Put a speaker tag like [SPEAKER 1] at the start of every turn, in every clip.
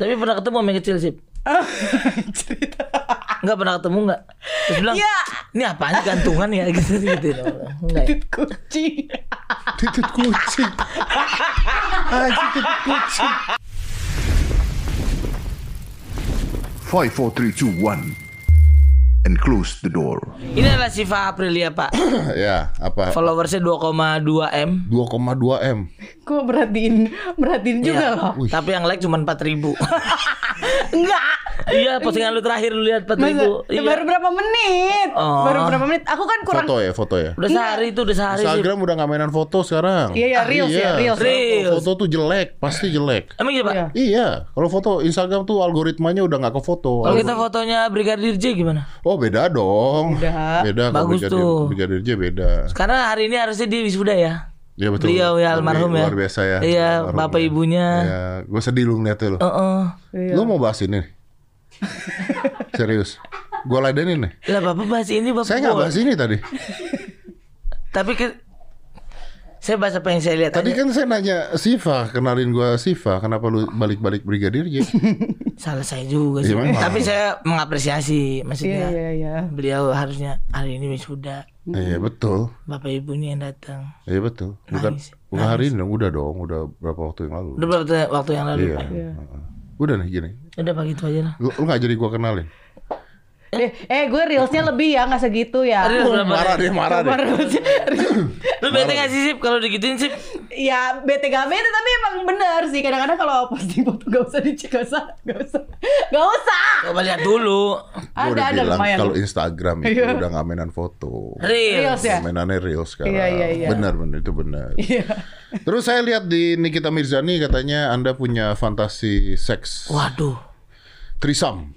[SPEAKER 1] Tapi pernah ketemu sama yang kecil sih.
[SPEAKER 2] Cerita.
[SPEAKER 1] Enggak pernah ketemu enggak? Terus bilang,
[SPEAKER 2] Ya.
[SPEAKER 1] "Ini apaan sih, gantungan ya?" gitu gitu. Enggak. ya?
[SPEAKER 2] Tit kucing.
[SPEAKER 3] Titit kucing. Anjing titit kucing.
[SPEAKER 4] 5, 4, 3, 2, 1. And close the door.
[SPEAKER 1] Ini adalah Siva Aprilia, Pak.
[SPEAKER 3] ya, apa?
[SPEAKER 1] Followersnya 2,2 M.
[SPEAKER 3] 2,2 M.
[SPEAKER 2] Gua merhatiin, merhatiin juga
[SPEAKER 1] Iya.
[SPEAKER 2] loh.
[SPEAKER 1] Tapi yang like cuma 4000.
[SPEAKER 2] Enggak.
[SPEAKER 1] iya, postingan lu terakhir lu lihat
[SPEAKER 2] Masa,
[SPEAKER 1] 4000.
[SPEAKER 2] ya
[SPEAKER 1] Iya.
[SPEAKER 2] baru berapa menit?
[SPEAKER 1] Oh.
[SPEAKER 2] Baru berapa menit? Aku kan kurang
[SPEAKER 3] Foto ya, foto ya.
[SPEAKER 1] Udah sehari itu udah sehari sih.
[SPEAKER 3] Instagram udah nggak mainan foto sekarang.
[SPEAKER 2] Iya, iya, reels ya, reels.
[SPEAKER 3] sekarang
[SPEAKER 1] Reels.
[SPEAKER 3] Foto, foto tuh jelek, pasti jelek.
[SPEAKER 1] Emang iya, Pak?
[SPEAKER 2] Iya.
[SPEAKER 3] Iya, kalau foto Instagram tuh algoritmanya udah nggak ke foto.
[SPEAKER 1] Kalau kita fotonya Brigadir J gimana?
[SPEAKER 3] Oh beda dong.
[SPEAKER 2] Beda.
[SPEAKER 3] Beda. kalau
[SPEAKER 1] Bagus
[SPEAKER 3] Brigadir-
[SPEAKER 1] tuh.
[SPEAKER 3] Brigadir J beda.
[SPEAKER 1] Karena hari ini harusnya dia wisuda ya.
[SPEAKER 3] Ya betul.
[SPEAKER 1] Beliau ya,
[SPEAKER 3] Luar-
[SPEAKER 1] almarhum ya.
[SPEAKER 3] Luar biasa ya.
[SPEAKER 1] Iya,
[SPEAKER 3] almarhum
[SPEAKER 1] bapak
[SPEAKER 3] ya.
[SPEAKER 1] ibunya. Oh, iya.
[SPEAKER 3] Iya, gue sedih lu ngeliatnya lu.
[SPEAKER 1] Heeh.
[SPEAKER 3] Lu mau bahas ini? nih? Serius. Gue ladenin nih.
[SPEAKER 1] Lah Bapak bahas ini Bapak.
[SPEAKER 3] Saya nggak
[SPEAKER 1] boleh.
[SPEAKER 3] bahas ini tadi.
[SPEAKER 1] Tapi ke... saya bahas apa yang saya lihat
[SPEAKER 3] Tadi
[SPEAKER 1] aja.
[SPEAKER 3] kan saya nanya Siva, kenalin gue Siva. Kenapa lu balik-balik Brigadir J?
[SPEAKER 1] Salah saya juga sih.
[SPEAKER 3] Iya, memang.
[SPEAKER 1] Tapi saya mengapresiasi
[SPEAKER 2] Iya,
[SPEAKER 1] maksudnya.
[SPEAKER 2] iya, iya.
[SPEAKER 1] Beliau harusnya hari ini wisuda.
[SPEAKER 3] Iya betul.
[SPEAKER 1] Bapak ibunya yang datang.
[SPEAKER 3] Iya betul. Bukan,
[SPEAKER 1] Nangis.
[SPEAKER 3] bukan hari ini dong. Udah dong. Udah berapa waktu yang lalu?
[SPEAKER 1] Udah berapa te- waktu yang lalu?
[SPEAKER 3] Iya.
[SPEAKER 1] Pak?
[SPEAKER 3] Heeh. Udah nih gini.
[SPEAKER 1] Udah pagi itu aja lah.
[SPEAKER 3] Lu, lu nggak jadi gue kenalin.
[SPEAKER 2] Eh, eh gue reelsnya lebih ya, nggak segitu ya.
[SPEAKER 1] Reels berapa?
[SPEAKER 3] Marah deh, marah deh.
[SPEAKER 2] Coba reelsnya-
[SPEAKER 1] Lu bete gak sih Sip kalau digituin Sip?
[SPEAKER 2] Ya bete gak bete tapi emang bener sih kadang-kadang kalau posting foto gak usah dicek gak usah gak usah gak usah
[SPEAKER 1] Coba lihat dulu.
[SPEAKER 3] Gua
[SPEAKER 2] ada
[SPEAKER 3] udah
[SPEAKER 2] ada
[SPEAKER 3] bilang
[SPEAKER 2] lumayan
[SPEAKER 3] kalau Instagram itu
[SPEAKER 2] Iya.
[SPEAKER 3] udah nggak mainan foto.
[SPEAKER 1] Reels.
[SPEAKER 3] Iya.
[SPEAKER 2] Reels ya
[SPEAKER 3] Mainannya real sekarang.
[SPEAKER 2] Iya, iya, iya.
[SPEAKER 3] Benar, benar itu benar.
[SPEAKER 2] iya
[SPEAKER 3] Terus saya lihat di Nikita Mirzani katanya Anda punya fantasi seks
[SPEAKER 1] Waduh.
[SPEAKER 3] trisam.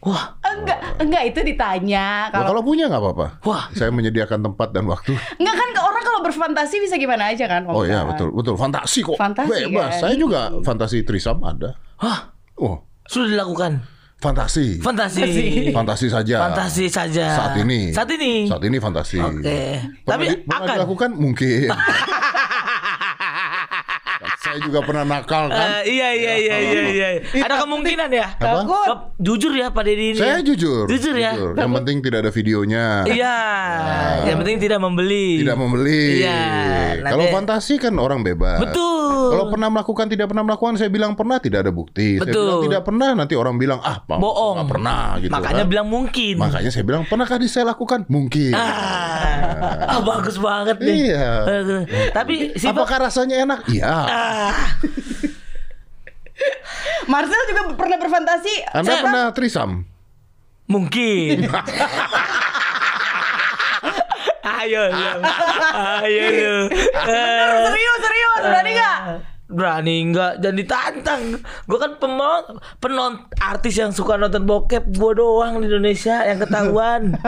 [SPEAKER 1] Wah.
[SPEAKER 2] enggak enggak itu ditanya kalau
[SPEAKER 3] Kalau, kalau punya nggak apa-apa.
[SPEAKER 1] Wah.
[SPEAKER 3] Saya menyediakan tempat dan waktu.
[SPEAKER 2] enggak kan ke orang kalau berfantasi bisa gimana aja kan
[SPEAKER 3] Oh
[SPEAKER 2] Om
[SPEAKER 3] iya,
[SPEAKER 2] Tan?
[SPEAKER 3] betul, betul. Fantasi kok.
[SPEAKER 2] Fantasi,
[SPEAKER 3] Bebas.
[SPEAKER 2] kan?
[SPEAKER 3] Saya juga fantasi trisam ada.
[SPEAKER 1] Hah?
[SPEAKER 3] Oh,
[SPEAKER 1] Sudah dilakukan.
[SPEAKER 3] fantasi.
[SPEAKER 1] Fantasi.
[SPEAKER 3] Fantasi saja.
[SPEAKER 1] Fantasi saja.
[SPEAKER 3] Saat ini.
[SPEAKER 1] Saat ini.
[SPEAKER 3] Saat ini fantasi.
[SPEAKER 1] Oke.
[SPEAKER 3] Pernah
[SPEAKER 1] Tapi
[SPEAKER 3] di- pernah
[SPEAKER 1] akan.
[SPEAKER 3] dilakukan mungkin. saya juga pernah nakal kan.
[SPEAKER 1] Eh, iya iya iya iya iya. Ada kemungkinan
[SPEAKER 3] Iya.
[SPEAKER 1] ya?
[SPEAKER 2] takut
[SPEAKER 1] Kep- Jujur ya Pak Deddy ini.
[SPEAKER 3] Saya jujur.
[SPEAKER 1] Jujur ya.
[SPEAKER 3] Yang penting tidak ada videonya.
[SPEAKER 1] Iya. Yang penting tidak membeli.
[SPEAKER 3] Tidak membeli.
[SPEAKER 1] Iya, nanti-
[SPEAKER 3] Kalau fantasi kan orang bebas.
[SPEAKER 1] Betul.
[SPEAKER 3] Kalau pernah melakukan tidak pernah melakukan saya bilang pernah tidak ada bukti. Saya
[SPEAKER 1] Betul.
[SPEAKER 3] bilang tidak pernah nanti orang bilang ah Pak,
[SPEAKER 1] Bohong.
[SPEAKER 3] nggak pernah gitu.
[SPEAKER 1] Makanya
[SPEAKER 3] kan.
[SPEAKER 1] bilang mungkin.
[SPEAKER 3] Makanya saya bilang pernahkah di saya lakukan? Mungkin.
[SPEAKER 1] Ah, ah, bagus banget nih.
[SPEAKER 3] Iya.
[SPEAKER 1] Bagus. Tapi si
[SPEAKER 3] Apakah rasanya enak? Iya.
[SPEAKER 1] Ah,
[SPEAKER 2] Marcel juga pernah berfantasi
[SPEAKER 3] Anda
[SPEAKER 2] Saya-
[SPEAKER 3] pernah trisam?
[SPEAKER 1] mungkin. Ayo lu. Ayo lu.
[SPEAKER 2] bener serius serius berani gak
[SPEAKER 1] Berani enggak dan ditantang. Gue kan pemon penon artis yang suka nonton bokep gue doang di Indonesia yang ketahuan.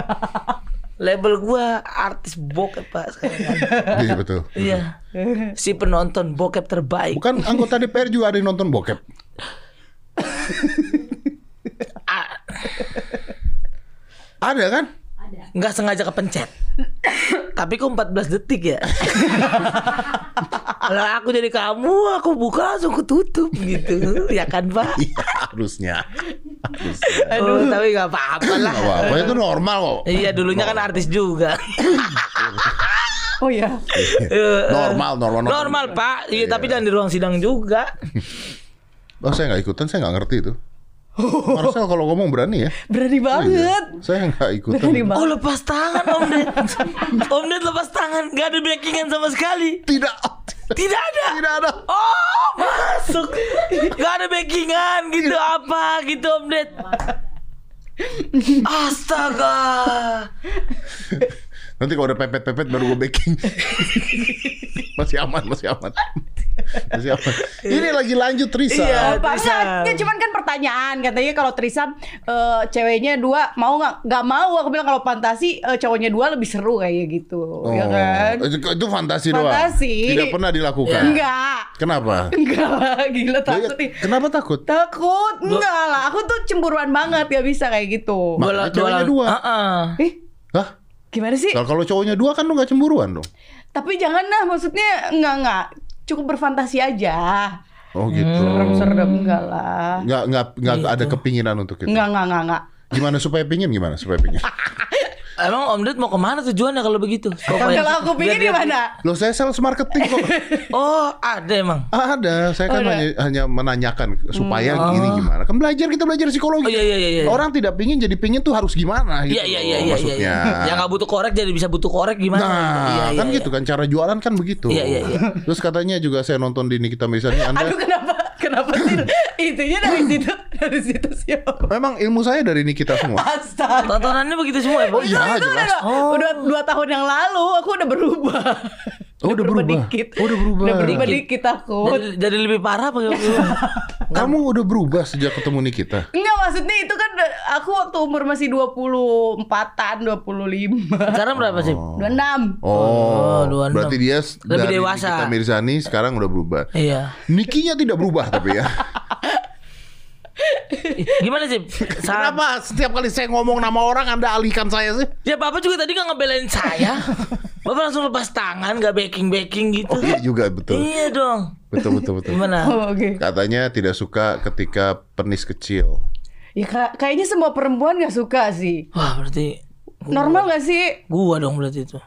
[SPEAKER 1] Label gua artis bokep Pak sekarang. kan.
[SPEAKER 3] Iya betul.
[SPEAKER 1] Iya. Si penonton bokep terbaik.
[SPEAKER 3] Bukan anggota DPR juga ada yang nonton bokep.
[SPEAKER 1] Ah.
[SPEAKER 3] ada kan?
[SPEAKER 1] nggak sengaja kepencet. Tapi kok 14 detik ya? Kalau aku jadi kamu, aku buka langsung aku tutup gitu. Ya kan, Pak?
[SPEAKER 3] Iya harusnya.
[SPEAKER 1] Aduh, tapi nggak apa-apa lah.
[SPEAKER 3] Gak apa-apa itu normal kok.
[SPEAKER 1] Iya, dulunya kan artis juga.
[SPEAKER 2] oh iya
[SPEAKER 3] Normal, normal, normal.
[SPEAKER 1] Normal, Pak. Iya, tapi jangan di ruang sidang juga.
[SPEAKER 3] Oh, saya nggak ikutan, saya nggak ngerti itu. Marcel kalau ngomong berani ya.
[SPEAKER 2] berani banget
[SPEAKER 3] Saya nggak ikutan.
[SPEAKER 2] berani banget
[SPEAKER 1] Oh, lepas tangan Om Ded. Om Ded lepas tangan, nggak ada backingan sama sekali.
[SPEAKER 3] Tidak.
[SPEAKER 1] Tidak ada.
[SPEAKER 3] Tidak ada.
[SPEAKER 1] Oh, masuk. Gak ada backingan gitu apa gitu Om Ded. Astaga.
[SPEAKER 3] Nanti kalau udah pepet-pepet baru gue baking. masih aman, masih aman. masih aman. Ini lagi lanjut Risa.
[SPEAKER 1] Iya.
[SPEAKER 2] Apa
[SPEAKER 1] Trisam.
[SPEAKER 2] enggak? Kan cuman kan pertanyaan katanya kalau Trisam eh, ceweknya dua mau nggak? Nggak mau. Aku bilang kalau fantasi eh, cowoknya dua lebih seru kayak gitu,
[SPEAKER 3] Oh.
[SPEAKER 2] ya kan?
[SPEAKER 3] Itu, itu fantasi, doang.
[SPEAKER 2] Fantasi.
[SPEAKER 3] Tidak pernah dilakukan.
[SPEAKER 2] Enggak,
[SPEAKER 3] Kenapa?
[SPEAKER 2] enggak lah,
[SPEAKER 3] Iya,
[SPEAKER 2] gila takut nih.
[SPEAKER 3] Kenapa takut?
[SPEAKER 2] Takut enggak lah. Aku tuh cemburuan banget gak bisa kayak gitu.
[SPEAKER 3] Ma-
[SPEAKER 1] Bola-
[SPEAKER 3] ceweknya
[SPEAKER 1] bola-
[SPEAKER 3] dua.
[SPEAKER 1] Heeh.
[SPEAKER 2] Ih,
[SPEAKER 3] Hah?
[SPEAKER 2] gimana sih?
[SPEAKER 3] Kalau kalau cowoknya dua kan lu nggak cemburuan dong.
[SPEAKER 2] Tapi jangan lah, maksudnya enggak enggak. Cukup berfantasi aja.
[SPEAKER 3] Oh gitu.
[SPEAKER 2] Hmm, Serem-serem enggak lah.
[SPEAKER 3] Nggak nggak nggak
[SPEAKER 2] Gitu.
[SPEAKER 3] ada kepinginan untuk itu.
[SPEAKER 2] Enggak, enggak, enggak, enggak.
[SPEAKER 3] Gimana supaya pingin? Gimana supaya pingin?
[SPEAKER 1] Emang Om Ded mau kemana tujuannya kalau begitu?
[SPEAKER 3] Eh,
[SPEAKER 1] Pokoknya-
[SPEAKER 2] Kalau aku
[SPEAKER 1] biar
[SPEAKER 2] pikir
[SPEAKER 1] dia-
[SPEAKER 2] di mana?
[SPEAKER 3] Loh saya sales marketing kok.
[SPEAKER 1] Oh ada emang.
[SPEAKER 3] Ada, saya
[SPEAKER 1] iya.
[SPEAKER 3] kan
[SPEAKER 2] Oh, ada.
[SPEAKER 3] hanya, hanya menanyakan supaya gini gimana. Kan belajar kita belajar psikologi.
[SPEAKER 1] Hmm. Oh, iya, iya, iya, iya.
[SPEAKER 3] Orang tidak pingin jadi pingin tuh harus gimana gitu.
[SPEAKER 1] Iya iya
[SPEAKER 3] loh
[SPEAKER 1] iya iya.
[SPEAKER 3] maksudnya.
[SPEAKER 1] iya. Yang nggak butuh korek jadi bisa butuh korek gimana?
[SPEAKER 3] Nah,
[SPEAKER 1] Iya, iya,
[SPEAKER 3] kan
[SPEAKER 1] iya.
[SPEAKER 3] gitu kan cara jualan kan begitu.
[SPEAKER 1] Iya, iya, iya.
[SPEAKER 3] Terus katanya juga saya nonton di Nikita Mirzani Anda
[SPEAKER 2] Aduh kenapa kenapa sih intinya dari situ dari situ sih. Om.
[SPEAKER 3] memang ilmu saya dari Nikita semua.
[SPEAKER 2] Astaga.
[SPEAKER 1] Tontonannya begitu semua ya. Bang?
[SPEAKER 3] iya.
[SPEAKER 2] Itu
[SPEAKER 3] jelas.
[SPEAKER 2] udah, udah dua tahun yang lalu aku udah berubah.
[SPEAKER 3] Oh, udah berubah.
[SPEAKER 2] dikit.
[SPEAKER 3] Oh, udah berubah.
[SPEAKER 2] Udah berubah
[SPEAKER 1] Dikit.
[SPEAKER 2] dikit aku.
[SPEAKER 1] Jadi, jadi lebih parah apa gitu? gimana?
[SPEAKER 3] Kamu udah berubah sejak ketemu Nikita.
[SPEAKER 2] Enggak maksudnya itu kan aku waktu umur masih 24-an, 25.
[SPEAKER 1] Sekarang berapa sih?
[SPEAKER 2] 26.
[SPEAKER 3] Oh,
[SPEAKER 1] Oh, 26.
[SPEAKER 3] berarti dia
[SPEAKER 1] Lebih
[SPEAKER 3] dari
[SPEAKER 1] dewasa.
[SPEAKER 3] Nikita Mirzani sekarang udah berubah.
[SPEAKER 1] Iya.
[SPEAKER 3] Nikinya tidak berubah tapi ya.
[SPEAKER 1] Ih, Gimana sih? Sa-
[SPEAKER 3] Kenapa setiap kali saya ngomong nama orang Anda alihkan saya sih?
[SPEAKER 1] Ya bapak juga tadi nggak ngebelain saya. bapak langsung lepas tangan, nggak backing backing gitu.
[SPEAKER 3] Oh iya juga betul.
[SPEAKER 1] Iya dong.
[SPEAKER 3] Betul betul betul.
[SPEAKER 1] Gimana?
[SPEAKER 2] Oh, oke.
[SPEAKER 3] Katanya tidak suka ketika penis kecil.
[SPEAKER 2] Ya ka- kayaknya semua perempuan gak suka sih.
[SPEAKER 1] Wah berarti
[SPEAKER 3] Oh.
[SPEAKER 2] Normal gak sih?
[SPEAKER 1] gua dong berarti itu.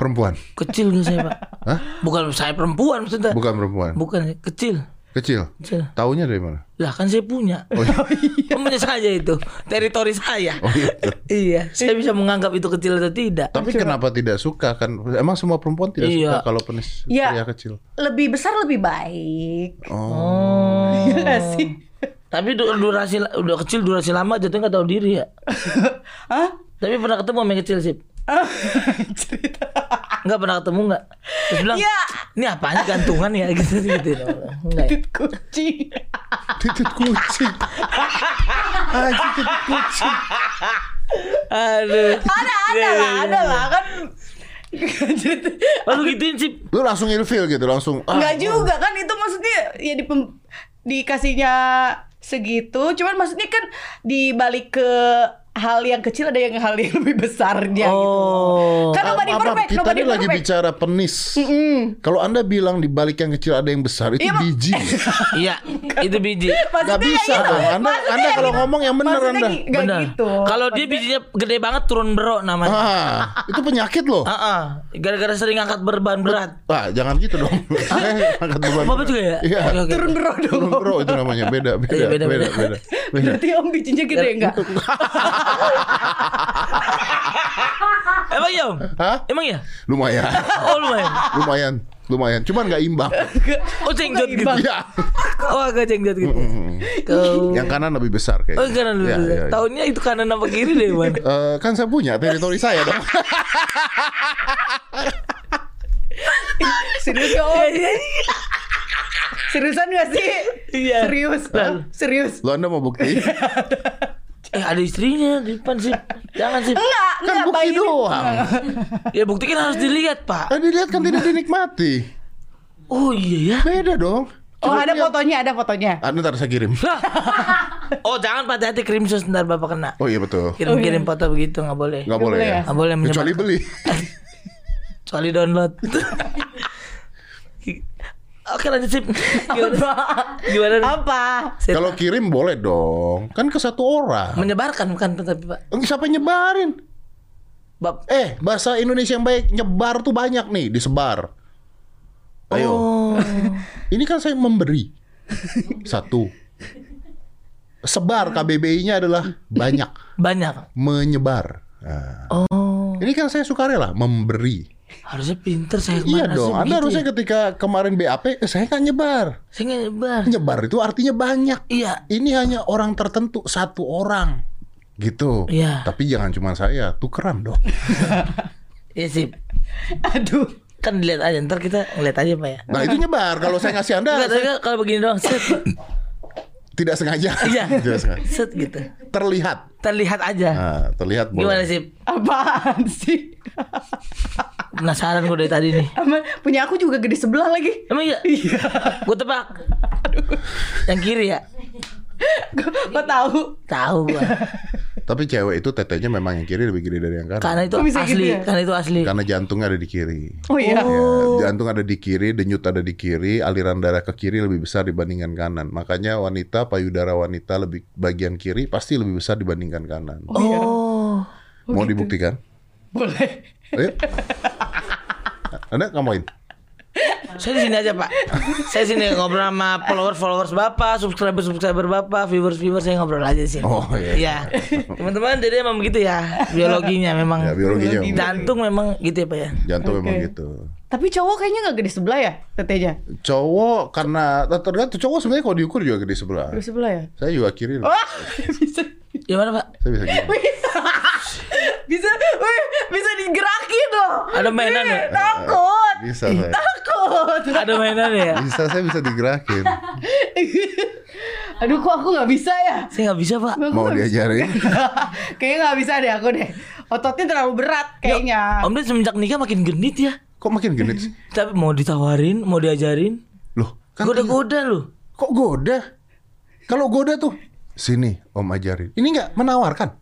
[SPEAKER 3] Perempuan.
[SPEAKER 1] Kecil nggak saya pak?
[SPEAKER 3] Hah?
[SPEAKER 1] Bukan saya perempuan maksudnya.
[SPEAKER 3] Bukan perempuan.
[SPEAKER 1] Bukan kecil.
[SPEAKER 3] Kecil.
[SPEAKER 1] Kecil.
[SPEAKER 3] Taunya dari mana?
[SPEAKER 1] Lah kan saya punya.
[SPEAKER 3] Oh iya.
[SPEAKER 1] Kan punya saja itu teritori saya.
[SPEAKER 3] Oh, iya.
[SPEAKER 1] iya, saya bisa menganggap itu kecil atau tidak.
[SPEAKER 3] Tapi kenapa tidak suka kan? Emang semua perempuan tidak
[SPEAKER 1] Iya.
[SPEAKER 3] suka kalau penis
[SPEAKER 2] Iya.
[SPEAKER 3] pria kecil.
[SPEAKER 2] Lebih besar lebih baik.
[SPEAKER 3] Oh.
[SPEAKER 2] Iya gak sih?
[SPEAKER 1] Tapi du- durasi la- udah kecil durasi lama jatuhnya nggak tahu diri ya.
[SPEAKER 2] Hah?
[SPEAKER 1] Tapi pernah ketemu sama yang kecil sih?
[SPEAKER 2] Ah, Cerita.
[SPEAKER 1] Nggak pernah ketemu nggak? Terus bilang,
[SPEAKER 2] Iya.
[SPEAKER 1] ini apaan sih, gantungan ya gitu gitu. Enggak. ya?
[SPEAKER 2] Titit kucing.
[SPEAKER 3] Titit kucing. Ah, titit kucing.
[SPEAKER 1] Aduh.
[SPEAKER 2] Ada,
[SPEAKER 3] Iya,
[SPEAKER 2] ada lah, ada lah kan. Jadi-
[SPEAKER 1] Lalu Oh, gituin sih.
[SPEAKER 3] Lu langsung ilfil gitu, langsung. ah,
[SPEAKER 2] Enggak juga kan itu maksudnya ya di pem- dikasihnya segitu, cuman maksudnya kan dibalik ke hal yang kecil ada yang hal yang lebih besarnya gitu.
[SPEAKER 1] Oh.
[SPEAKER 2] Kan nobody
[SPEAKER 3] apa-
[SPEAKER 2] perfect,
[SPEAKER 3] Kita
[SPEAKER 2] nobody
[SPEAKER 3] ini lagi
[SPEAKER 2] perfect.
[SPEAKER 3] bicara penis. Kalau Anda bilang di balik yang kecil ada yang besar, itu
[SPEAKER 2] Iya, Mak.
[SPEAKER 3] biji.
[SPEAKER 1] Iya, itu biji.
[SPEAKER 2] Maksudnya
[SPEAKER 3] Gak bisa
[SPEAKER 2] kayak gitu.
[SPEAKER 3] dong. Anda,
[SPEAKER 2] Maksudnya
[SPEAKER 3] anda
[SPEAKER 2] kayak
[SPEAKER 3] kalau
[SPEAKER 2] gitu.
[SPEAKER 3] ngomong yang bener
[SPEAKER 2] Maksudnya
[SPEAKER 3] Anda.
[SPEAKER 2] gi- gak
[SPEAKER 1] Benar.
[SPEAKER 2] gitu.
[SPEAKER 1] Kalau dia bijinya gede banget turun bro namanya.
[SPEAKER 3] Ah, itu penyakit loh.
[SPEAKER 1] Ah, ah. gara-gara sering angkat berbahan berat.
[SPEAKER 3] Ah, jangan gitu dong. Saya angkat beban.
[SPEAKER 1] Bapak juga ya?
[SPEAKER 3] Iya.
[SPEAKER 1] Oke, oke.
[SPEAKER 2] turun berodong.
[SPEAKER 3] Turun bro itu namanya beda beda
[SPEAKER 1] Iya,
[SPEAKER 3] beda
[SPEAKER 1] beda,
[SPEAKER 3] beda.
[SPEAKER 1] beda.
[SPEAKER 3] beda.
[SPEAKER 2] Berarti om bijinya gede
[SPEAKER 3] Ya.
[SPEAKER 2] enggak?
[SPEAKER 1] Emang ya om?
[SPEAKER 3] Hah?
[SPEAKER 1] Emang ya?
[SPEAKER 3] Lumayan,
[SPEAKER 1] Oh lumayan.
[SPEAKER 3] lumayan, lumayan. Cuman nggak imbang.
[SPEAKER 1] Oh cenggot gitu.
[SPEAKER 3] Iya.
[SPEAKER 1] Oh agak cenggot gitu. Kau.
[SPEAKER 3] Yang kanan lebih besar kayaknya.
[SPEAKER 1] Oh kanan dulu.
[SPEAKER 3] Iya, iya, iya.
[SPEAKER 1] Tahunnya itu kanan apa kiri deh mana?
[SPEAKER 3] Eh, kan saya punya teritori saya dong.
[SPEAKER 2] Serius gak om? Iya, Seriusan gak sih?
[SPEAKER 1] Iya.
[SPEAKER 2] Serius. Serius.
[SPEAKER 3] Lo anda mau bukti?
[SPEAKER 1] Eh ada istrinya di depan sih. Jangan sih.
[SPEAKER 2] Enggak,
[SPEAKER 3] kan
[SPEAKER 2] enggak
[SPEAKER 3] bukti
[SPEAKER 2] bayi ini-
[SPEAKER 3] doang.
[SPEAKER 1] Ya buktikan harus dilihat pak.
[SPEAKER 3] Tadi lihat kan tidak dinikmati.
[SPEAKER 1] Oh iya ya.
[SPEAKER 3] Beda dong.
[SPEAKER 2] Oh,
[SPEAKER 3] Coba
[SPEAKER 2] ada
[SPEAKER 3] lihat.
[SPEAKER 2] fotonya, ada fotonya.
[SPEAKER 3] Ah, ntar saya kirim.
[SPEAKER 1] Lah. Oh jangan pak hati kirim sus ntar bapak kena.
[SPEAKER 3] Oh iya betul.
[SPEAKER 1] Kirim-kirim foto begitu nggak boleh.
[SPEAKER 3] Nggak boleh
[SPEAKER 2] boleh
[SPEAKER 3] ya.
[SPEAKER 1] Nggak boleh
[SPEAKER 3] Kecuali
[SPEAKER 1] menyebar.
[SPEAKER 3] beli.
[SPEAKER 1] Kecuali download. Oke lanjut sip. Gimana? Gimana? nih?
[SPEAKER 2] Apa?
[SPEAKER 1] Sip.
[SPEAKER 3] Kalau kirim boleh dong. Kan ke satu orang.
[SPEAKER 1] Menyebarkan bukan tapi pak.
[SPEAKER 3] Eh, Siapa yang nyebarin?
[SPEAKER 1] Bab
[SPEAKER 3] Eh, bahasa Indonesia yang baik nyebar tuh banyak nih, disebar. Ayo.
[SPEAKER 1] Oh.
[SPEAKER 3] Ini kan saya memberi. Satu. Sebar KBBI-nya adalah banyak,
[SPEAKER 1] banyak.
[SPEAKER 3] menyebar. Nah.
[SPEAKER 1] Oh.
[SPEAKER 3] Ini kan saya sukarela memberi.
[SPEAKER 1] Harusnya pinter saya
[SPEAKER 3] Iya
[SPEAKER 1] Eh, kemana
[SPEAKER 3] dong.
[SPEAKER 1] sih
[SPEAKER 3] Anda
[SPEAKER 1] begitu
[SPEAKER 3] harusnya
[SPEAKER 1] ya?
[SPEAKER 3] ketika kemarin BAP, eh, saya nggak nyebar.
[SPEAKER 1] Saya nggak nyebar.
[SPEAKER 3] Nyebar itu artinya banyak.
[SPEAKER 1] Iya.
[SPEAKER 3] Ini hanya orang tertentu, satu orang. Gitu.
[SPEAKER 1] Iya.
[SPEAKER 3] Tapi jangan cuma saya, tukeran dong.
[SPEAKER 1] Iya sih.
[SPEAKER 2] Aduh.
[SPEAKER 1] Kan dilihat aja ntar kita ngeliat aja pak ya.
[SPEAKER 3] Nah itu nyebar. Kalau saya ngasih Anda,
[SPEAKER 1] Enggak,
[SPEAKER 3] saya-
[SPEAKER 1] tapi kan kalau begini doang set.
[SPEAKER 3] tidak sengaja.
[SPEAKER 1] Iya.
[SPEAKER 3] Tidak sengaja.
[SPEAKER 1] set gitu.
[SPEAKER 3] Terlihat.
[SPEAKER 1] Terlihat aja.
[SPEAKER 3] Nah, terlihat boleh.
[SPEAKER 1] Gimana sih?
[SPEAKER 2] Apaan sih?
[SPEAKER 1] Penasaran gue dari tadi nih.
[SPEAKER 2] Aman, punya aku juga gede sebelah lagi.
[SPEAKER 1] Emang iya?
[SPEAKER 2] Iya.
[SPEAKER 1] Gue tebak. Yang kiri ya?
[SPEAKER 2] Gua tahu.
[SPEAKER 1] Tahu gua.
[SPEAKER 3] Tapi cewek itu tetenya memang yang kiri lebih gede dari yang kanan.
[SPEAKER 1] Karena itu
[SPEAKER 2] Kok bisa
[SPEAKER 1] asli,
[SPEAKER 2] gitu ya?
[SPEAKER 1] karena itu asli.
[SPEAKER 3] Karena jantungnya ada di kiri.
[SPEAKER 2] Oh iya.
[SPEAKER 3] Ya, jantung ada di kiri, denyut ada di kiri, aliran darah ke kiri lebih besar dibandingkan kanan. Makanya wanita payudara wanita lebih bagian kiri pasti lebih besar dibandingkan kanan.
[SPEAKER 1] Oh.
[SPEAKER 3] Mau dibuktikan?
[SPEAKER 2] Boleh.
[SPEAKER 3] Ayo. Anda ngapain?
[SPEAKER 1] Saya di sini aja, Pak. saya sini ngobrol sama followers-followers Bapak, subscriber-subscriber Bapak, viewers-viewers saya ngobrol aja di sini.
[SPEAKER 3] Oh, iya.
[SPEAKER 1] Iya. Teman-teman, jadi emang begitu ya biologinya memang.
[SPEAKER 3] Ya biologinya.
[SPEAKER 2] Biologi.
[SPEAKER 3] memang.
[SPEAKER 1] Jantung memang gitu ya, Pak ya.
[SPEAKER 3] Jantung memang
[SPEAKER 2] Oke.
[SPEAKER 3] gitu.
[SPEAKER 2] Tapi cowok kayaknya nggak gede sebelah ya tetenya.
[SPEAKER 3] Cowok karena tergantung cowok sebenarnya kalau diukur juga gede sebelah.
[SPEAKER 2] Gede sebelah ya.
[SPEAKER 3] Saya juga kiri loh.
[SPEAKER 2] Wah bisa
[SPEAKER 1] Gimana, Ya Pak?
[SPEAKER 3] Saya bisa gini.
[SPEAKER 2] bisa wih, bisa digerakin loh.
[SPEAKER 1] Ada mainan
[SPEAKER 2] Ih,
[SPEAKER 1] ya?
[SPEAKER 2] Takut.
[SPEAKER 3] Bisa saya.
[SPEAKER 2] Takut.
[SPEAKER 1] Ada mainan ya?
[SPEAKER 3] Bisa saya bisa digerakin.
[SPEAKER 2] Aduh kok aku nggak bisa ya.
[SPEAKER 1] Saya nggak bisa, Pak.
[SPEAKER 2] Aku
[SPEAKER 3] Mau
[SPEAKER 2] nggak bisa.
[SPEAKER 3] diajarin?
[SPEAKER 2] kayaknya nggak bisa deh aku deh. Ototnya terlalu berat kayaknya.
[SPEAKER 1] Om Ded semenjak nikah makin genit ya.
[SPEAKER 3] Kok makin genit sih?
[SPEAKER 1] Tapi mau ditawarin, mau diajarin,
[SPEAKER 3] Loh, kan iya.
[SPEAKER 1] goda-goda loh.
[SPEAKER 3] Kok goda? Kalau goda tuh sini om ajarin. Ini nggak menawarkan.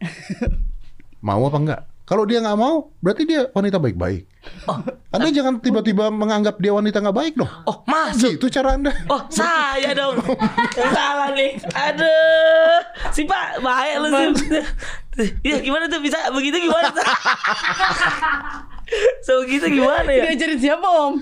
[SPEAKER 3] mau apa enggak? Kalau dia nggak mau, berarti dia wanita baik-baik. Anda jangan tiba-tiba menganggap dia wanita nggak baik dong.
[SPEAKER 1] Oh, masuk.
[SPEAKER 3] Gitu cara Anda.
[SPEAKER 1] Oh saya dong Yang salah nih Aduh Si pak Baik lu sih Ya gimana tuh bisa Begitu gimana tuh So begitu gimana ya
[SPEAKER 2] Diajarin siapa om?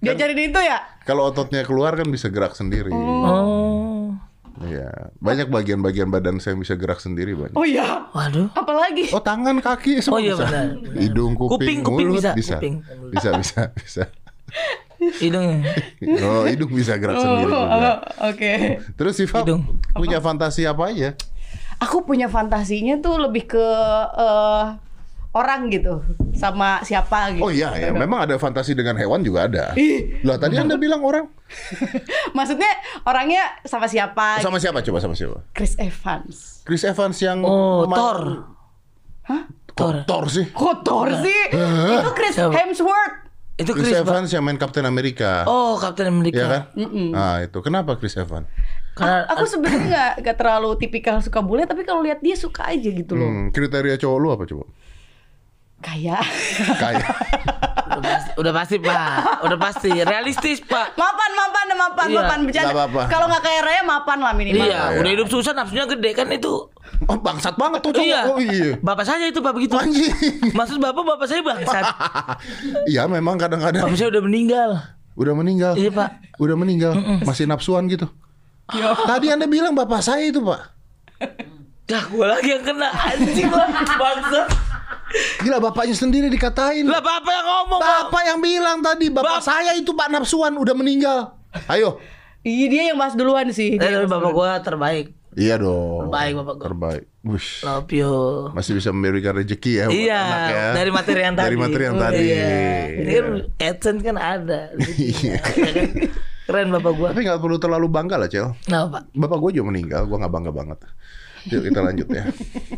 [SPEAKER 2] Diajarin itu ya?
[SPEAKER 3] Kalau ototnya keluar kan bisa gerak sendiri.
[SPEAKER 1] Oh
[SPEAKER 3] Iya. Banyak bagian-bagian badan saya yang bisa gerak sendiri banyak.
[SPEAKER 2] Oh iya.
[SPEAKER 1] Waduh
[SPEAKER 2] Apalagi?
[SPEAKER 3] Oh tangan kaki semua
[SPEAKER 1] Oh, iya,
[SPEAKER 3] bisa.
[SPEAKER 1] benar, benar.
[SPEAKER 3] Hidung kuping,
[SPEAKER 1] Kuping, kuping
[SPEAKER 3] mulut
[SPEAKER 1] bisa,
[SPEAKER 3] bisa.
[SPEAKER 1] kuping.
[SPEAKER 3] Bisa bisa bisa.
[SPEAKER 1] Hidungnya
[SPEAKER 3] Oh hidung bisa gerak sendiri.
[SPEAKER 2] Oh,
[SPEAKER 3] juga.
[SPEAKER 2] oh, Oke.
[SPEAKER 3] Terus Siva
[SPEAKER 1] Hidung. Iya.
[SPEAKER 3] punya fantasi apa aja?
[SPEAKER 2] Aku punya fantasinya tuh lebih ke eh, orang gitu sama siapa gitu.
[SPEAKER 3] Oh iya, ya. memang ada fantasi dengan hewan juga ada.
[SPEAKER 2] Ih.
[SPEAKER 3] Lah tadi Anda bilang orang
[SPEAKER 2] Maksudnya orangnya sama siapa?
[SPEAKER 3] sama siapa coba sama siapa?
[SPEAKER 2] Chris Evans.
[SPEAKER 3] Chris Evans yang
[SPEAKER 1] Oh
[SPEAKER 3] ma-
[SPEAKER 1] Thor
[SPEAKER 3] Kok
[SPEAKER 1] Thor
[SPEAKER 3] Thor sih.
[SPEAKER 2] Kotor sih. Itu Chris
[SPEAKER 1] Siapa?
[SPEAKER 2] Hemsworth.
[SPEAKER 1] Itu
[SPEAKER 3] Chris,
[SPEAKER 1] Chris Pak.
[SPEAKER 3] Evans yang main Captain America.
[SPEAKER 1] Oh Kapten
[SPEAKER 3] Iya kan?
[SPEAKER 1] Amerika
[SPEAKER 3] Nah, itu kenapa Chris Evans?
[SPEAKER 1] Karena
[SPEAKER 2] Aku sebenarnya nggak nggak terlalu tipikal suka bule, tapi kalau lihat dia suka aja gitu loh.
[SPEAKER 3] Hmm, kriteria cowok lu apa coba?
[SPEAKER 2] Kayak.
[SPEAKER 3] Kaya.
[SPEAKER 1] udah pasti, udah pasti pak Udah pasti Realistis pak
[SPEAKER 2] Mapan, mapan, mapan,
[SPEAKER 1] Iya,
[SPEAKER 2] mapan bercanda.
[SPEAKER 3] nggak apa-apa.
[SPEAKER 2] Kalau nggak kayak Raya, mapan lah minimal.
[SPEAKER 1] Iya
[SPEAKER 3] iya.
[SPEAKER 1] udah hidup susah Nafsunya gede kan itu
[SPEAKER 3] Oh, bangsat banget tuh cowok.
[SPEAKER 1] Iya
[SPEAKER 3] Oh, iya.
[SPEAKER 1] Bapak saya itu pak begitu
[SPEAKER 3] Anjing.
[SPEAKER 1] Maksud bapak bapak saya bangsat
[SPEAKER 3] Iya, memang kadang-kadang
[SPEAKER 1] Bapak saya udah meninggal.
[SPEAKER 3] udah meninggal.
[SPEAKER 1] Iya, Pak. Iya,
[SPEAKER 3] Udah meninggal, masih nafsuan gitu. Tadi Anda bilang bapak saya itu, Pak.
[SPEAKER 1] Dah gue lagi yang kena anjing lah bangsa.
[SPEAKER 3] Gila bapaknya sendiri dikatain.
[SPEAKER 1] Lah bapak yang ngomong.
[SPEAKER 3] Bapak yang bilang tadi,
[SPEAKER 1] Bap-
[SPEAKER 3] bapak saya itu Pak Nafsuan udah meninggal. Ayo.
[SPEAKER 2] Iya dia yang bahas duluan
[SPEAKER 1] Eh,
[SPEAKER 2] sih. Dia
[SPEAKER 1] tapi
[SPEAKER 2] yang bahas
[SPEAKER 1] bapak gue terbaik.
[SPEAKER 3] Iya dong.
[SPEAKER 1] Terbaik, Bapak gua.
[SPEAKER 3] Terbaik. Wish.
[SPEAKER 1] Love you.
[SPEAKER 3] Masih bisa memberikan rezeki ya buat
[SPEAKER 1] Iya,
[SPEAKER 3] anak ya.
[SPEAKER 1] dari materi yang tadi.
[SPEAKER 3] Dari materi yang tadi.
[SPEAKER 1] Iya. Ini
[SPEAKER 3] Iya.
[SPEAKER 1] kan AdSense kan ada.
[SPEAKER 3] Iya.
[SPEAKER 1] Ya kan? Keren bapak gue.
[SPEAKER 3] Tapi nggak perlu terlalu bangga lah, Cel.
[SPEAKER 1] Nah, Pak.
[SPEAKER 3] Bapak gue juga meninggal, gue nggak bangga banget. Yuk kita lanjut ya.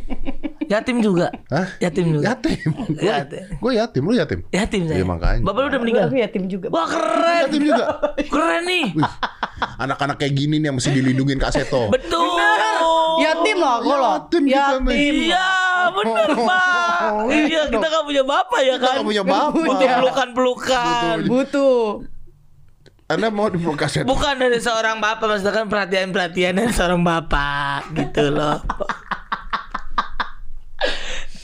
[SPEAKER 1] Yatim juga.
[SPEAKER 3] Hah?
[SPEAKER 1] Yatim juga.
[SPEAKER 3] Yatim.
[SPEAKER 1] Yatim.
[SPEAKER 3] Gue yatim, lu yatim.
[SPEAKER 1] Yatim saya.
[SPEAKER 3] Iya, makanya.
[SPEAKER 1] Bapak lu udah
[SPEAKER 2] duluan.
[SPEAKER 1] meninggal.
[SPEAKER 2] Aku yatim juga.
[SPEAKER 1] Wah keren.
[SPEAKER 3] Yatim juga.
[SPEAKER 1] Keren nih.
[SPEAKER 3] Wih, Anak-anak kayak gini nih yang mesti dilindungin Kak Seto.
[SPEAKER 1] Betul.
[SPEAKER 2] Yatim loh aku loh.
[SPEAKER 3] Yatim kita nih.
[SPEAKER 1] Iya, bener pak. Iya, kita gak punya bapak ya
[SPEAKER 3] Oh. Kita
[SPEAKER 1] kan?
[SPEAKER 3] nggak punya bapak.
[SPEAKER 1] Pelukan-pelukan.
[SPEAKER 2] Butuh.
[SPEAKER 3] Anda mau dipeluk Kak Seto?
[SPEAKER 1] Bukan dari seorang bapak maksudnya kan perhatian-perhatian dari seorang bapak gitu loh.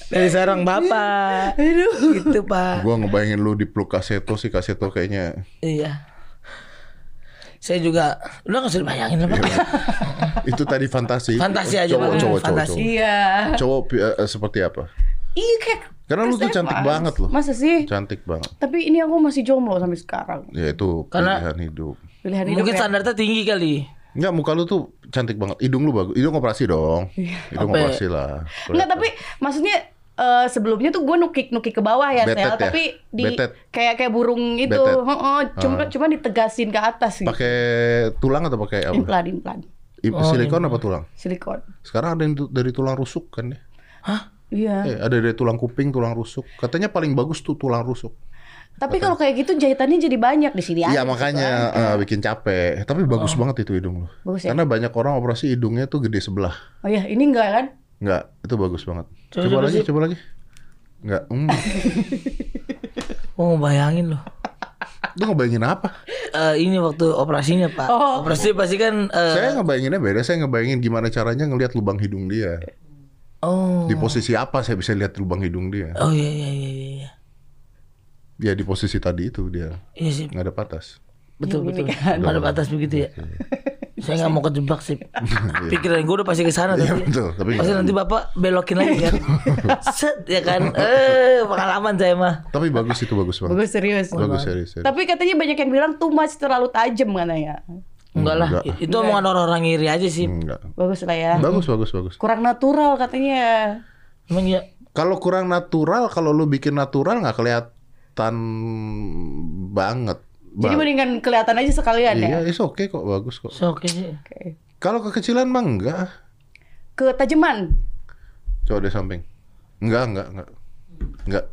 [SPEAKER 1] dari seorang bapak. Gitu, Pak.
[SPEAKER 3] Gue ngebayangin lu dipeluk Kak Seto sih Kak Seto kayaknya
[SPEAKER 1] Iya. Saya juga udah nggak usah dibayangin lah, Pak.
[SPEAKER 3] itu tadi fantasi.
[SPEAKER 1] Fantasi aja, Pak.
[SPEAKER 3] Cowok, Oh, cowok, cowok,
[SPEAKER 1] Fantasi.
[SPEAKER 3] cowok.
[SPEAKER 2] Iya.
[SPEAKER 3] Cowok eh, eh, seperti apa?
[SPEAKER 2] Iya kayak.
[SPEAKER 3] Karena lu
[SPEAKER 2] Chris
[SPEAKER 3] tuh cantik
[SPEAKER 2] Evans.
[SPEAKER 3] banget loh.
[SPEAKER 2] Masa sih?
[SPEAKER 3] Cantik banget.
[SPEAKER 2] Tapi ini aku masih jomblo sampai sekarang.
[SPEAKER 3] Ya itu
[SPEAKER 1] Karena-
[SPEAKER 3] pilihan hidup.
[SPEAKER 2] Pilihan hidup
[SPEAKER 1] Mungkin
[SPEAKER 2] ya.
[SPEAKER 1] standarnya tinggi kali.
[SPEAKER 3] Enggak, muka lu tuh cantik banget. Hidung lu bagus. Hidung operasi dong. Hidung
[SPEAKER 1] Apa ya?
[SPEAKER 3] operasi lah.
[SPEAKER 2] Enggak tapi maksudnya eh, sebelumnya tuh gue nukik nukik ke bawah ya,
[SPEAKER 3] Betet
[SPEAKER 2] Sel.
[SPEAKER 3] ya?
[SPEAKER 2] Tapi di
[SPEAKER 3] Betet.
[SPEAKER 2] kayak kayak burung itu,
[SPEAKER 3] Betet. Ah.
[SPEAKER 2] Heeh, cuma cuma ditegasin ke atas gitu.
[SPEAKER 3] pakai tulang atau pakai apa?
[SPEAKER 2] Implan implan
[SPEAKER 3] I-
[SPEAKER 1] Oh,
[SPEAKER 3] Silikon
[SPEAKER 1] iya.
[SPEAKER 3] apa tulang?
[SPEAKER 2] silikon.
[SPEAKER 3] Sekarang ada yang tu- dari tulang rusuk kan ya?
[SPEAKER 2] Iya.
[SPEAKER 3] Eh, ada dari tulang kuping, tulang rusuk. Katanya paling bagus tuh tulang rusuk.
[SPEAKER 2] Tapi kalau kayak gitu jahitannya jadi banyak di
[SPEAKER 1] Ya,
[SPEAKER 2] sini. ya?
[SPEAKER 3] Iya
[SPEAKER 2] ada
[SPEAKER 3] makanya
[SPEAKER 1] gitu kan.
[SPEAKER 3] eh, bikin capek.
[SPEAKER 1] Oh.
[SPEAKER 3] Tapi bagus banget itu hidung lu.
[SPEAKER 2] Bagus ya?
[SPEAKER 3] Karena banyak orang operasi hidungnya tuh gede sebelah.
[SPEAKER 2] Oh iya, ini enggak kan?
[SPEAKER 3] Enggak, itu bagus banget.
[SPEAKER 1] Coba,
[SPEAKER 3] Coba,
[SPEAKER 1] coba
[SPEAKER 3] lagi,
[SPEAKER 1] sih.
[SPEAKER 3] coba lagi. Enggak, hmm.
[SPEAKER 1] Oh bayangin loh.
[SPEAKER 3] Lu ngebayangin apa?
[SPEAKER 1] Eh, ini waktu operasinya pak.
[SPEAKER 2] Oh.
[SPEAKER 1] Operasi pasti kan. eh,
[SPEAKER 3] Saya ngebayanginnya beda, saya ngebayangin gimana caranya ngelihat lubang hidung dia.
[SPEAKER 1] Oh.
[SPEAKER 3] Di posisi apa saya bisa lihat lubang hidung dia?
[SPEAKER 1] Oh iya iya iya iya, iya.
[SPEAKER 3] Ya di posisi tadi itu dia
[SPEAKER 1] Iya sih.
[SPEAKER 3] nggak ada patas.
[SPEAKER 1] Betul
[SPEAKER 2] Yang ini
[SPEAKER 1] betul.
[SPEAKER 2] kan.
[SPEAKER 1] Ada batas begitu ya. Saya nggak mau kejebak sih. Pikiran gue udah pasti ke sana
[SPEAKER 3] Iya
[SPEAKER 1] Ah, tapi.
[SPEAKER 3] betul, tapi
[SPEAKER 1] Pasti
[SPEAKER 3] nggak-
[SPEAKER 1] nanti bapak belokin lagi kan. Set ya kan. Eh pengalaman saya mah.
[SPEAKER 3] tapi bagus itu bagus banget.
[SPEAKER 2] Bagus serius.
[SPEAKER 3] Bagus serius. serius.
[SPEAKER 2] Tapi katanya banyak yang bilang tuh masih terlalu tajam katanya.
[SPEAKER 1] Enggak lah.
[SPEAKER 3] Enggak.
[SPEAKER 2] Iya.
[SPEAKER 3] Hmm.
[SPEAKER 1] Itu omongan orang-orang iri aja sih.
[SPEAKER 3] Enggak.
[SPEAKER 2] Bagus lah ya.
[SPEAKER 3] Bagus bagus bagus.
[SPEAKER 2] Kurang natural katanya.
[SPEAKER 1] Emang ya.
[SPEAKER 3] Kalau kurang natural, kalau lu bikin natural nggak kelihatan banget.
[SPEAKER 2] Jadi
[SPEAKER 3] Ba-
[SPEAKER 2] mendingan kelihatan aja sekalian ya.
[SPEAKER 3] Iya, is oke kok, bagus kok.
[SPEAKER 1] So, oke sih.
[SPEAKER 2] Oke.
[SPEAKER 3] Kalau kekecilan mah enggak.
[SPEAKER 2] Ketajaman.
[SPEAKER 3] Coba dari samping. Enggak, enggak, enggak. Enggak.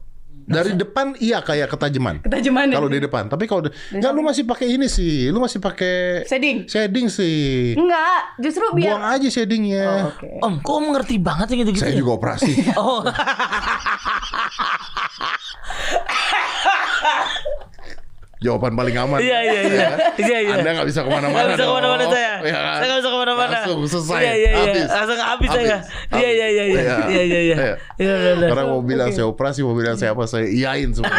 [SPEAKER 3] Dari depan iya kayak ketajaman.
[SPEAKER 2] Ketajaman. ya?
[SPEAKER 3] Kalau di depan, tapi kalau di- enggak lu masih pakai ini sih. Lu masih pakai
[SPEAKER 2] Shading?
[SPEAKER 3] Shading sih.
[SPEAKER 2] Enggak, justru biar Oh,
[SPEAKER 3] Buang aja shadingnya.
[SPEAKER 2] Oke.
[SPEAKER 1] Om, kok om ngerti banget sih gitu-gitu?
[SPEAKER 3] Saya
[SPEAKER 1] ya?
[SPEAKER 3] juga operasi.
[SPEAKER 1] Oh.
[SPEAKER 3] Jawaban paling aman.
[SPEAKER 1] Iya,
[SPEAKER 3] Ya kan?
[SPEAKER 1] iya, iya. Iya, iya.
[SPEAKER 3] Anda nggak bisa
[SPEAKER 1] Nggak
[SPEAKER 3] kemana-mana.
[SPEAKER 1] bisa
[SPEAKER 3] dong.
[SPEAKER 1] kemana-mana saya.
[SPEAKER 3] Iya kan?
[SPEAKER 1] Saya nggak bisa kemana-mana.
[SPEAKER 3] Langsung selesai.
[SPEAKER 1] Iya, iya, iya.
[SPEAKER 3] Habis.
[SPEAKER 1] Langsung habis saya. Iya, iya, iya, iya.
[SPEAKER 3] Iya.
[SPEAKER 1] Iya, iya, iya.
[SPEAKER 3] Iya.
[SPEAKER 1] Iya, benar.
[SPEAKER 3] Karena mau bilang saya operasi, mau bilang saya apa, saya iyain semua.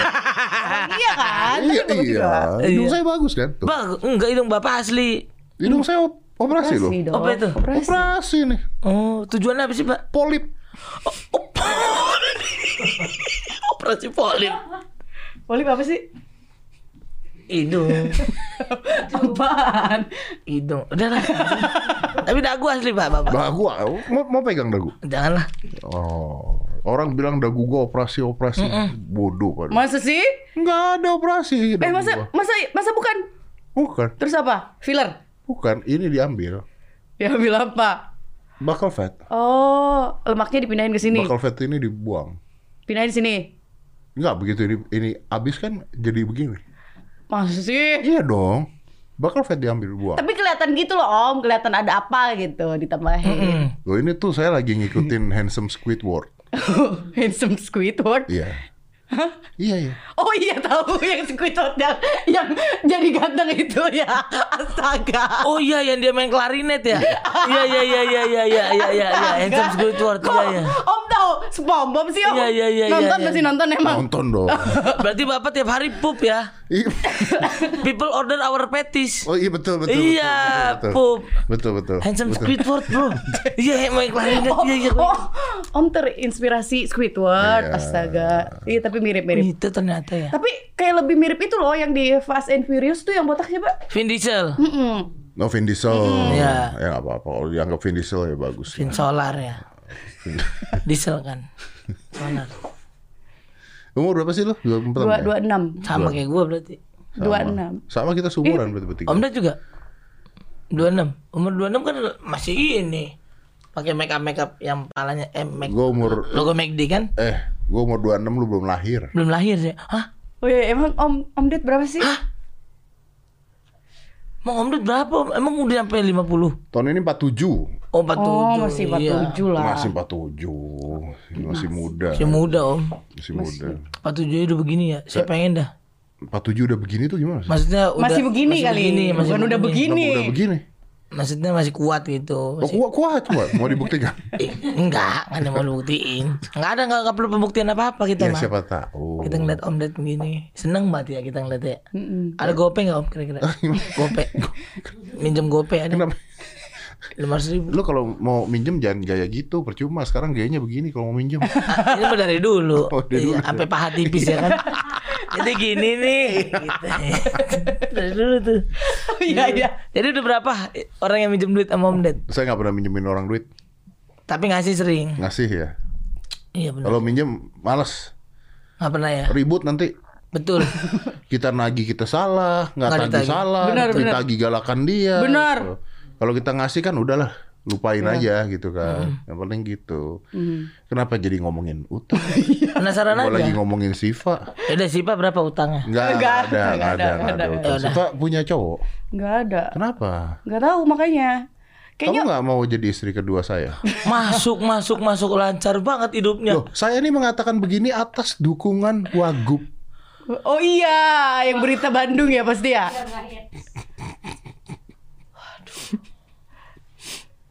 [SPEAKER 2] Iya kan? Tapi
[SPEAKER 3] iya,
[SPEAKER 2] bagus
[SPEAKER 3] iya.
[SPEAKER 2] juga.
[SPEAKER 3] Hidung
[SPEAKER 1] Iya.
[SPEAKER 3] saya bagus kan? Tuh.
[SPEAKER 1] Bang, enggak hidung Bapak asli.
[SPEAKER 3] Hidung saya op- operasi loh.
[SPEAKER 2] Operasi dong.
[SPEAKER 1] Apa itu?
[SPEAKER 2] Operasi.
[SPEAKER 3] Operasi nih.
[SPEAKER 1] Oh, tujuannya apa sih, Pak?
[SPEAKER 3] Polip.
[SPEAKER 1] Oh, Operasi polip.
[SPEAKER 2] Polip apa sih?
[SPEAKER 1] Hidung,
[SPEAKER 2] Apaan?
[SPEAKER 1] hidung. Udah lah. Tapi dagu asli, Pak, Bapak.
[SPEAKER 3] Dagu, mau, mau pegang dagu.
[SPEAKER 1] Janganlah.
[SPEAKER 3] Oh, orang bilang dagu gua operasi operasi bodoh kan.
[SPEAKER 2] Masa sih?
[SPEAKER 3] Nggak ada
[SPEAKER 2] Eh
[SPEAKER 3] operasi. dagu
[SPEAKER 2] masa
[SPEAKER 3] gua.
[SPEAKER 2] masa masa bukan?
[SPEAKER 3] Bukan,
[SPEAKER 2] Terus apa? Filler?
[SPEAKER 3] bukan. Ini diambil.
[SPEAKER 2] Ya bilang apa?
[SPEAKER 3] Bakal fat.
[SPEAKER 2] Oh, lemaknya dipindahin ke sini.
[SPEAKER 3] Bakal fat ini dibuang.
[SPEAKER 2] Pindahin di sini.
[SPEAKER 3] Nggak begitu ini, ini abis kan jadi begini.
[SPEAKER 2] Masa sih?
[SPEAKER 3] Iya dong. Bakal fat diambil buang.
[SPEAKER 2] Tapi kelihatan gitu loh, Om. Kelihatan ada apa gitu ditambahin.
[SPEAKER 3] Loh ini tuh saya lagi ngikutin handsome Squidward.
[SPEAKER 2] Handsome Squidward.
[SPEAKER 3] Iya. Iya iya.
[SPEAKER 2] Oh iya tahu yang Squidward yang, yang jadi ganteng itu ya. Astaga.
[SPEAKER 1] Oh iya yang dia main klarinet ya? Iya iya iya iya iya iya iya iya iya handsome Squidward iya iya.
[SPEAKER 2] Om tahu SpongeBob sih Om.
[SPEAKER 1] Iya, iya, iya,
[SPEAKER 2] Nonton
[SPEAKER 1] iya,
[SPEAKER 2] masih
[SPEAKER 1] iya.
[SPEAKER 2] nonton emang.
[SPEAKER 3] Nonton dong.
[SPEAKER 1] Berarti Bapak tiap hari pup ya?
[SPEAKER 3] Ih,
[SPEAKER 1] People order our petis.
[SPEAKER 3] oh iya betul betul.
[SPEAKER 1] Iya,
[SPEAKER 3] betul, betul,
[SPEAKER 1] pup.
[SPEAKER 3] betul betul.
[SPEAKER 1] Handsome
[SPEAKER 3] betul.
[SPEAKER 1] Squidward, Bro. Iya, yang main klarinet.
[SPEAKER 2] Om,
[SPEAKER 1] Iya iya.
[SPEAKER 2] oh, Om terinspirasi Squidward.
[SPEAKER 3] Iya.
[SPEAKER 2] Astaga. Iya tapi mirip-mirip.
[SPEAKER 1] Itu ternyata ya.
[SPEAKER 2] Tapi kayak lebih mirip itu loh yang di Fast and Furious tuh yang botak siapa?
[SPEAKER 1] Vin Diesel,
[SPEAKER 2] Mm-mm.
[SPEAKER 3] No Vin Diesel.
[SPEAKER 1] Iya.
[SPEAKER 3] Ya nggak apa-apa. Kalau dianggap Vin Diesel ya bagus.
[SPEAKER 1] Vin Solar ya. Diesel kan. Solar.
[SPEAKER 3] Umur berapa sih lo? 24
[SPEAKER 2] Dua
[SPEAKER 3] ya?
[SPEAKER 2] dua enam.
[SPEAKER 1] Sama kayak gua berarti.
[SPEAKER 2] Dua
[SPEAKER 3] Sama.
[SPEAKER 2] enam.
[SPEAKER 3] Sama kita seumuran berarti bertiga.
[SPEAKER 1] Om Ded juga 26. Umur 26 kan masih ini. Pakai make up make up yang palanya eh, make,
[SPEAKER 3] Gue umur
[SPEAKER 1] logo McD kan?
[SPEAKER 3] eh gue umur 26 lu belum lahir.
[SPEAKER 1] Belum lahir ya. Hah?
[SPEAKER 2] Oh iya emang Om Om Ded berapa sih?
[SPEAKER 1] Mau Om Ded berapa? Om? Emang udah sampai 50?
[SPEAKER 3] Tahun ini 47.
[SPEAKER 1] Oh, 47.
[SPEAKER 2] Oh masih 47
[SPEAKER 1] Iya.
[SPEAKER 2] lah.
[SPEAKER 3] Masih 47. Masih muda.
[SPEAKER 1] Masih muda, Om.
[SPEAKER 3] Masih muda.
[SPEAKER 1] 47 udah begini ya.
[SPEAKER 3] Eh.
[SPEAKER 1] Saya pengen dah.
[SPEAKER 3] 47 udah begini tuh gimana sih?
[SPEAKER 1] Maksudnya udah
[SPEAKER 2] Masih begini kali.
[SPEAKER 1] masih
[SPEAKER 2] Bukan udah begini.
[SPEAKER 3] Udah begini.
[SPEAKER 1] Maksudnya masih kuat gitu.
[SPEAKER 3] Oh,
[SPEAKER 1] Masih,
[SPEAKER 3] kuat kuat kuat. Mau dibuktikan?
[SPEAKER 1] Eh, enggak, enggak ada yang mau lu buktiin. Enggak ada enggak, enggak perlu pembuktian apa-apa kita,
[SPEAKER 3] ya
[SPEAKER 1] mah.
[SPEAKER 3] siapa tahu.
[SPEAKER 1] Kita ngeliat Om Ded begini. Seneng banget ya kita ngeliat ya.
[SPEAKER 2] Mm-mm.
[SPEAKER 1] Ada gope nggak om kira-kira? gope. Minjem gope ada
[SPEAKER 3] Kenapa?
[SPEAKER 1] lima ratus ribu.
[SPEAKER 3] Lu kalau mau minjem jangan gaya gitu, percuma. Sekarang gayanya begini kalau mau minjem.
[SPEAKER 1] Ah, ini mah dari dulu.
[SPEAKER 3] Oh, dari
[SPEAKER 1] iya,
[SPEAKER 3] dulu.
[SPEAKER 1] sampai paha tipis ya kan. Jadi gini nih. Gitu. dari dulu tuh.
[SPEAKER 2] Oh iya iya.
[SPEAKER 1] Jadi udah berapa orang yang minjem duit sama Om Ded?
[SPEAKER 3] Saya nggak pernah minjemin orang duit.
[SPEAKER 1] Tapi ngasih sering.
[SPEAKER 3] Ngasih ya.
[SPEAKER 1] Iya benar.
[SPEAKER 3] Kalau minjem males,
[SPEAKER 1] Nggak pernah ya.
[SPEAKER 3] ribut nanti.
[SPEAKER 1] Betul.
[SPEAKER 3] kita nagih kita salah, nggak
[SPEAKER 1] Nggak
[SPEAKER 3] tagih
[SPEAKER 1] ditagih.
[SPEAKER 3] salah,
[SPEAKER 2] Benar,
[SPEAKER 3] kita
[SPEAKER 2] benar.
[SPEAKER 3] tagih galakan dia.
[SPEAKER 2] Benar. Iya.
[SPEAKER 3] gitu. Kalau kita ngasih kan udahlah, lupain aja gitu kan. Yang penting gitu. Kenapa jadi ngomongin utang?
[SPEAKER 1] Penasaran
[SPEAKER 3] Gua lagi
[SPEAKER 1] aja.
[SPEAKER 3] ngomongin Siva.
[SPEAKER 1] Ya udah Sipa berapa utangnya?
[SPEAKER 3] Enggak
[SPEAKER 2] Nggak
[SPEAKER 3] ada,
[SPEAKER 2] ada, Ya
[SPEAKER 3] enggak ada,
[SPEAKER 2] nggak
[SPEAKER 3] nggak ada.
[SPEAKER 2] ada.
[SPEAKER 3] utang. Siva punya cowok.
[SPEAKER 2] Enggak ada.
[SPEAKER 3] Kenapa?
[SPEAKER 2] Enggak tahu makanya.
[SPEAKER 3] Kamu
[SPEAKER 2] Kayaknya
[SPEAKER 3] nggak mau jadi istri kedua saya?
[SPEAKER 1] Masuk, masuk, masuk lancar banget hidupnya.
[SPEAKER 3] Loh, saya ini mengatakan begini atas dukungan Wagub.
[SPEAKER 2] Oh iya, yang berita Bandung ya pasti ya.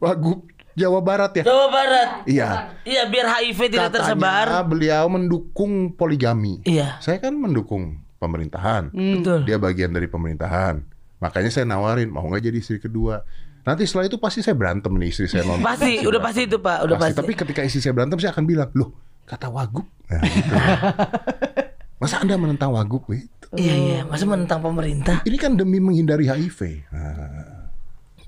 [SPEAKER 3] Wagub Jawa Barat ya?
[SPEAKER 1] Jawa Barat.
[SPEAKER 3] Iya.
[SPEAKER 1] Iya, biar HIV tidak
[SPEAKER 3] Katanya
[SPEAKER 1] tersebar.
[SPEAKER 3] beliau mendukung poligami.
[SPEAKER 1] Iya. Hmm.
[SPEAKER 3] Saya kan mendukung pemerintahan.
[SPEAKER 1] Betul.
[SPEAKER 3] Dia bagian dari pemerintahan. Makanya saya nawarin mau nggak jadi istri kedua. Nanti setelah itu pasti saya berantem nih istri saya non.
[SPEAKER 1] Pasti, udah pasti itu, Pak. Udah pasti.
[SPEAKER 3] Tapi ketika istri saya berantem saya akan bilang, "Loh, kata Wagub." Nah, gitu. Masa Anda menentang Wagub gitu?
[SPEAKER 1] Iya, iya. Masa menentang pemerintah?
[SPEAKER 3] Ini kan demi menghindari HIV. Nah,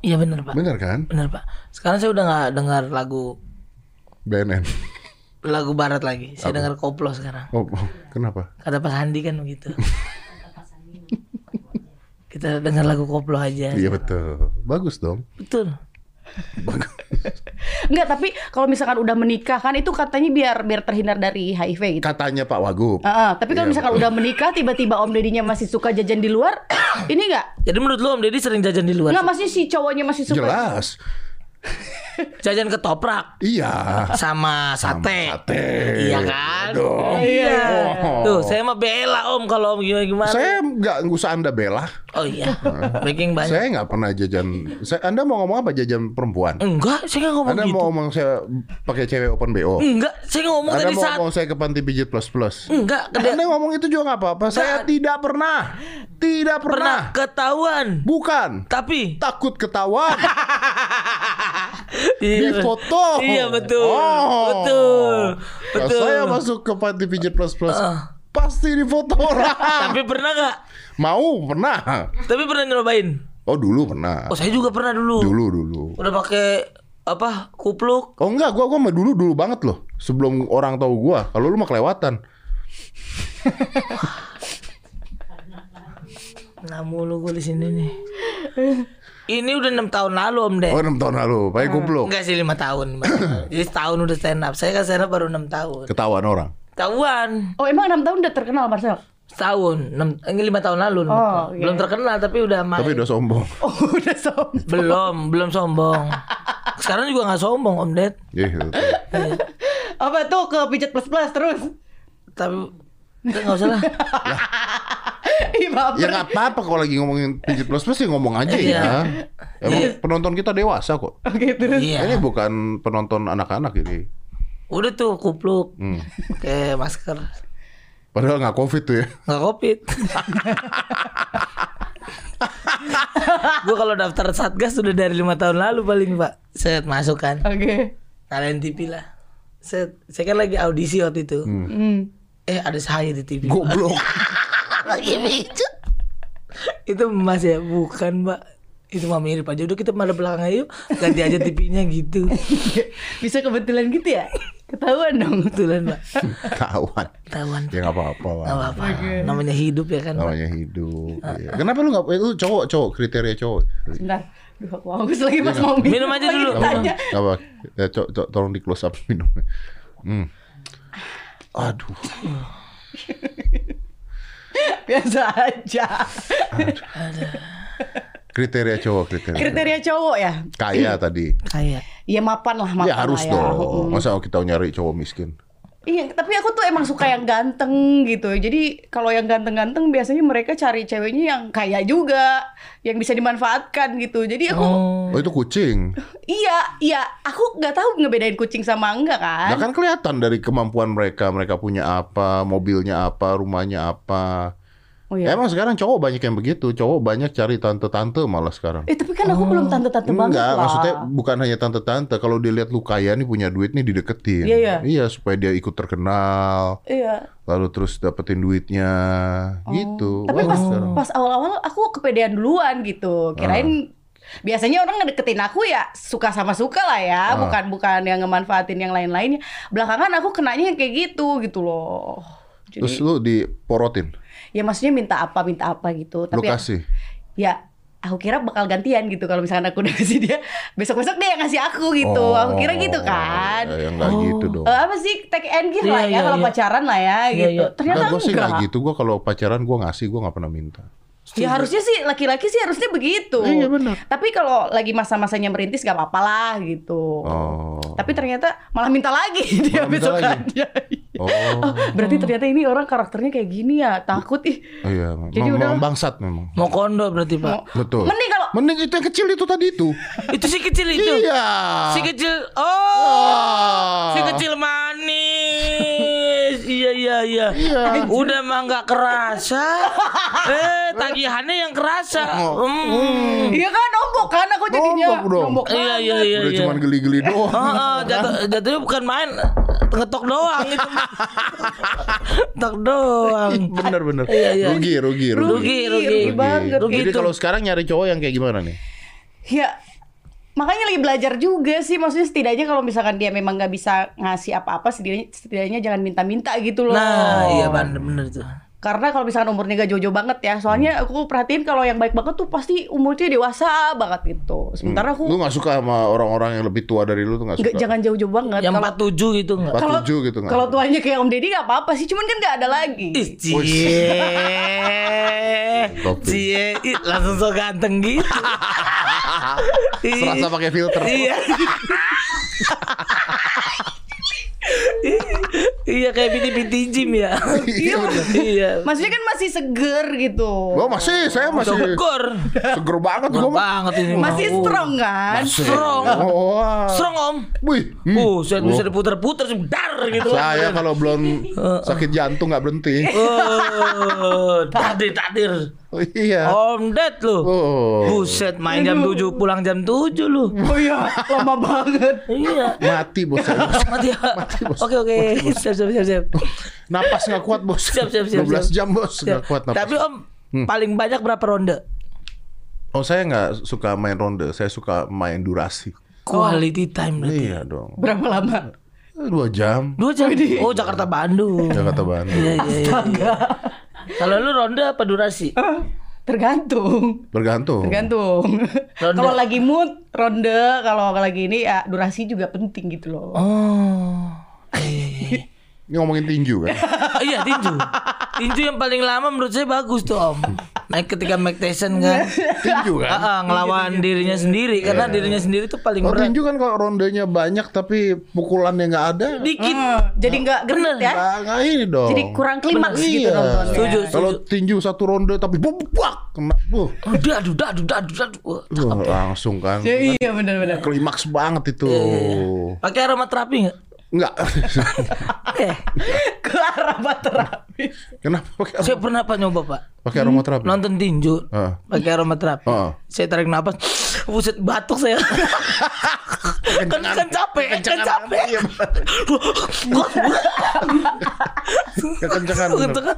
[SPEAKER 1] Iya bener, Pak.
[SPEAKER 3] bener kan?
[SPEAKER 1] Bener, Pak. Sekarang saya udah nggak dengar lagu
[SPEAKER 3] BNN.
[SPEAKER 1] lagu barat lagi. Saya dengar koplo sekarang.
[SPEAKER 3] Oh, oh, kenapa?
[SPEAKER 1] Kata Pak Sandi kan begitu. Kita dengar lagu koplo aja.
[SPEAKER 3] Iya betul. Bagus dong.
[SPEAKER 1] Betul.
[SPEAKER 3] Bagus.
[SPEAKER 2] Enggak, tapi kalau misalkan udah menikah kan itu katanya biar biar terhindar dari HIV gitu.
[SPEAKER 3] Katanya Pak Wagub.
[SPEAKER 1] Ah,
[SPEAKER 2] Heeh, tapi kalau
[SPEAKER 3] Iya,
[SPEAKER 2] misalkan udah menikah tiba-tiba Om Dedinya masih suka jajan di luar, ini enggak?
[SPEAKER 1] Jadi menurut lu Om Deddy sering jajan di luar?
[SPEAKER 2] Enggak masih si cowoknya masih suka.
[SPEAKER 3] Jelas.
[SPEAKER 1] Jajan ketoprak
[SPEAKER 3] Iya.
[SPEAKER 1] sama sate.
[SPEAKER 3] Sate.
[SPEAKER 1] Iya kan?
[SPEAKER 3] Dong.
[SPEAKER 1] Iya.
[SPEAKER 3] Oh.
[SPEAKER 1] Tuh, saya mah bela Om kalau Om gimana gimana.
[SPEAKER 3] Saya nggak nggak usah Anda bela.
[SPEAKER 1] Oh iya. Breaking banyak.
[SPEAKER 3] Saya nggak pernah jajan. Saya, anda mau ngomong apa jajan perempuan?
[SPEAKER 1] Enggak, saya nggak ngomong
[SPEAKER 3] Anda
[SPEAKER 1] gitu.
[SPEAKER 3] mau ngomong saya pakai cewek open bo?
[SPEAKER 1] Enggak, saya ngomong
[SPEAKER 3] Anda
[SPEAKER 1] tadi
[SPEAKER 3] mau
[SPEAKER 1] saat
[SPEAKER 3] ngomong saya ke panti pijit plus plus?
[SPEAKER 1] enggak kena-
[SPEAKER 3] Anda ngomong itu juga nggak apa-apa. Saya tidak pernah, tidak
[SPEAKER 1] pernah
[SPEAKER 3] pernah,
[SPEAKER 1] ketahuan.
[SPEAKER 3] bukan
[SPEAKER 1] Tapi
[SPEAKER 3] takut ketahuan.
[SPEAKER 1] iya,
[SPEAKER 3] di foto.
[SPEAKER 1] Iya betul.
[SPEAKER 3] Oh.
[SPEAKER 1] Betul.
[SPEAKER 3] Nah,
[SPEAKER 1] Betul.
[SPEAKER 3] saya masuk ke panti pijat plus plus.
[SPEAKER 1] Ah.
[SPEAKER 3] Pasti di foto orang.
[SPEAKER 1] Tapi pernah nggak?
[SPEAKER 3] Mau pernah.
[SPEAKER 1] Tapi pernah nyobain.
[SPEAKER 3] Oh dulu pernah.
[SPEAKER 1] Oh, saya juga pernah dulu.
[SPEAKER 3] Dulu dulu.
[SPEAKER 1] Udah pakai apa? Kupluk.
[SPEAKER 3] Oh enggak, gua gua mah dulu dulu banget loh. Sebelum orang tahu gua. Kalau lu mah kelewatan.
[SPEAKER 1] Nah, mulu gue di sini nih. Ini udah enam tahun lalu Om Ded.
[SPEAKER 3] Oh 6 tahun lalu, pakai kupluk.
[SPEAKER 1] Eh. Enggak sih lima tahun. Mbak. Jadi setahun udah stand up. Saya kan stand up baru enam tahun.
[SPEAKER 3] Ketahuan orang.
[SPEAKER 1] Ketahuan
[SPEAKER 2] Oh, emang 6 tahun udah terkenal Marcel?
[SPEAKER 1] setahun, enam eh, lima tahun lalu. enam
[SPEAKER 2] Oh,
[SPEAKER 1] tahun.
[SPEAKER 2] oke.
[SPEAKER 1] Belum terkenal tapi udah main.
[SPEAKER 3] Tapi udah sombong.
[SPEAKER 2] Oh, udah sombong.
[SPEAKER 1] Belum, belum sombong. Sekarang juga nggak sombong Om Ded.
[SPEAKER 3] Iya, gitu.
[SPEAKER 2] Apa tuh ke pijat plus plus terus?
[SPEAKER 1] Tapi udah, nggak usah lah.
[SPEAKER 2] Ih, baper.
[SPEAKER 3] ya nggak apa-apa kalau lagi ngomongin pijit plus plus ya ngomong aja
[SPEAKER 1] Iya.
[SPEAKER 3] ya. Emang penonton kita dewasa kok.
[SPEAKER 2] Oke, terus.
[SPEAKER 1] Iya.
[SPEAKER 3] Ini bukan penonton anak-anak ini.
[SPEAKER 1] Udah tuh kupluk.
[SPEAKER 3] Hmm.
[SPEAKER 1] Pakai masker.
[SPEAKER 3] Padahal nggak covid tuh ya.
[SPEAKER 1] Nggak covid. gue kalau daftar satgas sudah dari lima tahun lalu paling pak. Set masuk kan.
[SPEAKER 2] Oke.
[SPEAKER 1] Nyalain TV lah. Set. Saya kan lagi audisi waktu itu.
[SPEAKER 2] Hmm.
[SPEAKER 1] Eh ada saya di TV.
[SPEAKER 3] Goblok.
[SPEAKER 1] itu mas ya bukan mbak itu mah mirip aja udah kita pada belakang aja yuk ganti aja TV-nya gitu
[SPEAKER 2] Bisa kebetulan gitu ya? Ketahuan dong.
[SPEAKER 1] kebetulan mbak
[SPEAKER 3] Ketahuan.
[SPEAKER 1] ketahuan
[SPEAKER 3] Ya nggak apa-apa lah.
[SPEAKER 1] nggak apa-apa namanya hidup ya kan Pak?
[SPEAKER 3] Namanya hidup. Iya. Kenapa lu nggak? Itu cowok, cowok kriteria cowok.
[SPEAKER 2] Bentar. Duh, aku haus lagi pas mau minum.
[SPEAKER 1] Minum aja
[SPEAKER 2] Lagi
[SPEAKER 1] dulu.
[SPEAKER 3] Apa?
[SPEAKER 2] ditanya.
[SPEAKER 3] Apa? Ya, cowok, cowok, tolong di close up minumnya. Hmm. Aduh.
[SPEAKER 2] Biasa aja.
[SPEAKER 3] Kriteria cowok, kriteria. cowok.
[SPEAKER 2] Kriteria cowok ya?
[SPEAKER 3] Kaya tadi.
[SPEAKER 1] kayak
[SPEAKER 2] Ya mapan lah, mapan
[SPEAKER 3] ya harus
[SPEAKER 2] lah Mm.
[SPEAKER 3] dong. Masa kita nyari cowok miskin?
[SPEAKER 2] Iya, tapi aku tuh emang suka yang ganteng gitu. Jadi kalau yang ganteng-ganteng biasanya mereka cari ceweknya yang kaya juga, yang bisa dimanfaatkan gitu. Jadi aku
[SPEAKER 1] oh
[SPEAKER 3] Oh itu kucing.
[SPEAKER 2] iya, iya, aku nggak tahu ngebedain kucing sama enggak
[SPEAKER 3] Nah
[SPEAKER 2] kan.
[SPEAKER 3] kan kelihatan dari kemampuan mereka, mereka punya apa, mobilnya apa, rumahnya apa.
[SPEAKER 2] Oh iya.
[SPEAKER 3] Emang sekarang cowok banyak yang begitu, cowok banyak cari tante-tante malah sekarang.
[SPEAKER 2] Eh, tapi kan aku belum tante-tante banget
[SPEAKER 3] Enggak,
[SPEAKER 2] lah.
[SPEAKER 3] maksudnya bukan hanya tante-tante. Kalau dilihat lu kaya nih punya duit nih dideketin.
[SPEAKER 2] Iya, iya.
[SPEAKER 3] supaya dia ikut terkenal,
[SPEAKER 2] Iya.
[SPEAKER 3] lalu terus dapetin duitnya,
[SPEAKER 2] Oh.
[SPEAKER 3] gitu.
[SPEAKER 2] Tapi
[SPEAKER 3] Bagus
[SPEAKER 2] pas
[SPEAKER 3] sekarang.
[SPEAKER 2] pas awal-awal aku kepedean duluan gitu.
[SPEAKER 3] Ah.
[SPEAKER 2] Kirain biasanya orang ngedeketin aku ya suka sama suka lah ya,
[SPEAKER 3] Ah.
[SPEAKER 2] bukan bukan yang ngemanfaatin yang lain-lainnya. Belakangan aku kenanya yang kayak gitu gitu loh. Jadi,
[SPEAKER 3] Terus lu diporotin,
[SPEAKER 2] ya maksudnya minta apa minta apa gitu.
[SPEAKER 3] lu
[SPEAKER 2] Tapi ya,
[SPEAKER 3] kasih.
[SPEAKER 2] ya, aku kira bakal gantian gitu kalau misalkan aku udah ngasih dia besok-besok dia yang ngasih aku gitu.
[SPEAKER 3] Oh,
[SPEAKER 2] aku kira gitu kan.
[SPEAKER 3] Ya, enggak gitu dong.
[SPEAKER 2] Eh, apa sih take and give
[SPEAKER 1] Iya,
[SPEAKER 2] lah ya
[SPEAKER 1] iya,
[SPEAKER 2] kalau
[SPEAKER 1] iya.
[SPEAKER 2] pacaran lah ya
[SPEAKER 1] Iya,
[SPEAKER 2] gitu.
[SPEAKER 1] iya.
[SPEAKER 2] Ternyata
[SPEAKER 3] gue sih gitu?
[SPEAKER 2] enggak.
[SPEAKER 3] nggak gitu. Gue kalau pacaran gue ngasih, gue nggak pernah minta.
[SPEAKER 2] Ya harusnya sih laki-laki sih harusnya begitu.
[SPEAKER 3] Iya, benar.
[SPEAKER 2] Tapi kalau lagi masa-masanya merintis gak apa-apa lah gitu.
[SPEAKER 3] Oh.
[SPEAKER 2] Tapi ternyata malah minta lagi dia
[SPEAKER 3] Malah minta
[SPEAKER 2] besokannya.
[SPEAKER 3] Oh.
[SPEAKER 2] Oh, berarti ternyata ini orang karakternya kayak gini ya, takut ih.
[SPEAKER 3] Oh, iya,
[SPEAKER 2] Jadi
[SPEAKER 3] Mem-
[SPEAKER 2] udah-
[SPEAKER 3] memang bangsat memang.
[SPEAKER 1] Mau kondo berarti pak.
[SPEAKER 3] Betul.
[SPEAKER 2] Mending kalau
[SPEAKER 3] Mending itu yang kecil itu tadi itu.
[SPEAKER 1] Itu si kecil itu.
[SPEAKER 3] Iya. Ah.
[SPEAKER 1] Si kecil. Oh. Si kecil manis. iya iya iya.
[SPEAKER 3] Iya.
[SPEAKER 1] Udah mah nggak kerasa. eh tagihannya yang kerasa.
[SPEAKER 3] Oh.
[SPEAKER 1] Hmm.
[SPEAKER 2] Iya kan nombok kan aku jadinya.
[SPEAKER 3] Nombok dong.
[SPEAKER 1] Iya
[SPEAKER 2] banget.
[SPEAKER 1] iya iya.
[SPEAKER 3] Udah
[SPEAKER 1] iya.
[SPEAKER 3] cuman geli-geli doang.
[SPEAKER 1] Oh, oh, jatuh, jatuhnya bukan main ngetok doang itu. ngetok doang.
[SPEAKER 3] bener bener.
[SPEAKER 1] Iya, iya.
[SPEAKER 3] Rugi, rugi, rugi.
[SPEAKER 1] Rugi, rugi.
[SPEAKER 2] rugi banget. gitu.
[SPEAKER 1] Rugi.
[SPEAKER 3] Jadi
[SPEAKER 1] Itu.
[SPEAKER 3] kalau sekarang nyari cowok yang kayak gimana nih?
[SPEAKER 2] Ya makanya lagi belajar juga sih maksudnya setidaknya kalau misalkan dia memang nggak bisa ngasih apa-apa setidaknya setidaknya jangan minta-minta gitu loh.
[SPEAKER 1] Nah, iya bener bener tuh.
[SPEAKER 2] Karena kalau misalkan umurnya gak jojo banget ya
[SPEAKER 1] Hmm.
[SPEAKER 2] Soalnya aku perhatiin kalau yang baik banget tuh pasti umurnya dewasa banget gitu Sementara
[SPEAKER 3] Lu
[SPEAKER 2] aku
[SPEAKER 3] nggak suka sama orang-orang yang lebih tua dari lu tuh nggak suka?
[SPEAKER 2] nggak jangan jauh-jauh banget
[SPEAKER 1] Yang
[SPEAKER 2] Kalau-
[SPEAKER 1] 47 gitu enggak?
[SPEAKER 3] 47 gitu nggak?
[SPEAKER 2] Kalau tuanya kayak Om Deddy gak apa-apa sih Cuman kan gak ada lagi
[SPEAKER 1] Ih, Cie. Cie, ih, langsung so ganteng gitu. Ih,
[SPEAKER 3] Serasa pakai filter.
[SPEAKER 1] Iya. Ih, iya kayak piti-piti gym ya.
[SPEAKER 3] Iya, bener.
[SPEAKER 1] Iya.
[SPEAKER 2] Maksudnya kan masih seger gitu
[SPEAKER 3] Gua masih, saya masih
[SPEAKER 1] Syukur.
[SPEAKER 3] seger banget gua.
[SPEAKER 1] Kurang banget ini.
[SPEAKER 2] Masih
[SPEAKER 1] Oh.
[SPEAKER 2] strong kan
[SPEAKER 1] Strong.
[SPEAKER 3] Oh, wah.
[SPEAKER 1] Strong om.
[SPEAKER 3] Wih. hmm.
[SPEAKER 1] Uh, saya bisa Eh, diputer-puter sih, dar gitu.
[SPEAKER 3] Saya kalau belum sakit jantung nggak berhenti.
[SPEAKER 1] Oh, tadir tadir.
[SPEAKER 3] Oh, iya.
[SPEAKER 1] Om Ded lu.
[SPEAKER 3] Oh.
[SPEAKER 1] Buset, main jam 7 pulang jam 7 lu.
[SPEAKER 2] Oh iya lama banget
[SPEAKER 1] Iya.
[SPEAKER 3] Mati bos. saya, bos. Oh,
[SPEAKER 1] Mati ya. Oke oke. Siap siap siap siap.
[SPEAKER 3] Napas nggak kuat bos.
[SPEAKER 1] Siap siap siap.
[SPEAKER 3] 12
[SPEAKER 1] siap.
[SPEAKER 3] jam bos nggak
[SPEAKER 1] Siap.
[SPEAKER 3] kuat Hmm. napas.
[SPEAKER 1] Tapi Om paling banyak berapa ronde?
[SPEAKER 3] Oh saya nggak suka main ronde, saya suka main durasi.
[SPEAKER 1] Quality time berarti.
[SPEAKER 3] Iya dong.
[SPEAKER 2] Berapa lama?
[SPEAKER 3] Eh, Dua jam.
[SPEAKER 1] Dua jam. Oh Jakarta Bandung.
[SPEAKER 3] Jakarta Bandung.
[SPEAKER 1] Iya iya iya. Kalau lu ronde apa durasi?
[SPEAKER 2] Oh. Tergantung
[SPEAKER 3] Bergantung.
[SPEAKER 2] Tergantung
[SPEAKER 1] Ronde.
[SPEAKER 2] Kalau lagi mood Ronde Kalau lagi ini ya durasi juga penting gitu loh
[SPEAKER 1] Oh. Iya, iya, iya.
[SPEAKER 3] Ini ngomongin tinju kan.
[SPEAKER 1] Oh, iya tinju. Tinju yang paling lama menurut saya bagus tuh Om. Naik ketika Mike Tyson kan.
[SPEAKER 2] Iya,
[SPEAKER 3] tinju kan.
[SPEAKER 1] Ah, ah, ngelawan dirinya sendiri karena
[SPEAKER 3] Iya.
[SPEAKER 1] dirinya sendiri tuh paling
[SPEAKER 3] Kalau
[SPEAKER 1] berat.
[SPEAKER 3] tinju kan kalau rondenya banyak tapi pukulannya nggak ada.
[SPEAKER 1] Dikit.
[SPEAKER 2] Eh, Jadi nggak
[SPEAKER 1] Bener.
[SPEAKER 2] genet ya
[SPEAKER 3] Nggak nggak ini dong.
[SPEAKER 2] Jadi kurang klimaks gitu
[SPEAKER 3] Iya.
[SPEAKER 2] nontonnya
[SPEAKER 1] Setuju, setuju.
[SPEAKER 3] Kalau tinju satu ronde tapi bubak kena buh.
[SPEAKER 1] Aduh, aduh, aduh, aduh, aduh. Wah,
[SPEAKER 3] Wah, langsung kan.
[SPEAKER 2] Ya, iya benar-benar.
[SPEAKER 3] Klimaks banget itu.
[SPEAKER 1] Pakai aromaterapi nggak?
[SPEAKER 3] Enggak.
[SPEAKER 1] Eh,
[SPEAKER 2] Ke arah terapi.
[SPEAKER 3] Kenapa pakai
[SPEAKER 1] saya pernah pak nyoba pak
[SPEAKER 3] pakai aromaterapi?
[SPEAKER 1] nonton tinju,
[SPEAKER 3] Ah.
[SPEAKER 1] pakai aromaterapi.
[SPEAKER 3] Ah.
[SPEAKER 1] Saya tarik napas, buset batuk saya. kan, kan capek, kan capek.
[SPEAKER 3] Iya, kekencangan bener.
[SPEAKER 1] Gitu kan.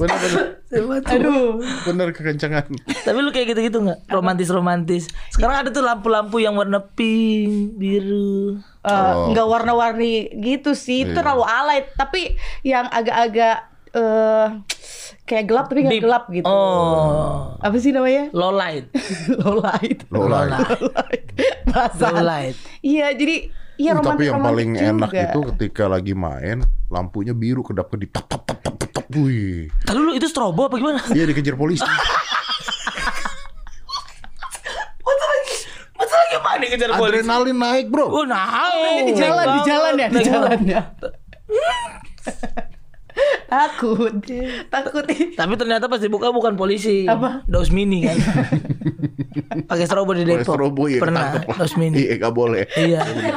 [SPEAKER 3] Bener bener
[SPEAKER 1] Saya batuk.
[SPEAKER 2] Aduh.
[SPEAKER 3] bener kekencangan.
[SPEAKER 1] Tapi lu kayak gitu-gitu nggak? Romantis-romantis. Sekarang ada tuh lampu-lampu yang warna pink, biru.
[SPEAKER 2] Eh,
[SPEAKER 3] Oh.
[SPEAKER 2] nggak warna-warni gitu sih, itu
[SPEAKER 3] Iya.
[SPEAKER 2] terlalu alay. Tapi yang agak-agak eh kayak gelap tapi nggak
[SPEAKER 1] Deep.
[SPEAKER 2] gelap gitu.
[SPEAKER 1] Oh,
[SPEAKER 2] Apa sih namanya?
[SPEAKER 1] low light.
[SPEAKER 2] Low light.
[SPEAKER 3] Low light.
[SPEAKER 2] Bahasa.
[SPEAKER 1] Low light.
[SPEAKER 2] Iya, jadi iya
[SPEAKER 3] Uh,
[SPEAKER 2] romantis
[SPEAKER 3] tapi yang paling enak
[SPEAKER 2] juga.
[SPEAKER 3] itu ketika lagi main lampunya biru kedap kedip tap tap tap tap tap tap. Wih.
[SPEAKER 1] Lalu lu itu strobo apa gimana?
[SPEAKER 3] Dia dikejar polisi.
[SPEAKER 1] Masa lagi, masa lagi apa nih kejar polisi?
[SPEAKER 3] Adrenalin naik, Bro.
[SPEAKER 1] Oh, nah, ini
[SPEAKER 2] di jalan, di jalan ya, di jalan ya. takut, takut.
[SPEAKER 1] Tapi ternyata pas dibuka bukan polisi.
[SPEAKER 2] Apa?
[SPEAKER 1] Daus mini kan. Pakai strobo di
[SPEAKER 3] Oleh
[SPEAKER 1] Depok.
[SPEAKER 3] Strobo ya
[SPEAKER 1] Pernah
[SPEAKER 3] ketangkep lah.
[SPEAKER 1] daus mini.
[SPEAKER 3] Iya, nggak boleh.
[SPEAKER 1] Iya. Iya.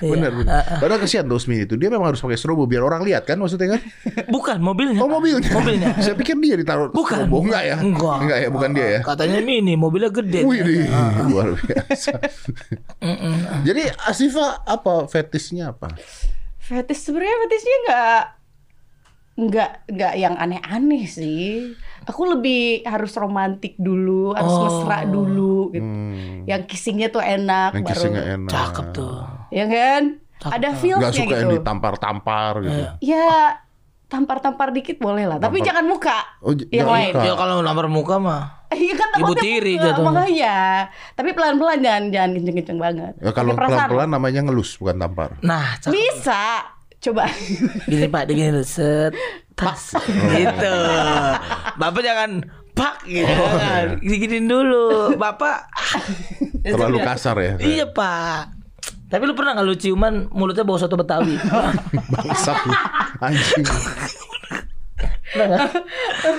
[SPEAKER 3] Bener, bener. Padahal kesian tuh Usmin itu. Dia memang harus pakai strobo biar orang lihat kan maksudnya kan?
[SPEAKER 1] Bukan mobilnya.
[SPEAKER 3] Oh mobilnya.
[SPEAKER 1] Mobilnya.
[SPEAKER 3] Saya pikir dia ditaruh
[SPEAKER 1] Bukan.
[SPEAKER 3] strobo enggak ya?
[SPEAKER 1] Enggak.
[SPEAKER 3] ya, bukan dia ya.
[SPEAKER 1] Katanya mini, mobilnya gede.
[SPEAKER 3] Wih, dih, luar biasa. Jadi Asifa apa fetisnya apa?
[SPEAKER 2] Fetish sebenarnya fetishnya nggak nggak nggak yang aneh-aneh sih. Aku lebih harus romantik dulu, harus mesra dulu gitu. Yang kissingnya tuh enak
[SPEAKER 3] Hmm. Yang
[SPEAKER 2] baru.
[SPEAKER 3] kissingnya enak.
[SPEAKER 1] Cakep Iya, tuh.
[SPEAKER 2] Ya kan? Ada feelsnya
[SPEAKER 3] Gak suka yang
[SPEAKER 2] gitu.
[SPEAKER 3] ditampar-tampar gitu.
[SPEAKER 1] Iya.
[SPEAKER 2] Ya tampar-tampar dikit boleh lah, tapi jangan muka.
[SPEAKER 3] Oh, j-
[SPEAKER 2] yang
[SPEAKER 3] jangan
[SPEAKER 2] lain.
[SPEAKER 3] muka.
[SPEAKER 1] Ya kalau nampar muka mah.
[SPEAKER 2] Iya kan takutnya
[SPEAKER 1] Ibu tiri
[SPEAKER 2] muka,
[SPEAKER 1] jatuhnya.
[SPEAKER 2] makanya. Tapi pelan-pelan jangan jangan kenceng-kenceng banget.
[SPEAKER 3] Ya, kalau
[SPEAKER 2] Pakai perasaan.
[SPEAKER 3] pelan-pelan namanya ngelus bukan tampar.
[SPEAKER 1] Nah, cakep.
[SPEAKER 2] bisa coba.
[SPEAKER 1] Gini pak, dia gini dulu, set, tas, gitu. Bapak jangan Pak gitu kan. Diginin dulu. Bapak. "Ah,
[SPEAKER 3] Terlalu kasar ya.
[SPEAKER 1] Iya, Pak. Tapi lu pernah gak lu ciuman mulutnya bau soto Betawi?
[SPEAKER 3] Bangsat lu. Anjing.
[SPEAKER 1] Pernah nggak?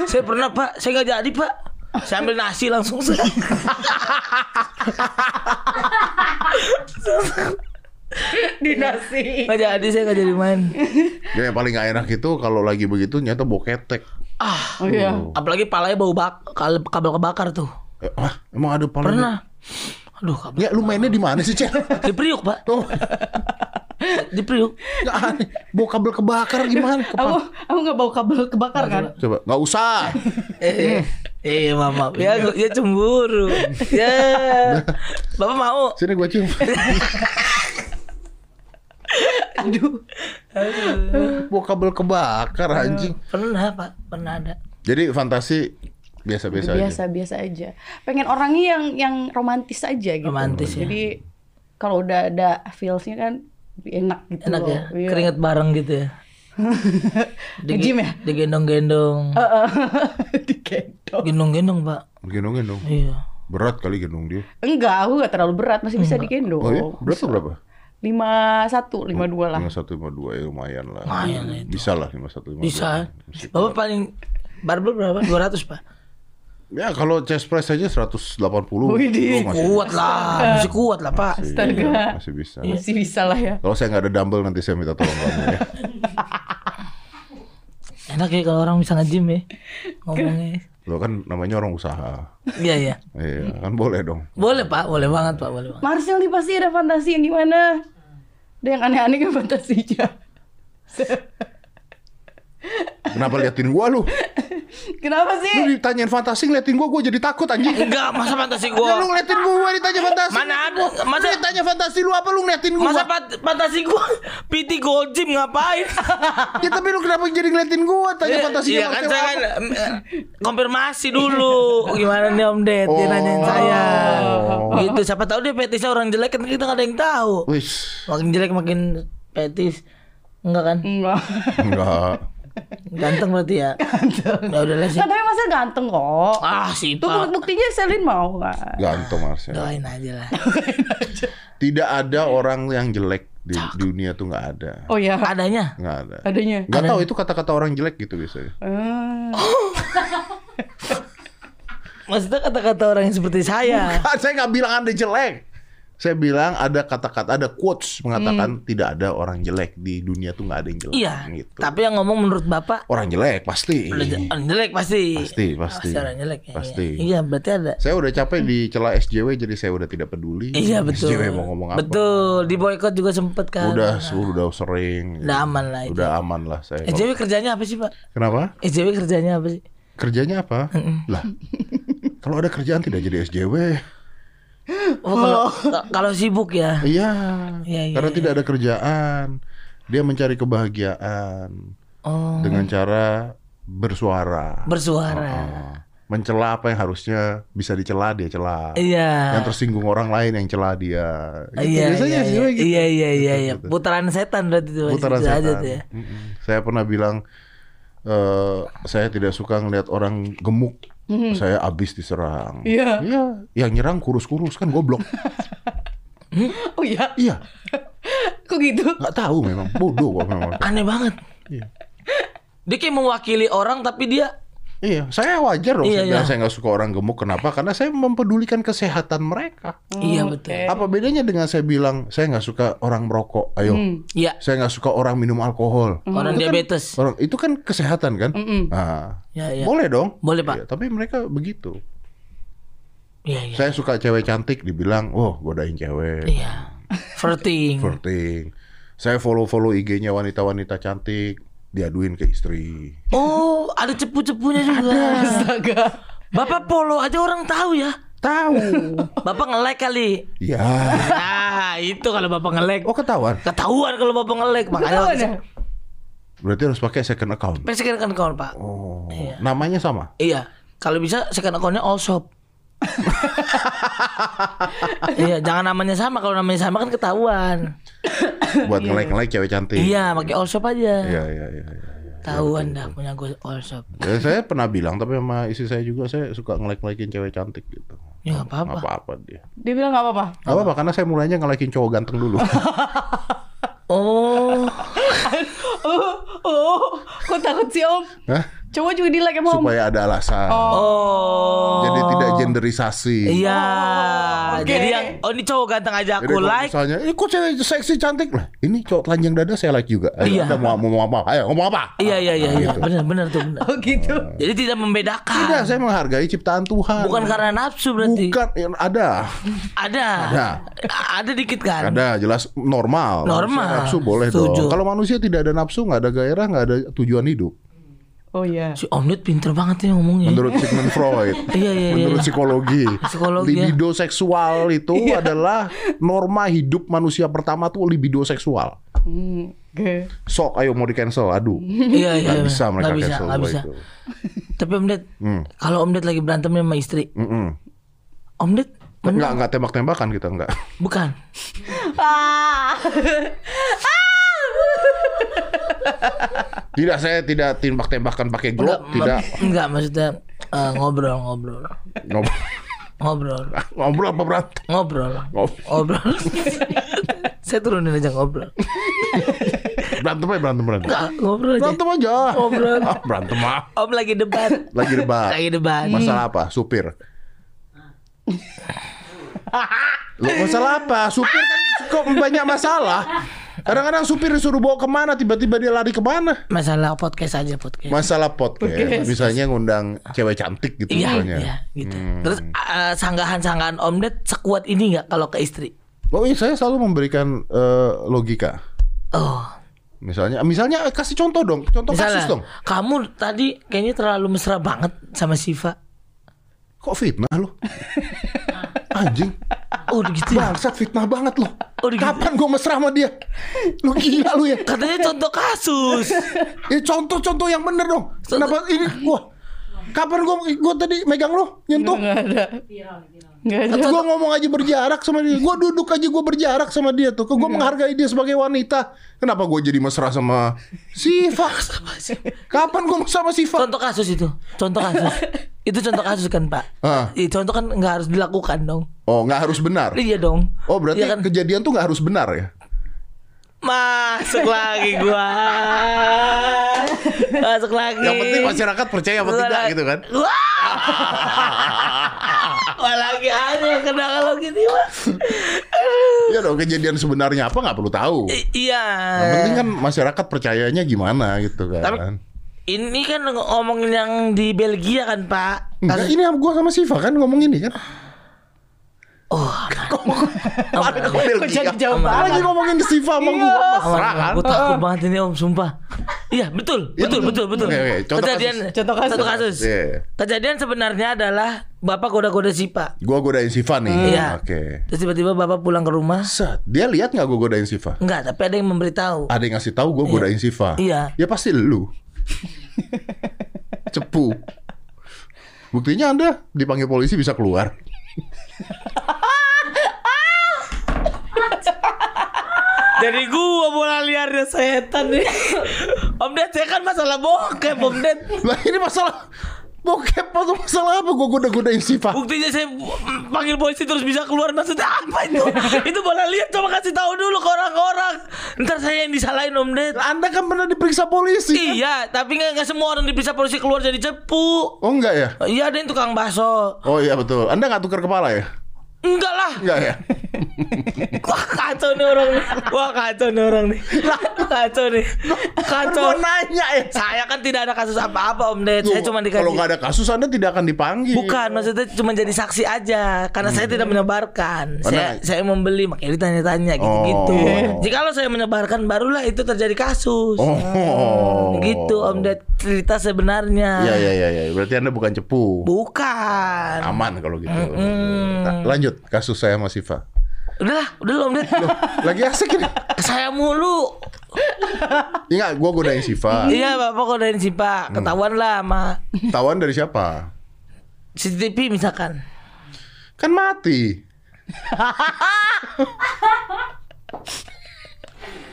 [SPEAKER 1] saya pernah, Pak. Saya nggak jadi, Pak. Saya ambil nasi langsung saya.
[SPEAKER 2] dinasti
[SPEAKER 1] Nggak jadi, saya nggak jadi main.
[SPEAKER 3] Jadi Ya, yang paling gak enak itu kalau lagi begitu nyata boketek.
[SPEAKER 2] oh iya
[SPEAKER 1] Apalagi palanya bau bak kabel kabel kebakar tuh.
[SPEAKER 3] Eh, Wah, emang ada paling
[SPEAKER 1] Pernah. Aduh, kabel.
[SPEAKER 3] Ya lu mainnya di mana sih, Cel?
[SPEAKER 1] Di Priuk, Pak.
[SPEAKER 3] Tuh,
[SPEAKER 1] Di Priuk.
[SPEAKER 3] nggak aneh. Bawa kabel kebakar gimana?
[SPEAKER 2] aku
[SPEAKER 3] Kepala.
[SPEAKER 2] aku nggak bawa kabel kebakar kan
[SPEAKER 3] Coba, nggak usah.
[SPEAKER 1] Eh, eh, mama. Ya, gua- ya cemburu. Ya. Bapak mau?
[SPEAKER 3] Sini gua cium.
[SPEAKER 2] aduh
[SPEAKER 3] Bawa kabel kebakar anjing.
[SPEAKER 1] Pernah, Pak. Pernah ada.
[SPEAKER 3] Jadi fantasi biasa-biasa aja.
[SPEAKER 2] biasa biasa aja pengen orangnya yang yang romantis aja gitu
[SPEAKER 1] Romantis ya.
[SPEAKER 2] jadi kalau udah ada feelsnya kan lebih enak gitu
[SPEAKER 1] Enak
[SPEAKER 2] loh.
[SPEAKER 1] ya.
[SPEAKER 2] Iya.
[SPEAKER 1] Keringet bareng gitu ya. Digi-
[SPEAKER 2] Nge-gym ya?
[SPEAKER 1] Digendong-gendong.
[SPEAKER 3] Oh.
[SPEAKER 2] digendong
[SPEAKER 1] Gendong-gendong, Pak.
[SPEAKER 3] Gendong-gendong.
[SPEAKER 1] Iya.
[SPEAKER 3] Berat kali gendong dia.
[SPEAKER 2] enggak aku nggak terlalu berat masih bisa digendong
[SPEAKER 3] Oh iya? Berat tuh berapa?
[SPEAKER 2] lima satu lima dua lah
[SPEAKER 3] 51, 52 ya lumayan lah.
[SPEAKER 1] Lumayan lah
[SPEAKER 3] Bisa lah 51, 52.
[SPEAKER 1] Bisa. Bapak paling barbel berapa? 200, Pak.
[SPEAKER 3] Ya kalau chest press aja 180.
[SPEAKER 2] Wih, di-
[SPEAKER 3] Lu Oh, masih,
[SPEAKER 1] Kuat lah, masih kuat lah, Pak.
[SPEAKER 2] Astaga.
[SPEAKER 3] Iya, masih bisa.
[SPEAKER 2] masih bisa lah ya
[SPEAKER 3] Kalau saya nggak ada dumbbell nanti saya minta tolong kamu ya.
[SPEAKER 1] Enak ya kalau orang bisa nge-gym ya. Ngomongnya.
[SPEAKER 3] Lo kan namanya orang usaha.
[SPEAKER 1] Iya, iya.
[SPEAKER 3] Iya, kan boleh dong.
[SPEAKER 1] Boleh, Pak. Boleh banget, Pak. Boleh banget.
[SPEAKER 2] Marcel nih pasti ada fantasi yang gimana? Ada yang aneh-aneh kan fantasinya.
[SPEAKER 3] Kenapa liatin gua lu?
[SPEAKER 2] Kenapa sih?
[SPEAKER 3] Lu ditanyain fantasi ngeliatin gua, gua jadi takut anjing.
[SPEAKER 1] Enggak, masa fantasi
[SPEAKER 3] Ya, lu
[SPEAKER 1] gua?
[SPEAKER 3] ngeliatin gua ditanya fantasi.
[SPEAKER 1] Mana ada?
[SPEAKER 3] Masa
[SPEAKER 1] Masa
[SPEAKER 3] ditanya fantasi lu apa lu ngeliatin gua?
[SPEAKER 1] Masa pat- fantasi gua PT Gold Gym ngapain?
[SPEAKER 3] Ya tapi lu kenapa jadi ngeliatin gua tanya fantasi
[SPEAKER 1] Iya kan saya kan eh, konfirmasi dulu gimana nih Om Ded dia
[SPEAKER 3] Oh.
[SPEAKER 1] nanyain saya.
[SPEAKER 3] Oh.
[SPEAKER 1] Gitu siapa tahu dia petisnya orang jelek kan kita nggak ada yang tahu.
[SPEAKER 3] Wih,
[SPEAKER 1] Makin jelek makin petis. Enggak kan?
[SPEAKER 2] Enggak.
[SPEAKER 3] enggak.
[SPEAKER 1] Ganteng berarti ya. Ya udahlah sih.
[SPEAKER 3] Kan-
[SPEAKER 2] Nggak, tapi Marcel ganteng kok.
[SPEAKER 1] Ah, sih
[SPEAKER 2] Tuh buk-
[SPEAKER 1] Pak.
[SPEAKER 2] buktinya Selin mau kan?
[SPEAKER 3] Gantung Marcel.
[SPEAKER 1] Doain aja lah.
[SPEAKER 3] Tidak ada orang yang jelek di dunia tuh nggak ada.
[SPEAKER 2] Oh ya,
[SPEAKER 1] Adanya.
[SPEAKER 3] Nggak ada.
[SPEAKER 1] Kan-
[SPEAKER 2] adanya.
[SPEAKER 3] Nggak tahu itu kata-kata orang jelek gitu biasanya.
[SPEAKER 2] Eh,
[SPEAKER 1] Maksudnya kata-kata orang yang seperti saya.
[SPEAKER 3] Ah, saya nggak bilang anda jelek. Saya bilang ada kata-kata ada quotes mengatakan tidak ada orang jelek di dunia tuh nggak ada yang jelek.
[SPEAKER 1] Hmm. Iya.
[SPEAKER 3] Gitu.
[SPEAKER 1] Tapi yang ngomong menurut Bapak
[SPEAKER 3] Orang jelek pasti.
[SPEAKER 1] udah je- orang jelek pasti.
[SPEAKER 3] Pasti, pasti.
[SPEAKER 1] orang jelek. ya,
[SPEAKER 3] Pasti.
[SPEAKER 1] Iya, Iya, berarti ada.
[SPEAKER 3] Saya udah capek dicela SJW jadi saya udah tidak peduli.
[SPEAKER 1] Hmm. Iya betul.
[SPEAKER 3] SJW mau ngomong apa?
[SPEAKER 1] Betul, di boykot juga sempet kan.
[SPEAKER 3] Udah, udah sering.
[SPEAKER 1] Udah aman lah itu.
[SPEAKER 3] Udah aman lah saya.
[SPEAKER 1] EJW E kerjanya apa sih pak?
[SPEAKER 3] Kenapa?
[SPEAKER 1] EJW kerjanya apa sih?
[SPEAKER 3] Kerjanya apa? Lah. Kalau ada kerjaan tidak jadi SJW.
[SPEAKER 1] Oh, kalau ka- kalau sibuk ya.
[SPEAKER 3] Iya.
[SPEAKER 1] Iya, iya,
[SPEAKER 3] Karena
[SPEAKER 1] iya.
[SPEAKER 3] tidak ada kerjaan. Dia mencari kebahagiaan
[SPEAKER 1] Oh,
[SPEAKER 3] dengan cara bersuara.
[SPEAKER 1] bersuara.
[SPEAKER 3] Oh. mencela apa yang harusnya bisa dicela dia cela.
[SPEAKER 1] Iya.
[SPEAKER 3] Yang tersinggung orang lain yang cela dia. Gitu.
[SPEAKER 1] Iya,
[SPEAKER 3] Biasanya
[SPEAKER 1] iya,
[SPEAKER 3] SJW
[SPEAKER 1] iya,
[SPEAKER 3] gitu.
[SPEAKER 1] iya, iya, iya, iya.
[SPEAKER 3] Gitu, gitu.
[SPEAKER 1] Putaran setan berarti itu.
[SPEAKER 3] Putaran
[SPEAKER 1] Bisa aja
[SPEAKER 3] setan.
[SPEAKER 1] tuh ya.
[SPEAKER 3] kan? Mm-mm. Saya pernah bilang eh saya tidak suka ngelihat orang gemuk.
[SPEAKER 1] Mm-hmm.
[SPEAKER 3] Saya abis diserang.
[SPEAKER 2] Iya.
[SPEAKER 3] Iya, yang nyerang kurus-kurus kan goblok.
[SPEAKER 2] oh ya,
[SPEAKER 3] iya,
[SPEAKER 2] kok gitu?
[SPEAKER 3] nggak tahu memang bodoh kok memang.
[SPEAKER 1] Aneh banget.
[SPEAKER 3] Iya.
[SPEAKER 1] Dia kayak mewakili orang tapi dia
[SPEAKER 3] Iya, saya wajar dong
[SPEAKER 1] Iya,
[SPEAKER 3] saya bilang
[SPEAKER 1] iya.
[SPEAKER 3] saya nggak suka orang gemuk. Kenapa? Karena saya mempedulikan kesehatan mereka.
[SPEAKER 1] Iya
[SPEAKER 2] Hmm,
[SPEAKER 1] betul.
[SPEAKER 2] oke.
[SPEAKER 3] Apa bedanya dengan saya bilang saya nggak suka orang merokok? Ayo,
[SPEAKER 1] Iya.
[SPEAKER 3] saya nggak suka orang minum alkohol.
[SPEAKER 1] Orang
[SPEAKER 3] Itu kan-
[SPEAKER 1] diabetes.
[SPEAKER 3] orang itu kan kesehatan kan? Nah,
[SPEAKER 1] Ya, ya.
[SPEAKER 3] boleh dong.
[SPEAKER 1] Boleh, Pak.
[SPEAKER 3] Iya, tapi mereka begitu.
[SPEAKER 1] Iya, iya.
[SPEAKER 3] Saya suka cewek cantik dibilang, "Wah, godain cewek."
[SPEAKER 1] Iya. Flirting.
[SPEAKER 3] Flirting. Saya follow-follow IG-nya wanita-wanita cantik, diaduin ke istri.
[SPEAKER 1] Oh, ada cepu-cepunya juga.
[SPEAKER 2] Astaga.
[SPEAKER 1] Bapak polo aja orang tahu ya.
[SPEAKER 3] Tahu.
[SPEAKER 1] Bapak ngelek kali.
[SPEAKER 3] ya.
[SPEAKER 1] Nah, itu kalau bapak ngelek.
[SPEAKER 3] Oh, ketahuan.
[SPEAKER 1] Ketahuan kalau bapak ngelek. Makanya
[SPEAKER 2] Ketahuan
[SPEAKER 1] waktu
[SPEAKER 2] ya?
[SPEAKER 3] Berarti harus pakai second account.
[SPEAKER 1] Pakai second account, Pak.
[SPEAKER 3] Oh. Namanya sama.
[SPEAKER 1] Iya. Kalau bisa second accountnya all shop. iya, jangan namanya sama. Kalau namanya sama kan ketahuan.
[SPEAKER 3] Buat ngelek-ngelek cewek cantik.
[SPEAKER 1] Iya, pakai all shop aja.
[SPEAKER 3] Iya, iya, iya. iya, iya.
[SPEAKER 1] Tahuan dah punya gue all shop.
[SPEAKER 3] Ya, saya pernah bilang tapi sama istri saya juga saya suka ngelek-ngelekin cewek cantik gitu.
[SPEAKER 1] Ya nggak apa-apa.
[SPEAKER 3] Apa apa dia.
[SPEAKER 2] Dia bilang nggak apa-apa.
[SPEAKER 3] Gak apa-apa karena saya mulainya ngelekin cowok ganteng dulu.
[SPEAKER 1] Oh,
[SPEAKER 2] Oh, oh, kok takut sih om?
[SPEAKER 3] Hah?
[SPEAKER 2] Cowok juga di like emang om.
[SPEAKER 3] Supaya ada alasan.
[SPEAKER 1] oh.
[SPEAKER 3] Jadi tidak genderisasi.
[SPEAKER 1] Iya.
[SPEAKER 2] oke.
[SPEAKER 1] Jadi yang oh ini cowok ganteng aja
[SPEAKER 3] Jadi
[SPEAKER 1] aku
[SPEAKER 3] kalau
[SPEAKER 1] like.
[SPEAKER 3] misalnya, ini kok cewek seksi cantik lah. Ini cowok telanjang dada saya like juga. Ayo,
[SPEAKER 1] Iya.
[SPEAKER 3] Anda mau, mau, mau apa? Ayo ngomong apa?
[SPEAKER 1] Iya iya iya iya. Benar benar tuh benar.
[SPEAKER 2] Oh gitu.
[SPEAKER 1] Jadi tidak membedakan.
[SPEAKER 3] Gitu. Tidak, saya menghargai ciptaan Tuhan.
[SPEAKER 1] Bukan karena nafsu berarti.
[SPEAKER 3] Bukan, ya, ada.
[SPEAKER 1] Ada.
[SPEAKER 3] Ada.
[SPEAKER 1] Ada dikit kan?
[SPEAKER 3] Ada, jelas normal.
[SPEAKER 1] Normal.
[SPEAKER 3] Manusia nafsu boleh
[SPEAKER 1] Setuju.
[SPEAKER 3] dong. Kalau manusia tidak ada nafsu, nggak ada gairah, nggak ada tujuan hidup.
[SPEAKER 2] Oh iya.
[SPEAKER 1] Si Omnit pinter banget ya ngomongnya.
[SPEAKER 3] Menurut Sigmund Freud.
[SPEAKER 1] Iya iya iya.
[SPEAKER 3] Menurut psikologi,
[SPEAKER 1] Psikologi, ya. Iya.
[SPEAKER 3] libido seksual itu adalah norma hidup manusia pertama tuh libido seksual.
[SPEAKER 2] Hmm, oke.
[SPEAKER 3] Sok, ayo mau di cancel, aduh,
[SPEAKER 1] Iya iya.
[SPEAKER 3] nggak
[SPEAKER 1] iya.
[SPEAKER 3] bisa mereka
[SPEAKER 1] Nggak bisa,
[SPEAKER 3] cancel
[SPEAKER 1] nggak
[SPEAKER 3] gua
[SPEAKER 1] bisa.
[SPEAKER 3] itu.
[SPEAKER 1] Tapi Om Ded,
[SPEAKER 3] Hmm.
[SPEAKER 1] kalau Om Ded lagi berantem sama istri,
[SPEAKER 3] Mm-mm.
[SPEAKER 1] Om Ded
[SPEAKER 3] Enggak,
[SPEAKER 1] menang.
[SPEAKER 3] enggak tembak-tembakan kita enggak.
[SPEAKER 1] Bukan.
[SPEAKER 2] Ah.
[SPEAKER 3] Tidak, saya tidak tembak-tembakan pakai glock, tidak
[SPEAKER 1] Enggak maksudnya eh, ngobrol ngobrol
[SPEAKER 3] ngobrol,
[SPEAKER 1] ngobrol
[SPEAKER 3] ngobrol apa berantem.
[SPEAKER 1] ngobrol
[SPEAKER 3] Ngobrol.
[SPEAKER 1] ngobrol. Saya turunin aja ngobrol.
[SPEAKER 3] Berantem aja, berantem, berantem.
[SPEAKER 1] Enggak, ngobrol aja.
[SPEAKER 3] Berantem aja.
[SPEAKER 1] Ngobrol.
[SPEAKER 3] Ah, berantem ah.
[SPEAKER 1] Om lagi debat.
[SPEAKER 3] Lagi debat.
[SPEAKER 1] Lagi debat.
[SPEAKER 3] Hmm. Masalah apa? Supir. Loh, masalah apa? Supir kan kok banyak masalah. Kadang-kadang supir disuruh bawa kemana, tiba-tiba dia lari kemana.
[SPEAKER 1] Masalah podcast aja podcast.
[SPEAKER 3] Masalah podcast,
[SPEAKER 2] Podcast.
[SPEAKER 3] misalnya ngundang cewek cantik gitu
[SPEAKER 1] Iya,
[SPEAKER 3] misalnya.
[SPEAKER 1] iya, gitu.
[SPEAKER 3] Hmm.
[SPEAKER 1] Terus eh, sanggahan-sanggahan Om Ded sekuat ini nggak kalau ke istri?
[SPEAKER 3] Oh iya, saya selalu memberikan eh, logika.
[SPEAKER 1] Oh,
[SPEAKER 3] Misalnya, misalnya eh, kasih contoh dong, contoh kasus
[SPEAKER 1] misalnya
[SPEAKER 3] dong.
[SPEAKER 1] kamu tadi kayaknya terlalu mesra banget sama Siva.
[SPEAKER 3] Kok fitnah lo? Anjing,
[SPEAKER 1] Oh, gitu. ya?
[SPEAKER 3] bangsat fitnah banget lo.
[SPEAKER 1] Oh, gitu.
[SPEAKER 3] Kapan gue mesra sama dia? Lo gila lo ya?
[SPEAKER 1] Katanya contoh kasus.
[SPEAKER 3] Ya contoh-contoh yang bener dong. Kenapa ini gua kapan gua gua tadi megang lo nyentuh?
[SPEAKER 2] Nggak ada. Nggak ada.
[SPEAKER 3] Gua ngomong aja berjarak sama dia. Gua duduk aja gua berjarak sama dia tuh. Gua menghargai dia sebagai wanita. Kenapa gua jadi mesra sama Siva? Kapan gua mesra sama Siva?
[SPEAKER 1] Contoh kasus itu. Contoh kasus. itu contoh kasus kan, Pak?
[SPEAKER 3] Ah.
[SPEAKER 1] Iya, contoh kan nggak harus dilakukan dong.
[SPEAKER 3] Oh, nggak harus benar.
[SPEAKER 1] Iya dong.
[SPEAKER 3] Oh, berarti
[SPEAKER 1] Iya kan?
[SPEAKER 3] kejadian tuh nggak harus benar ya?
[SPEAKER 1] Masuk lagi gua. Masuk lagi.
[SPEAKER 3] Yang penting masyarakat percaya apa tidak gitu kan?
[SPEAKER 1] Wah. Wah lagi aneh kena kalau gini mah. Aduh.
[SPEAKER 3] Iya dong, kejadian sebenarnya apa nggak perlu tahu.
[SPEAKER 1] I- Iya.
[SPEAKER 3] Yang penting kan masyarakat percayanya gimana gitu kan.
[SPEAKER 1] Tapi ini kan ngomongin yang di Belgia kan Pak.
[SPEAKER 3] Enggak, ini gua sama Siva kan ngomong ini kan.
[SPEAKER 1] Oh,
[SPEAKER 3] Ada ke Belgia.
[SPEAKER 2] Kok jadi jauh
[SPEAKER 3] Kita
[SPEAKER 2] banget?
[SPEAKER 3] lagi ngomongin ke Siva sama gua mesra kan.
[SPEAKER 1] Gue takut banget ini Om, sumpah. Iya, betul,
[SPEAKER 3] Iya,
[SPEAKER 1] betul, betul, betul.
[SPEAKER 3] Oke, oke. Contoh
[SPEAKER 1] Kejadian,
[SPEAKER 3] kasus.
[SPEAKER 2] Contoh kasus.
[SPEAKER 1] Satu kasus.
[SPEAKER 3] Iya, iya.
[SPEAKER 1] Kejadian sebenarnya adalah bapak goda-goda Sipa.
[SPEAKER 3] Gua godain Siva nih.
[SPEAKER 1] Iya.
[SPEAKER 3] Hmm, Oke.
[SPEAKER 1] Terus tiba-tiba bapak pulang ke rumah.
[SPEAKER 3] Set, dia lihat nggak gua godain Siva?
[SPEAKER 1] Enggak, tapi ada yang memberitahu.
[SPEAKER 3] Ada yang ngasih tahu gua godain Siva.
[SPEAKER 1] Iya.
[SPEAKER 3] Ya pasti lu. Cepu. Buktinya Anda dipanggil polisi bisa keluar.
[SPEAKER 1] Dari gua bola liarnya setan nih. Om Ded, saya kan masalah bokep, Om Ded.
[SPEAKER 3] Lah ini masalah Bokep atau masalah apa gua goda-godain Siva?
[SPEAKER 1] Buktinya saya mm, panggil polisi terus bisa keluar maksudnya apa itu? itu bola liar coba kasih tahu dulu ke orang-orang. Ntar saya yang disalahin Om Ded.
[SPEAKER 3] Lah, Anda kan pernah diperiksa polisi. kan?
[SPEAKER 1] Iya, tapi nggak nggak semua orang diperiksa polisi keluar jadi cepu.
[SPEAKER 3] Oh enggak ya?
[SPEAKER 1] Iya ada yang tukang bakso.
[SPEAKER 3] Oh iya betul. Anda nggak tukar kepala ya?
[SPEAKER 1] Enggak lah.
[SPEAKER 3] Enggak ya? Iya.
[SPEAKER 1] Wah kacau nih orang nih. Wah kacau nih orang nih. Kacau nih. Kacau.
[SPEAKER 3] Gua nanya ya.
[SPEAKER 1] Saya kan tidak ada kasus apa-apa Om Ded. Saya
[SPEAKER 3] Loh,
[SPEAKER 1] cuma
[SPEAKER 3] Kalau nggak
[SPEAKER 1] dikasih.
[SPEAKER 3] ada kasus Anda tidak akan dipanggil.
[SPEAKER 1] Bukan, maksudnya cuma jadi saksi aja karena saya tidak
[SPEAKER 3] Hmm.
[SPEAKER 1] menyebarkan. Saya
[SPEAKER 3] Mana-
[SPEAKER 1] saya membeli makanya ditanya-tanya gitu-gitu.
[SPEAKER 3] Oh.
[SPEAKER 1] Jika kalau saya menyebarkan barulah itu terjadi kasus.
[SPEAKER 3] Oh.
[SPEAKER 1] Gitu Om Ded cerita sebenarnya.
[SPEAKER 3] Iya iya iya ya. berarti Anda bukan cepu.
[SPEAKER 1] Bukan.
[SPEAKER 3] Aman kalau gitu. Nah, lanjut kasus saya sama Siva.
[SPEAKER 1] Udahlah, udah lah, Om Ded.
[SPEAKER 3] Lagi asik ini.
[SPEAKER 1] saya mulu.
[SPEAKER 3] Ingat gua godain Siva.
[SPEAKER 1] Iya, Bapak kodain si
[SPEAKER 3] Hmm.
[SPEAKER 1] Pak. Ketahuan lah sama
[SPEAKER 3] Tawan dari siapa?
[SPEAKER 1] CCTV misalkan.
[SPEAKER 3] Kan mati.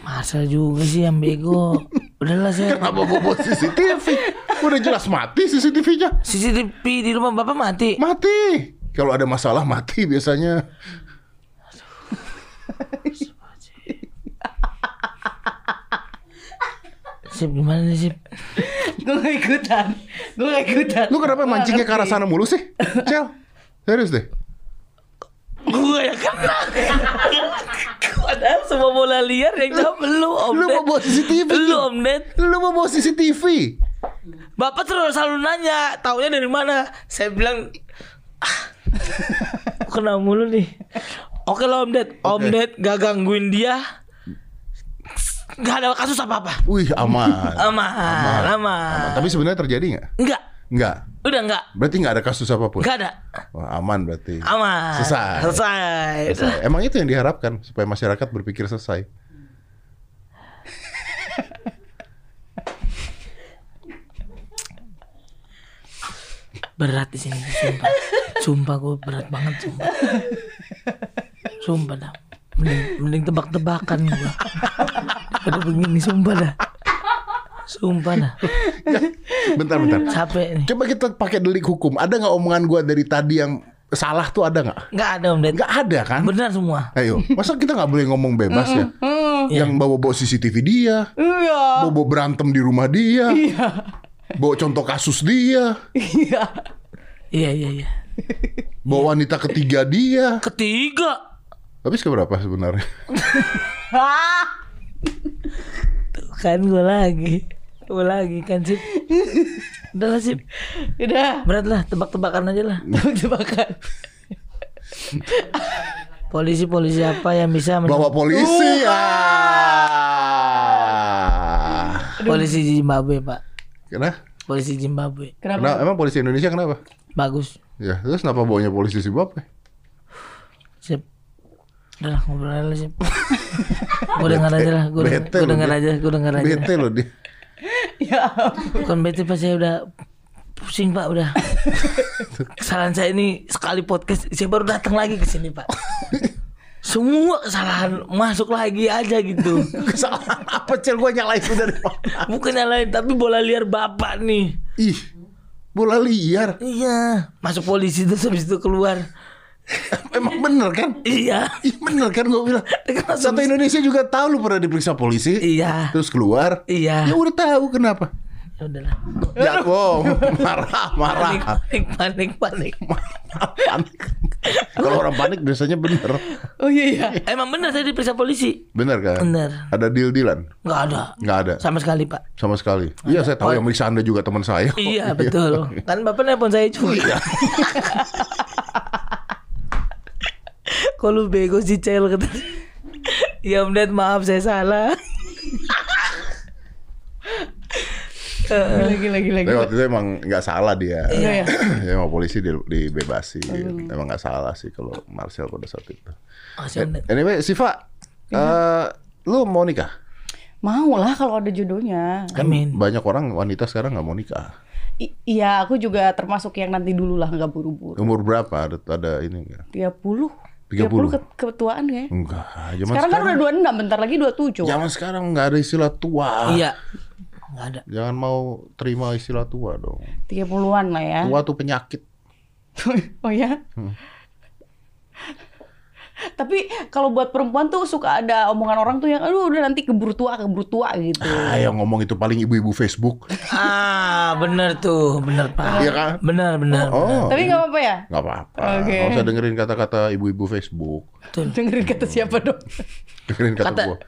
[SPEAKER 1] Masa juga sih yang bego. Udahlah saya
[SPEAKER 3] Kenapa bobot CCTV? Udah jelas mati CCTV-nya.
[SPEAKER 1] CCTV di rumah bapak mati.
[SPEAKER 3] Mati. Kalau ada masalah mati biasanya.
[SPEAKER 1] Sip gimana nih sip?
[SPEAKER 2] Gue gak ikutan. Gue gak ikutan.
[SPEAKER 3] Lu kenapa
[SPEAKER 2] Gua gak
[SPEAKER 3] mancingnya ke arah
[SPEAKER 2] ngerti.
[SPEAKER 3] sana mulu sih? Cel. Serius deh.
[SPEAKER 1] Gue yang kena. Padahal semua bola liar yang tahu lu Om
[SPEAKER 3] Lu
[SPEAKER 1] Ded.
[SPEAKER 3] mau bawa CCTV.
[SPEAKER 1] Lu Om Ded.
[SPEAKER 3] Lu mau bawa CCTV.
[SPEAKER 1] Bapak terus selalu nanya, taunya dari mana? Saya bilang "Ah, kena mulu nih. Oke lah Om Ded. Om
[SPEAKER 3] Oke.
[SPEAKER 1] Ded gak gangguin dia. Gak ada kasus apa-apa.
[SPEAKER 3] Wih aman.
[SPEAKER 1] Aman, aman.
[SPEAKER 3] Aman. Tapi sebenarnya terjadi nggak?
[SPEAKER 1] Enggak.
[SPEAKER 3] Nggak.
[SPEAKER 1] Udah enggak.
[SPEAKER 3] Berarti nggak ada kasus apapun.
[SPEAKER 1] Enggak ada.
[SPEAKER 3] Wah, aman berarti.
[SPEAKER 1] Aman.
[SPEAKER 3] Selesai.
[SPEAKER 1] Selesai.
[SPEAKER 3] Selesai. Emang itu yang diharapkan supaya masyarakat berpikir selesai.
[SPEAKER 1] Berat di sini, sumpah. Sumpah gue berat banget, sumpah. Sumpah dah. Mending, mending tebak-tebakan gue. Pada begini, sumpah dah. Sumpah dah.
[SPEAKER 3] Bentar bentar.
[SPEAKER 1] Capek nih.
[SPEAKER 3] Coba kita pakai delik hukum. Ada nggak omongan gua dari tadi yang salah tuh ada nggak?
[SPEAKER 1] Nggak ada om Ded.
[SPEAKER 3] Nggak ada kan?
[SPEAKER 1] Benar semua.
[SPEAKER 3] Ayo, masa kita nggak boleh ngomong bebas ya? Yang bawa-bawa CCTV dia,
[SPEAKER 2] Iya.
[SPEAKER 3] bawa berantem di rumah dia, bawa contoh kasus dia,
[SPEAKER 2] Iya.
[SPEAKER 1] Iya, iya, iya.
[SPEAKER 3] bawa wanita ketiga dia.
[SPEAKER 1] Ketiga.
[SPEAKER 3] Habis ke berapa sebenarnya?
[SPEAKER 2] Ah.
[SPEAKER 1] Tuh kan gue lagi. Gue lagi kan, Sip. Udah lah, Sip.
[SPEAKER 2] Udah.
[SPEAKER 1] Berat lah, tebak-tebakan aja lah.
[SPEAKER 2] Tebak-tebakan.
[SPEAKER 1] Polisi-polisi apa yang bisa... men-
[SPEAKER 3] Bawa polisi. Ah.
[SPEAKER 1] Polisi Zimbabwe, Pak.
[SPEAKER 3] Kenapa?
[SPEAKER 1] Polisi Zimbabwe.
[SPEAKER 2] Kenapa?
[SPEAKER 3] Kenapa? Emang polisi Indonesia kenapa?
[SPEAKER 1] Bagus.
[SPEAKER 3] Ya, terus kenapa bawanya polisi Zimbabwe?
[SPEAKER 1] Sip. Udah lah ngobrol aja lah Sip. gue dengar aja lah, gue
[SPEAKER 3] Bete
[SPEAKER 1] gue
[SPEAKER 3] loh
[SPEAKER 1] dengar
[SPEAKER 3] dia.
[SPEAKER 1] aja, gue dengar aja.
[SPEAKER 3] Bete loh dia.
[SPEAKER 2] Ya.
[SPEAKER 1] Bukan bete pas saya udah pusing pak udah. Kesalahan saya ini sekali podcast saya baru datang lagi ke sini pak. Semua kesalahan masuk lagi aja gitu.
[SPEAKER 3] Kesalahan apa cel gua nyalain lu dari mana?
[SPEAKER 1] Bukan yang lain tapi bola liar bapak nih.
[SPEAKER 3] Ih, bola liar.
[SPEAKER 1] Iya, masuk polisi terus habis itu keluar.
[SPEAKER 3] Emang bener kan?
[SPEAKER 1] Iya.
[SPEAKER 3] Ih bener kan gue bilang Satu Indonesia juga tahu lu pernah diperiksa polisi
[SPEAKER 1] Iya.
[SPEAKER 3] Terus keluar
[SPEAKER 1] Iya.
[SPEAKER 3] Ya udah tahu kenapa
[SPEAKER 1] Ya udahlah.
[SPEAKER 3] Ya wow, marah marah
[SPEAKER 1] Panik, panik, panik, panik.
[SPEAKER 3] Marah, panik. Kalau orang panik biasanya bener
[SPEAKER 2] Oh iya iya.
[SPEAKER 1] Emang bener saya diperiksa polisi?
[SPEAKER 3] Bener kan?
[SPEAKER 1] Bener.
[SPEAKER 3] Ada deal-dealan?
[SPEAKER 1] Nggak ada.
[SPEAKER 3] Nggak ada
[SPEAKER 1] Sama sekali pak
[SPEAKER 3] Sama sekali Iya saya tahu yang meriksa anda juga teman saya kok.
[SPEAKER 1] Iya betul Kan bapak nelpon saya
[SPEAKER 3] Iya.
[SPEAKER 1] juga Kok lu bego sih Cel kata Ya om Ded maaf saya salah Eh,
[SPEAKER 2] Gila gila gila.
[SPEAKER 3] Tapi
[SPEAKER 2] gila.
[SPEAKER 3] waktu itu emang nggak salah dia
[SPEAKER 2] Iya ya.
[SPEAKER 3] Ya emang polisi di- dibebasin Emang nggak salah sih kalau Marcel pada saat itu
[SPEAKER 1] Masih
[SPEAKER 2] Iya.
[SPEAKER 1] om Ded
[SPEAKER 3] Anyway Siva eh, Lu mau nikah?
[SPEAKER 2] Mau lah kalau ada jodohnya.
[SPEAKER 3] Kan
[SPEAKER 1] Amin.
[SPEAKER 3] banyak orang wanita sekarang nggak mau nikah.
[SPEAKER 2] I- iya, aku juga termasuk yang nanti dulu lah nggak buru-buru.
[SPEAKER 3] Umur berapa ada, ada ini enggak?
[SPEAKER 2] 30.
[SPEAKER 3] 30.
[SPEAKER 2] ke- ketuaan ya.
[SPEAKER 3] Enggak. Zaman
[SPEAKER 2] Sekarang
[SPEAKER 3] sekarang,
[SPEAKER 2] kan
[SPEAKER 3] Ya.
[SPEAKER 2] udah 26, bentar lagi 27.
[SPEAKER 3] zaman sekarang nggak ada istilah tua.
[SPEAKER 1] Iya Nggak ada
[SPEAKER 3] Jangan mau terima istilah tua dong.
[SPEAKER 2] Iya. 30-an lah ya.
[SPEAKER 3] Tua tuh penyakit.
[SPEAKER 2] oh ya.
[SPEAKER 3] Hmm.
[SPEAKER 2] Tapi kalau buat perempuan tuh suka ada omongan orang tuh yang aduh udah nanti keburu tua, keburu tua gitu.
[SPEAKER 3] Ah, yang ngomong itu paling ibu-ibu Facebook.
[SPEAKER 1] Ah bener tuh Bener
[SPEAKER 2] Ah.
[SPEAKER 1] pak
[SPEAKER 3] Iya kan?
[SPEAKER 1] Bener bener
[SPEAKER 3] Oh.
[SPEAKER 2] Tapi nggak apa-apa ya?
[SPEAKER 3] Nggak apa-apa.
[SPEAKER 2] Oke.
[SPEAKER 3] Nggak usah dengerin kata-kata ibu-ibu Facebook.
[SPEAKER 1] Betul
[SPEAKER 2] Dengerin kata siapa dong?
[SPEAKER 3] Dengerin kata,
[SPEAKER 1] Kata-
[SPEAKER 3] gua.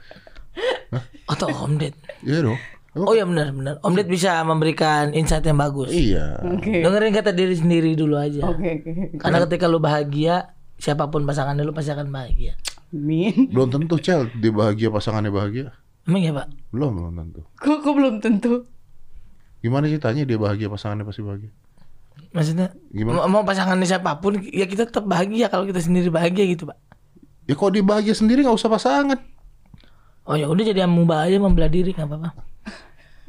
[SPEAKER 1] Atau om Ded
[SPEAKER 3] Iya dong. Emang-
[SPEAKER 1] Oh ya bener bener Om Ded bisa memberikan insight yang bagus
[SPEAKER 3] Iya.
[SPEAKER 2] Oke.
[SPEAKER 1] Dengerin kata diri sendiri dulu aja
[SPEAKER 2] Oke, oke.
[SPEAKER 1] Karena ketika lu bahagia Siapapun pasangannya lu pasti akan bahagia
[SPEAKER 2] Min.
[SPEAKER 3] Belum tentu Cel dia bahagia pasangannya bahagia.
[SPEAKER 1] Emang ya pak?
[SPEAKER 3] Belum belum tentu.
[SPEAKER 2] Kok, kok belum tentu?
[SPEAKER 3] Gimana sih tanya dia bahagia pasangannya pasti bahagia.
[SPEAKER 1] Maksudnya mau-
[SPEAKER 3] Gimana?
[SPEAKER 1] mau pasangannya siapapun ya kita tetap bahagia kalau kita sendiri bahagia gitu pak.
[SPEAKER 3] Ya kalau dia bahagia sendiri nggak usah pasangan.
[SPEAKER 1] Oh ya udah jadi amuba aja membelah diri nggak apa-apa.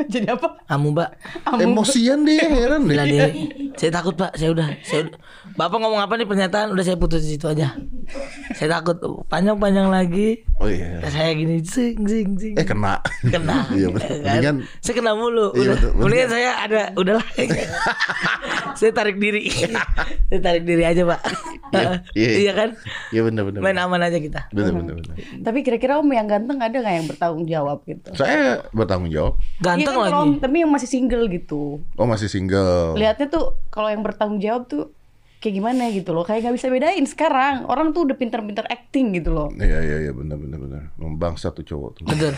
[SPEAKER 2] Jadi apa?
[SPEAKER 1] Amuba
[SPEAKER 3] Emosian dia heran
[SPEAKER 1] belah
[SPEAKER 3] deh.
[SPEAKER 1] diri. Saya takut pak. Saya udah. Saya udah. Bapak ngomong apa nih pernyataan udah saya putus di situ aja. Saya takut "Oh, panjang-panjang lagi.
[SPEAKER 3] Oh iya.
[SPEAKER 1] Saya gini zing zing zing.
[SPEAKER 3] Eh kena.
[SPEAKER 1] kena gitu
[SPEAKER 3] Iya, betul.
[SPEAKER 1] kan.
[SPEAKER 3] Mendingan
[SPEAKER 1] saya kena mulu
[SPEAKER 3] Iya,
[SPEAKER 1] udah.
[SPEAKER 3] betul, betul.
[SPEAKER 1] mendingan saya ada udahlah saya tarik diri saya tarik diri aja pak
[SPEAKER 3] Iya, iya.
[SPEAKER 1] iya kan
[SPEAKER 3] Iya benar benar.
[SPEAKER 1] main aman aja kita
[SPEAKER 3] Benar benar benar.
[SPEAKER 2] Tapi kira-kira om yang ganteng ada nggak yang bertanggung jawab gitu?
[SPEAKER 3] Saya bertanggung jawab.
[SPEAKER 2] Iya
[SPEAKER 1] ganteng
[SPEAKER 2] kan kalau
[SPEAKER 1] lagi
[SPEAKER 2] om- tapi yang masih single gitu.
[SPEAKER 3] Oh masih single.
[SPEAKER 2] Lihatnya tuh kalau yang bertanggung jawab tuh kayak gimana gitu loh. Kayak nggak bisa bedain sekarang. Orang tuh udah pinter-pinter acting gitu loh.
[SPEAKER 3] Iya iya iya benar benar benar. Membangsa tuh cowok tuh.
[SPEAKER 1] bener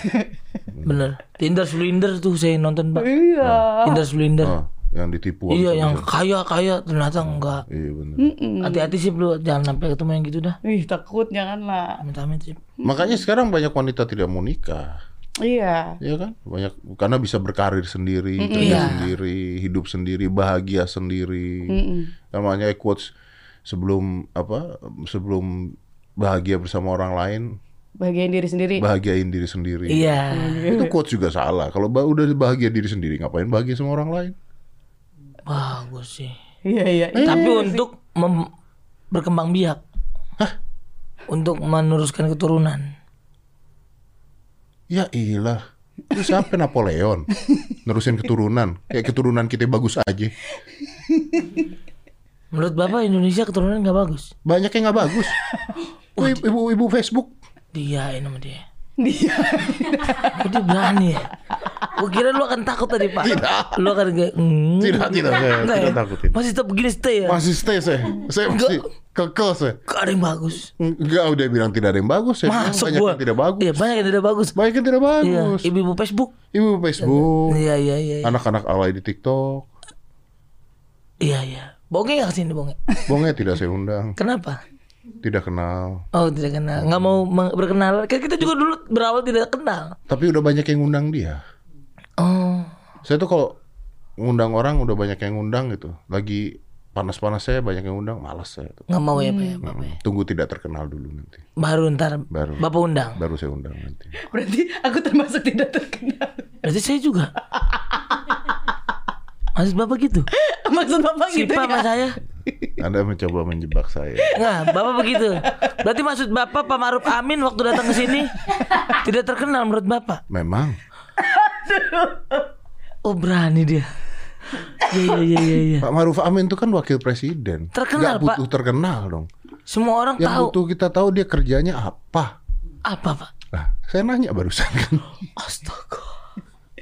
[SPEAKER 1] bener Tinder Slinder tuh saya nonton pak
[SPEAKER 2] Iya.
[SPEAKER 1] Tinder Slinder
[SPEAKER 3] Ah, yang ditipu.
[SPEAKER 1] iya
[SPEAKER 3] habis-habisan.
[SPEAKER 1] yang kaya kaya ternyata enggak
[SPEAKER 3] Iya benar.
[SPEAKER 2] Mm.
[SPEAKER 1] hati-hati sih lu jangan sampai ketemu yang gitu dah
[SPEAKER 2] Ih kan, takut jangan lah.
[SPEAKER 1] amit-amit sih
[SPEAKER 3] Hmm. Makanya sekarang banyak wanita tidak mau nikah.
[SPEAKER 2] Iya.
[SPEAKER 3] Iya kan? Banyak karena bisa berkarir sendiri, kerja sendiri, hidup sendiri, bahagia sendiri. Namanya quotes sebelum apa? Sebelum bahagia bersama orang lain,
[SPEAKER 2] Bahagiain diri sendiri.
[SPEAKER 3] bahagiain diri sendiri.
[SPEAKER 1] iya
[SPEAKER 2] Mm.
[SPEAKER 3] Itu quotes juga salah. Kalau ba- udah bahagia diri sendiri, ngapain bahagia sama orang lain?
[SPEAKER 1] bagus sih
[SPEAKER 2] Iya iya.
[SPEAKER 1] tapi untuk mem- berkembang biak untuk meneruskan keturunan
[SPEAKER 3] Ya ilah. Lu siapa Napoleon? Nerusin keturunan. Kayak keturunan kita bagus aja.
[SPEAKER 1] Menurut Bapak Indonesia keturunan nggak bagus?
[SPEAKER 3] Banyak yang nggak bagus. Wih, Ibu-ibu Facebook
[SPEAKER 1] Diain sama dia.
[SPEAKER 2] Dia.
[SPEAKER 1] Kok dia berani ya? Gue kira lu akan takut tadi Pak.
[SPEAKER 3] Tidak.
[SPEAKER 1] Lu akan kayak hmm.
[SPEAKER 3] tidak tidak saya
[SPEAKER 1] Nggak
[SPEAKER 3] tidak
[SPEAKER 1] ya?
[SPEAKER 3] takutin.
[SPEAKER 1] Masih tetap begini stay ya?
[SPEAKER 3] Masih stay saya. Saya masih kekeh saya.
[SPEAKER 1] Gak ada yang bagus.
[SPEAKER 3] Enggak udah bilang tidak ada yang bagus saya bilang
[SPEAKER 1] Masuk
[SPEAKER 3] banyak
[SPEAKER 1] gua.
[SPEAKER 3] yang tidak bagus.
[SPEAKER 1] Iya banyak yang tidak bagus.
[SPEAKER 3] Banyak yang tidak
[SPEAKER 1] Iya.
[SPEAKER 3] bagus.
[SPEAKER 1] Ibu-ibu Facebook.
[SPEAKER 3] Ibu Facebook,
[SPEAKER 1] Iya iya iya. iya.
[SPEAKER 3] anak-anak alay di TikTok.
[SPEAKER 1] Iya iya. Bonge nggak kesini bonge?
[SPEAKER 3] Bonge tidak saya undang,
[SPEAKER 1] Kenapa?
[SPEAKER 3] tidak kenal.
[SPEAKER 1] Oh tidak kenal. Nggak mau meng- berkenalan. Kan kita juga dulu berawal tidak kenal.
[SPEAKER 3] Tapi udah banyak yang undang dia.
[SPEAKER 1] Oh.
[SPEAKER 3] Saya tuh kalau ngundang orang udah banyak yang ngundang gitu. Lagi panas-panas saya banyak yang undang, malas saya tuh.
[SPEAKER 1] Nggak mau ya Pak ya, Bapak.
[SPEAKER 3] Hmm, Tunggu tidak terkenal dulu nanti.
[SPEAKER 1] Baru ntar
[SPEAKER 3] Baru.
[SPEAKER 1] Bapak undang.
[SPEAKER 3] Baru saya undang nanti.
[SPEAKER 2] Berarti aku termasuk tidak terkenal.
[SPEAKER 1] Berarti saya juga. Maksud Bapak gitu?
[SPEAKER 2] Maksud bapak gitu
[SPEAKER 1] Sipa sama
[SPEAKER 2] ya?
[SPEAKER 1] saya?
[SPEAKER 3] Anda mencoba menjebak saya.
[SPEAKER 1] Enggak, Bapak begitu. Berarti maksud Bapak Pak Maruf Amin waktu datang ke sini tidak terkenal menurut Bapak.
[SPEAKER 3] Memang
[SPEAKER 1] Oh, berani dia. Iya iya iya iya. iya.
[SPEAKER 3] Pak Maruf Amin itu kan wakil presiden.
[SPEAKER 1] Terkenal,
[SPEAKER 3] Nggak butuh terkenal dong.
[SPEAKER 1] Semua orang
[SPEAKER 3] Yang
[SPEAKER 1] tahu
[SPEAKER 3] butuh kita tahu dia kerjanya apa.
[SPEAKER 1] apa, Pak?
[SPEAKER 3] Nah, saya nanya barusan kan.
[SPEAKER 1] Astaga.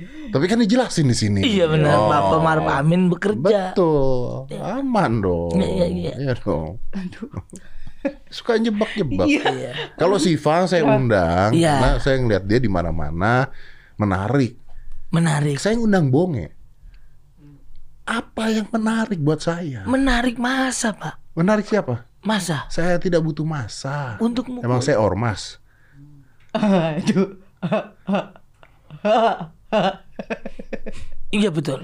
[SPEAKER 3] Tapi kan dijelasin di sini.
[SPEAKER 1] Iya benar,
[SPEAKER 3] Oh,
[SPEAKER 1] Bapak Maruf Amin bekerja.
[SPEAKER 3] Betul. Aman dong.
[SPEAKER 1] Iya, iya, iya.
[SPEAKER 3] dong. Suka jebak-jebak. Kalau Siva saya undang,
[SPEAKER 1] Iya.
[SPEAKER 3] karena saya ngeliat dia di mana-mana menarik.
[SPEAKER 1] Menarik.
[SPEAKER 3] Saya ngundang Bonge. Apa yang menarik buat saya?
[SPEAKER 1] Menarik masa, Pak?
[SPEAKER 3] Menarik siapa?
[SPEAKER 1] Masa
[SPEAKER 3] Saya tidak butuh masa.
[SPEAKER 1] untuk mukul.
[SPEAKER 3] Emang saya ormas.
[SPEAKER 2] Aduh.
[SPEAKER 1] Iya betul.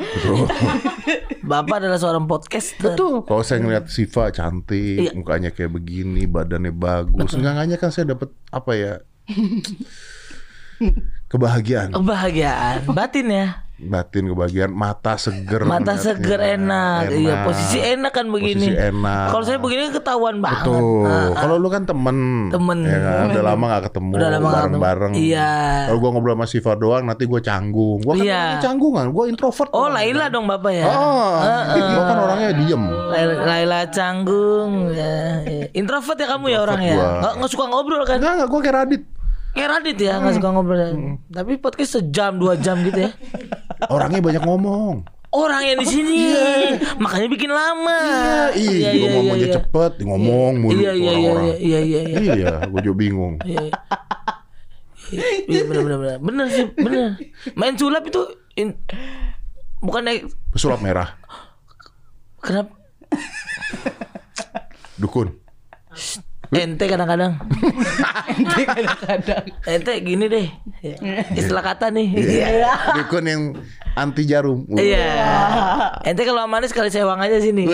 [SPEAKER 1] Bapak adalah seorang podcaster.
[SPEAKER 3] Betul. Kalau saya ngeliat Siva cantik,
[SPEAKER 1] Iya.
[SPEAKER 3] mukanya kayak begini, badannya bagus, seenggaknya kan saya dapat apa ya?
[SPEAKER 1] Oh.
[SPEAKER 3] kebahagiaan,
[SPEAKER 1] Kebahagiaan batin ya.
[SPEAKER 3] batin kebahagiaan, mata seger.
[SPEAKER 1] Mata
[SPEAKER 3] ngeliatnya.
[SPEAKER 1] seger enak. Iya, posisi enak kan begini.
[SPEAKER 3] Iya, Posisi enak.
[SPEAKER 1] Kalau saya begini ketahuan banget.
[SPEAKER 3] Tuh,
[SPEAKER 1] Nah,
[SPEAKER 3] kalau lu kan temen,
[SPEAKER 1] Temen.
[SPEAKER 3] ya kan? udah lama gak ketemu,
[SPEAKER 1] Udah lama nggak
[SPEAKER 3] bareng-bareng.
[SPEAKER 1] ketemu. Iya.
[SPEAKER 3] Kalau gua ngobrol sama Siva doang, nanti gua canggung. Gua kan
[SPEAKER 1] Iya.
[SPEAKER 3] orangnya canggungan, gua introvert.
[SPEAKER 1] oh,
[SPEAKER 3] orangnya.
[SPEAKER 1] Laila dong Bapak ya.
[SPEAKER 3] Oh, gua kan orangnya diem.
[SPEAKER 1] Laila, Laila canggung. Ya, ya. Introvert ya kamu ya orangnya.
[SPEAKER 3] gua.
[SPEAKER 1] Nggak, nggak suka ngobrol kan?
[SPEAKER 3] Enggak, enggak, gua kayak Radit.
[SPEAKER 1] Kayak Radit ya, nggak suka ngobrol. Tapi podcast sejam dua jam gitu ya.
[SPEAKER 3] Orangnya banyak ngomong.
[SPEAKER 1] Orang yang di sini, makanya bikin lama.
[SPEAKER 3] Iya, iya, ngomong aja cepet, ngomong mulu
[SPEAKER 1] Iya, iya,
[SPEAKER 3] tuh
[SPEAKER 1] iya,
[SPEAKER 3] orang-orang.
[SPEAKER 1] iya, iya, iya, iya.
[SPEAKER 3] Iya, gue juga bingung.
[SPEAKER 1] Iya, iya. Iya, bener, bener, bener. Bener sih, bener. Main sulap itu in- bukan naik
[SPEAKER 3] Pesulap merah,
[SPEAKER 1] kenapa
[SPEAKER 3] dukun.
[SPEAKER 1] ente kadang-kadang.
[SPEAKER 2] Nanti kadang-kadang.
[SPEAKER 1] Ente gini deh. Ya. Istilah kata nih. Iya.
[SPEAKER 3] Dukun yang anti jarum. Wah.
[SPEAKER 1] Ente kalau sama manis kali sewang aja sini.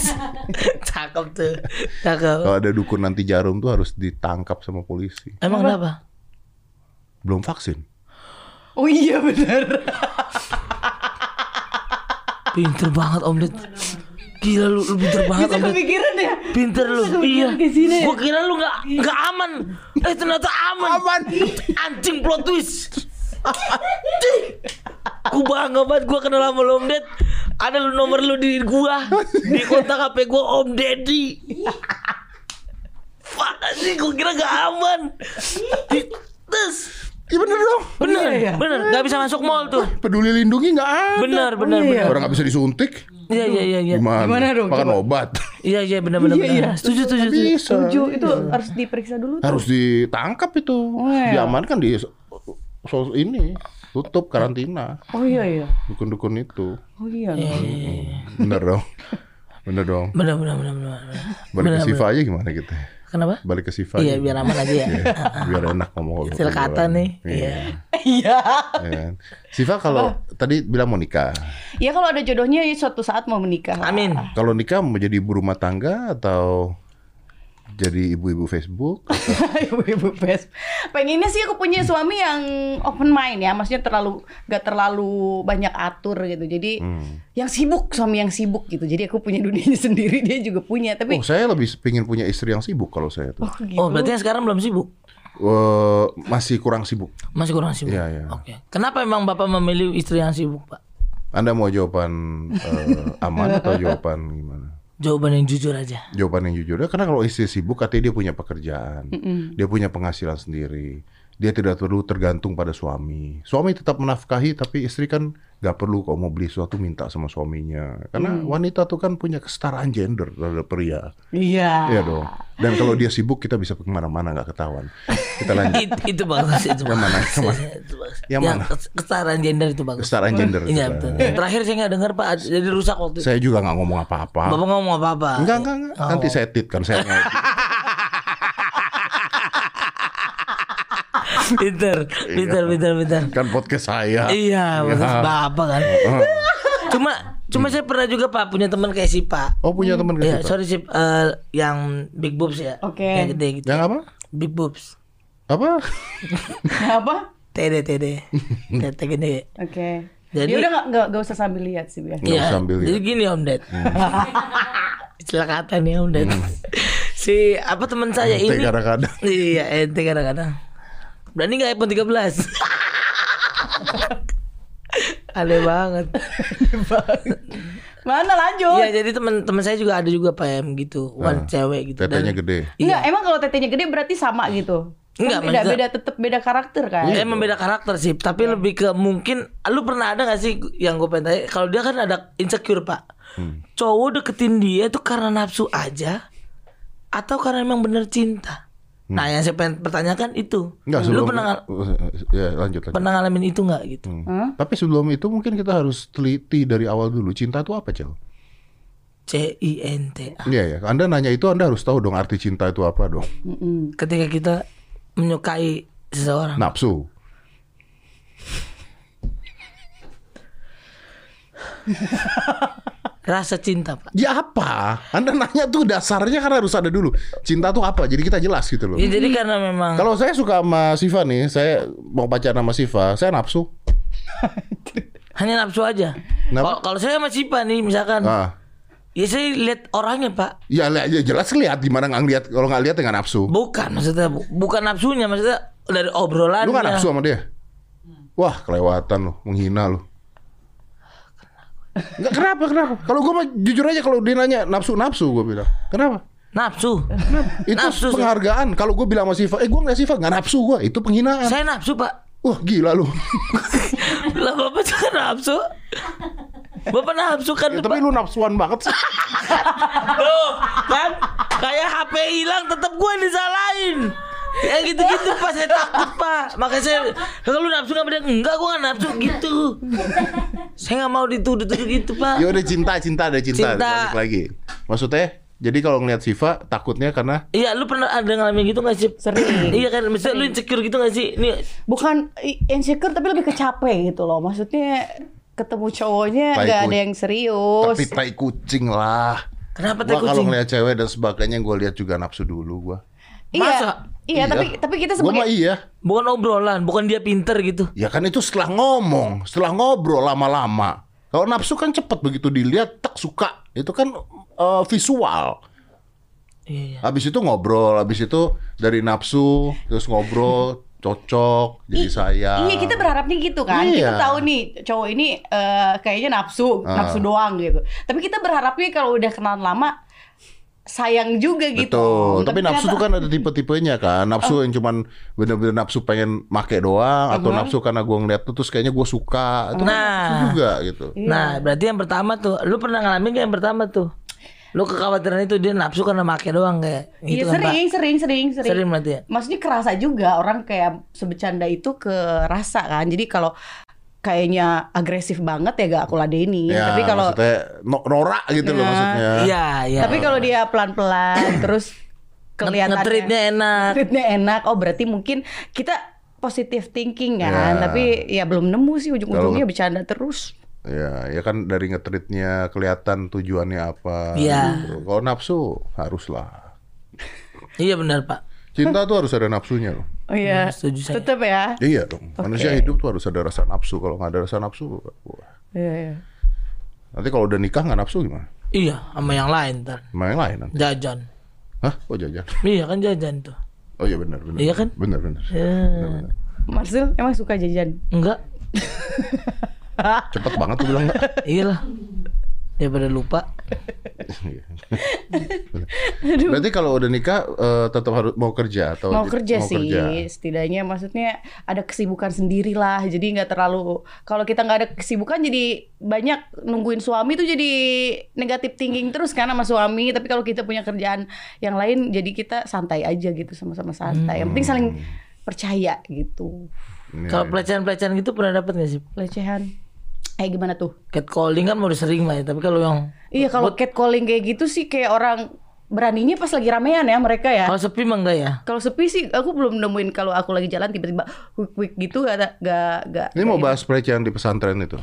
[SPEAKER 1] Cakep tuh. Cakep.
[SPEAKER 3] Kalau ada dukun anti jarum tuh harus ditangkap sama polisi.
[SPEAKER 1] Emang kenapa?
[SPEAKER 3] Belum vaksin.
[SPEAKER 2] Oh iya benar.
[SPEAKER 1] Pinter banget Om Lid. Gila lu, lu pinter banget
[SPEAKER 2] Bisa
[SPEAKER 1] Amrit.
[SPEAKER 2] kepikiran ya?
[SPEAKER 1] Pinter lu,
[SPEAKER 2] Bisa kepikiran
[SPEAKER 1] iya.
[SPEAKER 2] ke sini ya?
[SPEAKER 1] Gua kira lu gak, nggak aman Eh ternyata aman Aman Anjing plot twist Anjing. Gua bangga banget gua kenal sama lu Om Ded Ada lu nomor lu di gua Di kontak HP gua Om Deddy Fuck anjing gua kira gak aman Tes
[SPEAKER 3] Iya bener dong.
[SPEAKER 1] Bener,
[SPEAKER 2] Iya, iya.
[SPEAKER 1] bener, gak bisa masuk mall tuh
[SPEAKER 3] Peduli lindungi nggak ada.
[SPEAKER 1] Bener, bener,
[SPEAKER 2] iya.
[SPEAKER 1] bener
[SPEAKER 3] Orang nggak bisa disuntik.
[SPEAKER 1] Iya, iya, iya, iya
[SPEAKER 3] Gimana?
[SPEAKER 2] Gimana dong,
[SPEAKER 3] Makan
[SPEAKER 2] coba?
[SPEAKER 3] obat.
[SPEAKER 1] Iya, iya, bener, bener,
[SPEAKER 2] Iya,
[SPEAKER 1] bener.
[SPEAKER 2] iya.
[SPEAKER 1] Setuju, setuju, setuju
[SPEAKER 3] Bisa.
[SPEAKER 2] Tujuh itu harus diperiksa dulu.
[SPEAKER 3] Harus ditangkap itu.
[SPEAKER 2] Well.
[SPEAKER 3] Diamankan di so ini tutup karantina
[SPEAKER 2] Oh iya iya.
[SPEAKER 3] dukun-dukun itu.
[SPEAKER 2] Oh iya.
[SPEAKER 3] Bener dong. Bener dong.
[SPEAKER 1] Bener, bener, bener, bener, bener.
[SPEAKER 3] Balik
[SPEAKER 1] Bener,
[SPEAKER 3] ke Siva aja gimana gitu.
[SPEAKER 1] Kenapa?
[SPEAKER 3] Balik ke Siva.
[SPEAKER 1] Iya
[SPEAKER 3] aja.
[SPEAKER 1] biar aman aja ya.
[SPEAKER 3] biar enak ngomong
[SPEAKER 1] Hasil kata nih.
[SPEAKER 3] Iya.
[SPEAKER 1] Iya.
[SPEAKER 2] Iya.
[SPEAKER 3] Iya kan? Siva kalau tadi bilang mau nikah,
[SPEAKER 2] Ya kalau ada jodohnya ya suatu saat mau menikah.
[SPEAKER 1] Amin.
[SPEAKER 3] kalau nikah mau jadi ibu rumah tangga atau jadi ibu-ibu Facebook?
[SPEAKER 2] Ibu-ibu pes. Pengennya sih aku punya suami yang open mind ya, maksudnya terlalu gak terlalu banyak atur gitu. Jadi
[SPEAKER 3] Hmm.
[SPEAKER 2] yang sibuk suami yang sibuk gitu. Jadi aku punya dunianya sendiri, dia juga punya. Tapi
[SPEAKER 3] Oh, saya lebih pingin punya istri yang sibuk kalau saya tuh.
[SPEAKER 2] Oh, gitu.
[SPEAKER 1] Oh berarti yang sekarang belum sibuk?
[SPEAKER 3] Eh, masih kurang sibuk.
[SPEAKER 1] Masih kurang sibuk.
[SPEAKER 3] Iya, iya.
[SPEAKER 1] Oke. Kenapa emang bapak memilih istri yang sibuk pak?
[SPEAKER 3] Anda mau jawaban eh, aman atau jawaban gimana?
[SPEAKER 1] Jawaban yang jujur aja.
[SPEAKER 3] Jawaban yang jujur ya, karena kalau istri sibuk katanya dia punya pekerjaan, dia punya penghasilan sendiri, dia tidak perlu tergantung pada suami. Suami tetap menafkahi, tapi istri kan nggak perlu kalau mau beli sesuatu minta sama suaminya, karena
[SPEAKER 1] Mm.
[SPEAKER 3] wanita tuh kan punya kesetaraan gender terhadap pria.
[SPEAKER 2] Iya.
[SPEAKER 3] Iya dong. Dan kalau dia sibuk kita bisa kemana-mana nggak ketahuan. Kita lanjut.
[SPEAKER 1] It- itu bagus itu
[SPEAKER 3] Yang mana?
[SPEAKER 1] bagus. Iya,
[SPEAKER 3] Yang mana?
[SPEAKER 1] Itu bagus.
[SPEAKER 3] Yang
[SPEAKER 1] Yang
[SPEAKER 3] mana?
[SPEAKER 1] kes- kesetaraan gender itu bagus.
[SPEAKER 3] Kesetaraan gender.
[SPEAKER 1] Iya
[SPEAKER 3] kita.
[SPEAKER 1] betul. Yang terakhir saya nggak dengar pak, jadi rusak waktu. itu.
[SPEAKER 3] Saya juga nggak ngomong apa-apa.
[SPEAKER 1] Bapak ngomong apa apa?
[SPEAKER 3] Enggak, enggak, enggak.
[SPEAKER 1] Oh.
[SPEAKER 3] Nanti saya edit kan saya ngedit.
[SPEAKER 1] Pinter, pinter, pinter, pinter.
[SPEAKER 3] kan podcast saya.
[SPEAKER 1] Iya, bagus bapak kan.
[SPEAKER 3] Iya.
[SPEAKER 1] Cuma, cuma saya pernah juga pak punya teman kayak si pak.
[SPEAKER 3] Oh punya teman
[SPEAKER 1] Iya,
[SPEAKER 3] kayak gitu.
[SPEAKER 1] sorry sih eh, yang big boobs ya.
[SPEAKER 2] Oke.
[SPEAKER 1] Yang gede gitu.
[SPEAKER 3] Yang apa?
[SPEAKER 1] Big boobs.
[SPEAKER 3] Apa?
[SPEAKER 2] Apa?
[SPEAKER 1] TD TD. Tete gede.
[SPEAKER 2] Oke.
[SPEAKER 1] Jadi-
[SPEAKER 2] Jadi udah nggak nggak nggak usah sambil lihat sih biar.
[SPEAKER 3] Nggak usah ambil, ya.
[SPEAKER 1] Iya. Jadi gini Om Ded. Istilah kata nih Om Ded. si apa teman saya
[SPEAKER 3] Hmm. Ente
[SPEAKER 1] ini?
[SPEAKER 3] kadang-kadang.
[SPEAKER 1] Iya, ente kadang-kadang. Berani nggak iPhone 13? Aneh banget.
[SPEAKER 2] Mana
[SPEAKER 3] Oh.
[SPEAKER 1] Iya,
[SPEAKER 2] lanjut?
[SPEAKER 1] jadi teman-teman saya juga ada juga PM gitu, one cewek gitu.
[SPEAKER 3] Ah, Tetenya gede.
[SPEAKER 2] Iya, emang kalau tetenya gede berarti sama gitu. Kan
[SPEAKER 1] Enggak,
[SPEAKER 2] beda
[SPEAKER 1] maksudnya-
[SPEAKER 2] beda tetap beda karakter kan.
[SPEAKER 3] Iya
[SPEAKER 1] Eh, Emang beda karakter sih, tapi lebih ke mungkin lu pernah ada gak sih yang gue pengen tanya? Kalau dia kan ada insecure pak,
[SPEAKER 3] Hmm.
[SPEAKER 1] cowok deketin dia itu karena nafsu aja atau karena emang bener cinta?
[SPEAKER 3] Hmm.
[SPEAKER 1] Nah yang saya pengen pertanyakan itu,
[SPEAKER 3] Enggak
[SPEAKER 1] lu
[SPEAKER 3] sebelum
[SPEAKER 1] pernah ngal-
[SPEAKER 3] ya lanjut lanjut.
[SPEAKER 1] pernah ngalamin itu nggak gitu?
[SPEAKER 3] Hmm.
[SPEAKER 2] Hah?
[SPEAKER 3] Tapi sebelum itu mungkin kita harus teliti dari awal dulu cinta itu apa, Cel?
[SPEAKER 1] C I N T A.
[SPEAKER 3] Iya ya, Anda nanya itu Anda harus tahu dong arti cinta itu apa dong.
[SPEAKER 2] Mm-mm.
[SPEAKER 1] Ketika kita menyukai seseorang,
[SPEAKER 3] Nafsu. Nah.
[SPEAKER 1] rasa cinta pak.
[SPEAKER 3] Ya apa? Anda nanya tuh dasarnya kan harus ada dulu. Cinta tuh apa? Jadi kita jelas gitu loh.
[SPEAKER 1] Ya, jadi karena memang
[SPEAKER 3] Kalau saya suka sama Siva nih, saya mau pacaran sama Siva, saya nafsu.
[SPEAKER 1] hanya nafsu aja.
[SPEAKER 3] Kenapa?
[SPEAKER 1] Kalau kalau saya sama Sipa nih misalkan,
[SPEAKER 3] Ah.
[SPEAKER 1] ya saya lihat orangnya pak.
[SPEAKER 3] Ya, li- ya jelas lihat gimana nggak lihat kalau nggak lihat dengan nafsu.
[SPEAKER 1] Bukan maksudnya bu- bukan nafsunya maksudnya dari obrolan.
[SPEAKER 3] Lu nggak nafsu sama dia? Wah kelewatan lo, menghina lo. Nggak kenapa kenapa? Kalau gue mah jujur aja kalau dia nanya nafsu nafsu gue bilang kenapa?
[SPEAKER 1] Nafsu.
[SPEAKER 3] Itu
[SPEAKER 1] Nafsu, Su.
[SPEAKER 3] penghargaan. Kalau gue bilang sama Siva, eh gue nggak Siva nggak nafsu gue, itu penghinaan.
[SPEAKER 1] Saya nafsu pak.
[SPEAKER 3] Wah gila lu.
[SPEAKER 1] Lah bapak juga nafsu. Bapak nafsu kan
[SPEAKER 3] Ya,
[SPEAKER 1] Pak?
[SPEAKER 3] tapi lu nafsuan banget sih.
[SPEAKER 1] Tuh, kan kayak HP hilang tetap gua yang disalahin. Ya gitu-gitu pak saya takut pak Makanya saya Kalau lu nafsu gak beda Enggak gua gak nafsu gitu Saya gak mau dituduh-tuduh gitu
[SPEAKER 3] Ya
[SPEAKER 1] pak
[SPEAKER 3] udah cinta, cinta ada
[SPEAKER 1] Cinta.
[SPEAKER 3] cinta. Balik lagi. Maksudnya, jadi kalau ngelihat Siva takutnya karena
[SPEAKER 1] Iya lu pernah ada ngalamin gitu gak sih?
[SPEAKER 2] Sering.
[SPEAKER 1] Iya kan Misalnya lu insecure gitu gak sih? Ini
[SPEAKER 2] Bukan i- insecure tapi lebih kecapek gitu loh. Maksudnya ketemu cowoknya
[SPEAKER 3] Tai
[SPEAKER 2] nggak ada
[SPEAKER 3] kuc-
[SPEAKER 2] yang serius.
[SPEAKER 3] tapi tai kucing lah.
[SPEAKER 1] Kenapa
[SPEAKER 3] Gua
[SPEAKER 1] teh
[SPEAKER 3] kalau
[SPEAKER 1] kucing?
[SPEAKER 3] ngelihat cewek dan sebagainya gue lihat juga nafsu dulu gua.
[SPEAKER 2] iya.
[SPEAKER 1] Masa?
[SPEAKER 2] Iya, tapi tapi kita
[SPEAKER 3] Gua mah
[SPEAKER 2] sebagai
[SPEAKER 3] iya.
[SPEAKER 1] Bukan obrolan Bukan dia pinter gitu
[SPEAKER 3] Ya kan itu setelah ngomong, setelah ngobrol lama-lama. Kalau nafsu kan cepet begitu dilihat tak suka. Itu kan eh, visual.
[SPEAKER 1] Iya.
[SPEAKER 3] Habis itu ngobrol, habis itu dari nafsu terus ngobrol, cocok jadi
[SPEAKER 2] I-
[SPEAKER 3] saya.
[SPEAKER 2] Iya kita berharapnya gitu kan. Kita
[SPEAKER 3] Iya.
[SPEAKER 2] tahu nih cowok ini eh, kayaknya nafsu,
[SPEAKER 3] Ah.
[SPEAKER 2] nafsu doang gitu. Tapi kita berharapnya kalau udah kenalan lama sayang juga gitu.
[SPEAKER 3] Betul, tapi, nafsu
[SPEAKER 2] ternyata-
[SPEAKER 3] itu kan ada tipe-tipenya kan. Nafsu
[SPEAKER 2] Oh.
[SPEAKER 3] yang cuman bener-bener nafsu pengen make doang atau nafsu karena gua ngeliat tuh terus kayaknya gua suka. Itu kan
[SPEAKER 1] Nah.
[SPEAKER 3] nafsu juga gitu.
[SPEAKER 2] Iya.
[SPEAKER 1] Nah, berarti yang pertama tuh, lu pernah ngalamin gak yang pertama tuh? Lu kekhawatiran itu dia nafsu karena make doang kayak
[SPEAKER 2] Iya
[SPEAKER 1] gitu kan, Pak?
[SPEAKER 2] sering, sering, sering, sering.
[SPEAKER 1] Sering berarti
[SPEAKER 3] Eh.
[SPEAKER 1] ya?
[SPEAKER 2] Maksudnya kerasa juga orang kayak sebecanda itu kerasa kan. Jadi kalau kayaknya agresif banget ya gak aku ladenin.
[SPEAKER 3] Ya,
[SPEAKER 2] tapi kalau
[SPEAKER 3] maksudnya no- norak gitu loh
[SPEAKER 2] Ya.
[SPEAKER 3] maksudnya.
[SPEAKER 1] Iya, iya.
[SPEAKER 2] tapi kalau dia pelan-pelan terus kelihatannya
[SPEAKER 1] Nge-treatnya enak.
[SPEAKER 2] treatnya enak. Oh berarti mungkin kita positive thinking kan.
[SPEAKER 3] Ya.
[SPEAKER 2] Tapi ya belum nemu sih ujung-ujungnya
[SPEAKER 3] Kalau-
[SPEAKER 2] bercanda terus.
[SPEAKER 3] Ya, ya kan dari ngetritnya kelihatan tujuannya apa.
[SPEAKER 1] Iya.
[SPEAKER 3] gitu. Kalau nafsu haruslah.
[SPEAKER 1] Iya benar, Pak.
[SPEAKER 3] Cinta tuh harus ada nafsunya loh.
[SPEAKER 2] Oh iya,
[SPEAKER 1] setuju saya.
[SPEAKER 2] tetap ya.
[SPEAKER 3] Iya dong. Manusia hidup tuh harus ada rasa nafsu. Kalau nggak ada rasa nafsu, wah.
[SPEAKER 2] Iya, iya.
[SPEAKER 3] nanti kalau udah nikah nggak nafsu gimana?
[SPEAKER 1] Iya, sama yang lain ntar.
[SPEAKER 3] Sama yang lain nanti.
[SPEAKER 1] Jajan.
[SPEAKER 3] Hah? Oh jajan.
[SPEAKER 1] Iya kan jajan tuh.
[SPEAKER 3] Oh iya benar benar.
[SPEAKER 1] Iya kan?
[SPEAKER 3] Benar benar. Eh.
[SPEAKER 1] Ya.
[SPEAKER 2] Marcel emang suka jajan.
[SPEAKER 1] Enggak.
[SPEAKER 3] Cepet banget tuh bilang nggak.
[SPEAKER 1] Iyalah. Daripada lupa.
[SPEAKER 3] Iya. Berarti kalau udah nikah eh, tetap harus mau kerja atau
[SPEAKER 2] mau kerja sih
[SPEAKER 3] kerja.
[SPEAKER 2] setidaknya maksudnya ada kesibukan sendiri lah jadi nggak terlalu kalau kita nggak ada kesibukan jadi banyak nungguin suami tuh jadi negatif thinking terus kan sama suami tapi kalau kita punya kerjaan yang lain jadi kita santai aja gitu sama-sama santai yang penting saling percaya gitu
[SPEAKER 3] Iya.
[SPEAKER 1] Kalau pelecehan-pelecehan gitu pernah dapat gak sih?
[SPEAKER 2] lecehan eh gimana tuh
[SPEAKER 1] Catcalling kan udah sering mah ya, tapi kalau yang
[SPEAKER 2] iya kalau catcalling kayak gitu sih kayak orang beraninya pas lagi ramean ya mereka ya
[SPEAKER 1] kalau sepi mah enggak ya?
[SPEAKER 2] kalau sepi sih aku belum nemuin kalau aku lagi jalan tiba-tiba quick quick gitu gak ada- gak gak
[SPEAKER 3] Ini mau bahas pelecehan di pesantren itu.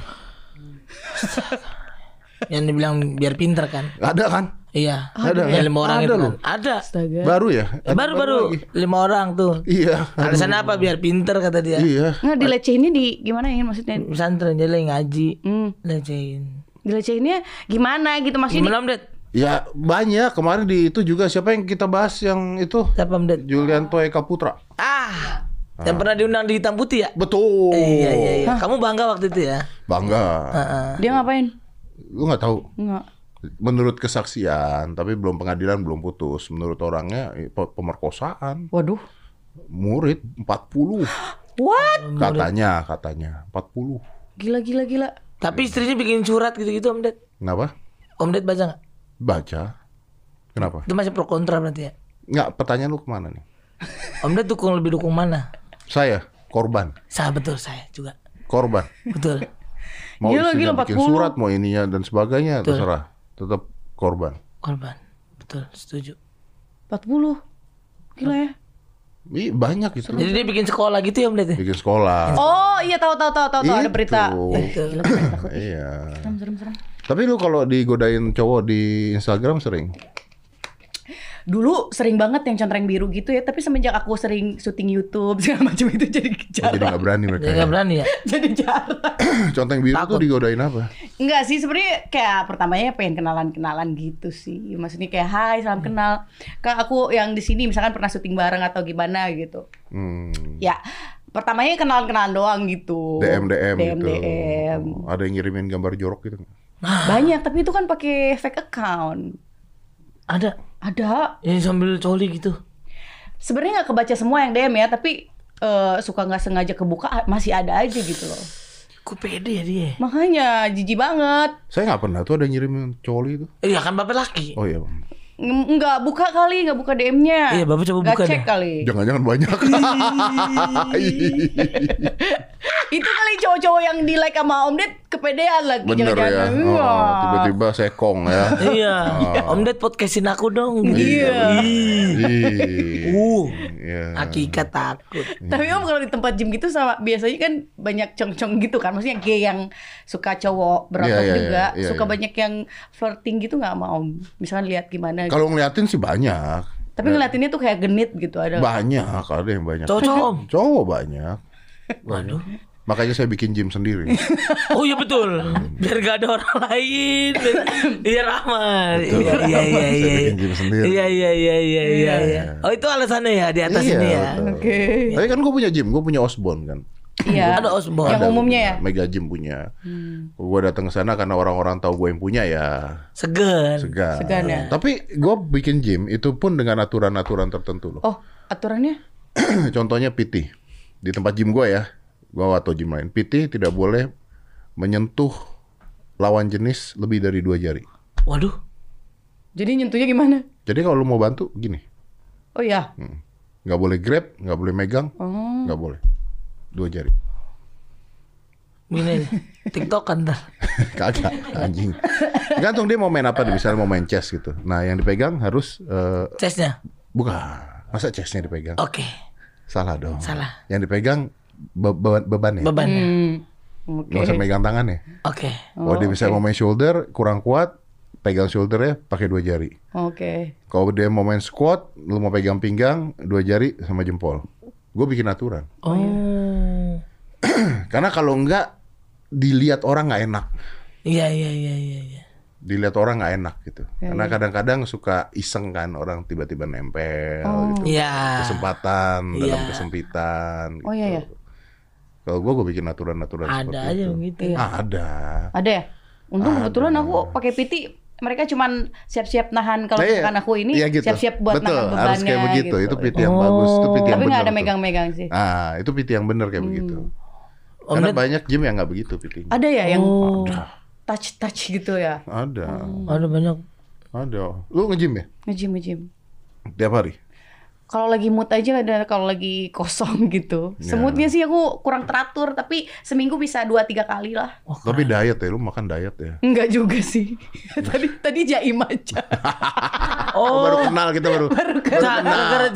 [SPEAKER 1] Yang dibilang biar pinter kan?
[SPEAKER 3] Ada kan?
[SPEAKER 1] Iya.
[SPEAKER 3] Ada
[SPEAKER 1] Yang
[SPEAKER 3] kan?
[SPEAKER 1] lima orang
[SPEAKER 3] Ada
[SPEAKER 1] itu
[SPEAKER 3] loh.
[SPEAKER 1] kan? Ada.
[SPEAKER 2] astaga
[SPEAKER 3] Baru ya? Ada
[SPEAKER 1] Baru-baru
[SPEAKER 3] lagi?
[SPEAKER 1] lima orang tuh.
[SPEAKER 3] Iya.
[SPEAKER 1] Alasan apa biar pinter kata dia?
[SPEAKER 3] Iya.
[SPEAKER 2] nggak dilecehinnya di gimana ya maksudnya
[SPEAKER 1] Pesantren dia lagi ngaji,
[SPEAKER 2] hmm,
[SPEAKER 1] lecehin.
[SPEAKER 2] dilecehinnya gimana gitu maksudnya
[SPEAKER 1] Gimana Om Det?
[SPEAKER 3] Ya banyak kemarin di itu juga siapa yang kita bahas yang itu
[SPEAKER 1] Siapa Om Det?
[SPEAKER 3] Julianto Eka Putra.
[SPEAKER 1] Ah, yang pernah diundang di hitam putih ya?
[SPEAKER 3] Oh. Betul.
[SPEAKER 1] Iya iya iya. Kamu bangga waktu itu ya? Ah.
[SPEAKER 3] Bangga.
[SPEAKER 2] dia ngapain
[SPEAKER 3] Lu nggak tahu.
[SPEAKER 2] nggak
[SPEAKER 3] Menurut kesaksian, tapi belum pengadilan belum putus. Menurut orangnya eh, pe- pemerkosaan
[SPEAKER 2] waduh
[SPEAKER 3] murid 40
[SPEAKER 2] what
[SPEAKER 3] katanya katanya 40.
[SPEAKER 2] gila gila gila
[SPEAKER 1] Tapi istrinya bikin surat gitu-gitu Om Det.
[SPEAKER 3] Kenapa?
[SPEAKER 1] Om Det baca nggak?
[SPEAKER 3] Baca. Kenapa?
[SPEAKER 1] Itu masih pro kontra berarti ya?
[SPEAKER 3] Nggak, pertanyaan lu kemana nih?
[SPEAKER 1] Om Ded dukung lebih dukung mana?
[SPEAKER 3] Saya korban,
[SPEAKER 1] Saya betul saya juga.
[SPEAKER 3] korban.
[SPEAKER 1] Betul.
[SPEAKER 3] Mau
[SPEAKER 1] Iya,
[SPEAKER 2] Gila,
[SPEAKER 3] istrinya
[SPEAKER 2] gila,
[SPEAKER 3] bikin
[SPEAKER 2] 40.
[SPEAKER 3] surat, mau ininya dan sebagainya terserah. Tetap korban.
[SPEAKER 1] Korban. Betul, setuju.
[SPEAKER 2] 40 gila ya
[SPEAKER 3] Ih, banyak itu.
[SPEAKER 1] Jadi dia bikin sekolah gitu ya Om Ded? ya?
[SPEAKER 3] Bikin sekolah.
[SPEAKER 2] oh iya tahu tahu tahu tahu tahu, ada
[SPEAKER 3] Itu.
[SPEAKER 2] berita
[SPEAKER 3] Oh.
[SPEAKER 1] Betul.
[SPEAKER 3] iya.
[SPEAKER 2] serem serem serem
[SPEAKER 3] Tapi lu kalau digodain cowok di Instagram sering?
[SPEAKER 2] dulu sering banget yang contreng biru gitu ya tapi semenjak aku sering syuting YouTube segala macam itu jadi
[SPEAKER 3] Oh, jadi
[SPEAKER 2] jarang
[SPEAKER 3] nggak berani mereka.
[SPEAKER 1] Dia
[SPEAKER 3] ya.
[SPEAKER 1] nggak berani ya?
[SPEAKER 2] jadi jarang
[SPEAKER 3] Conteng biru tuh
[SPEAKER 1] Takut.
[SPEAKER 3] digodain apa?
[SPEAKER 2] Enggak sih sebenarnya kayak pertamanya pengen kenalan-kenalan gitu sih. Maksudnya kayak hai,
[SPEAKER 3] Hmm.
[SPEAKER 2] salam kenal. Kak aku yang di sini misalkan pernah syuting bareng atau gimana gitu.
[SPEAKER 3] Hmm,
[SPEAKER 2] Ya, pertamanya kenalan-kenalan doang
[SPEAKER 1] Oh,
[SPEAKER 2] gitu.
[SPEAKER 3] DM DM
[SPEAKER 2] DM,
[SPEAKER 3] gitu. Oh, Ada yang ngirimin gambar jorok gitu. nggak?
[SPEAKER 2] Banyak, tapi itu kan pakai fake account.
[SPEAKER 1] Ada.
[SPEAKER 2] Ada.
[SPEAKER 1] Ini sambil coli gitu.
[SPEAKER 2] Sebenarnya nggak kebaca semua yang DM ya, tapi eh, suka nggak sengaja kebuka ah, masih ada aja gitu loh.
[SPEAKER 1] Kok pede ya dia?
[SPEAKER 2] Makanya jijik banget.
[SPEAKER 3] Saya nggak pernah tuh ada yang ngirimin coli itu.
[SPEAKER 1] Iya kan bapak laki.
[SPEAKER 3] Oh iya, Bang.
[SPEAKER 2] Ng- Nggak buka kali, nggak buka DM-nya.
[SPEAKER 1] Iya, Bapak coba
[SPEAKER 2] Nggak
[SPEAKER 1] buka
[SPEAKER 2] cek
[SPEAKER 1] deh.
[SPEAKER 2] kali.
[SPEAKER 3] jangan-jangan banyak.
[SPEAKER 1] Iya,
[SPEAKER 2] itu kali cowok-cowok yang di like sama Om Ded kepedean lagi
[SPEAKER 3] Bener ya.
[SPEAKER 2] jangan-jangan. Iya.
[SPEAKER 3] Oh,
[SPEAKER 2] Wah.
[SPEAKER 3] tiba-tiba sekong ya.
[SPEAKER 1] Iya.
[SPEAKER 3] Oh.
[SPEAKER 1] Om Ded podcastin aku dong. Gitu. Ih.
[SPEAKER 3] Ih.
[SPEAKER 1] Uh.
[SPEAKER 3] Iya.
[SPEAKER 1] Hakikat takut.
[SPEAKER 2] tapi om kalau di tempat gym gitu sama biasanya kan banyak cong-cong gitu kan maksudnya gay yang suka cowok berotot
[SPEAKER 3] Iya, iya,
[SPEAKER 2] juga
[SPEAKER 3] iya, iya,
[SPEAKER 2] suka
[SPEAKER 3] iya.
[SPEAKER 2] banyak yang flirting gitu nggak sama om misalkan lihat gimana gitu.
[SPEAKER 3] Kalau ngeliatin sih banyak.
[SPEAKER 2] tapi ngeliatinnya tuh kayak genit gitu ada
[SPEAKER 3] Banyak, ada yang banyak.
[SPEAKER 1] Cocok Om.
[SPEAKER 3] Cowok banyak.
[SPEAKER 1] Waduh.
[SPEAKER 3] Makanya saya bikin gym sendiri.
[SPEAKER 1] Oh iya betul. Biar gak ada orang lain. Biar, biar aman.
[SPEAKER 3] Betul.
[SPEAKER 1] Iya iya iya
[SPEAKER 3] Saya
[SPEAKER 1] iya.
[SPEAKER 3] bikin gym sendiri.
[SPEAKER 1] Iya iya iya iya iya.
[SPEAKER 3] Iya.
[SPEAKER 1] Oh itu alasannya ya di atas ini ya.
[SPEAKER 3] betul.
[SPEAKER 2] Oke.
[SPEAKER 3] Tapi kan gue punya gym, gue punya Osborne kan.
[SPEAKER 2] Iya.
[SPEAKER 1] Ada Osborne.
[SPEAKER 2] Yang
[SPEAKER 3] Ada,
[SPEAKER 2] umumnya ya. Hmm.
[SPEAKER 3] punya, Mega gym punya. Gue datang ke sana karena orang-orang tahu gue yang punya ya
[SPEAKER 1] Segan.
[SPEAKER 3] segan.
[SPEAKER 2] Segan ya.
[SPEAKER 3] Tapi gue bikin gym itu pun dengan aturan-aturan tertentu loh.
[SPEAKER 2] Oh, aturannya?
[SPEAKER 3] Contohnya PT di tempat gym gue ya, gue atau gym lain. PT tidak boleh menyentuh lawan jenis lebih dari dua jari.
[SPEAKER 1] Waduh.
[SPEAKER 2] Jadi nyentuhnya gimana?
[SPEAKER 3] Jadi kalau lu mau bantu gini,
[SPEAKER 2] Oh ya.
[SPEAKER 3] nggak boleh grab, nggak boleh megang,
[SPEAKER 2] Oh.
[SPEAKER 3] nggak boleh dua jari.
[SPEAKER 1] Gini aja. TikTok kan ntar.
[SPEAKER 3] Kagak anjing. Gantung dia mau main apa, misalnya mau main chess gitu. Nah yang dipegang harus eh,
[SPEAKER 1] Chestnya.
[SPEAKER 3] bukan masa chessnya dipegang.
[SPEAKER 1] Oke.
[SPEAKER 3] Salah dong.
[SPEAKER 1] Oh. Salah.
[SPEAKER 3] Yang dipegang be- be- bebannya.
[SPEAKER 1] Bebannya.
[SPEAKER 2] Hmm. Oke.
[SPEAKER 3] Nggak usah megang tangannya.
[SPEAKER 1] eh. Oh, Oke.
[SPEAKER 3] Kalau dia bisa mau main shoulder kurang kuat, pegang shouldernya pakai dua jari.
[SPEAKER 2] Oke.
[SPEAKER 3] Kalau dia mau main squat, lu mau pegang pinggang, dua jari sama jempol. Gue bikin aturan.
[SPEAKER 1] iya. Oh.
[SPEAKER 3] Karena kalau enggak dilihat orang nggak enak.
[SPEAKER 1] Iya iya iya iya. iya.
[SPEAKER 3] Dilihat orang nggak enak gitu. Karena kadang-kadang suka iseng kan orang tiba-tiba nempel gitu.
[SPEAKER 1] Iya.
[SPEAKER 3] Kesempatan dalam
[SPEAKER 1] Iya.
[SPEAKER 3] kesempitan gitu.
[SPEAKER 2] Oh iya ya.
[SPEAKER 3] Kalau gue gue bikin aturan-aturan
[SPEAKER 1] Ada
[SPEAKER 3] seperti
[SPEAKER 1] aja
[SPEAKER 3] itu. Ah,
[SPEAKER 1] gitu.
[SPEAKER 2] Iya.
[SPEAKER 3] Ada.
[SPEAKER 2] Ada ya? Untung kebetulan aku pakai PT mereka cuman siap-siap nahan kalau
[SPEAKER 3] Iya,
[SPEAKER 2] bukan aku ini
[SPEAKER 3] iya gitu.
[SPEAKER 2] siap-siap buat
[SPEAKER 3] Betul,
[SPEAKER 2] nahan bebannya
[SPEAKER 3] harus kayak begitu.
[SPEAKER 2] gitu.
[SPEAKER 3] Itu PT yang bagus, itu PT
[SPEAKER 2] Tapi
[SPEAKER 3] yang
[SPEAKER 2] nggak
[SPEAKER 3] benar
[SPEAKER 2] ada
[SPEAKER 3] tuh.
[SPEAKER 2] megang-megang sih.
[SPEAKER 3] Ah, itu PT yang benar
[SPEAKER 1] Hmm.
[SPEAKER 3] kayak begitu.
[SPEAKER 1] Om
[SPEAKER 3] Karena
[SPEAKER 1] Ned-
[SPEAKER 3] banyak gym yang nggak begitu PT-nya.
[SPEAKER 2] Ada ya yang
[SPEAKER 1] Oh.
[SPEAKER 2] touch-touch gitu ya.
[SPEAKER 3] Ada.
[SPEAKER 1] Ada banyak.
[SPEAKER 3] Ada. Lu nge-gym ya?
[SPEAKER 2] Ngejim ngejim.
[SPEAKER 3] Tiap hari?
[SPEAKER 2] Kalau lagi mood aja ada kalau lagi kosong gitu.
[SPEAKER 3] Iya.
[SPEAKER 2] Semutnya sih aku kurang teratur tapi seminggu bisa dua tiga kali lah.
[SPEAKER 3] Tapi diet ya, lu makan diet ya.
[SPEAKER 2] Enggak juga sih. tadi tadi jaim aja.
[SPEAKER 3] Oh,
[SPEAKER 1] Oh.
[SPEAKER 3] baru kenal kita baru. baru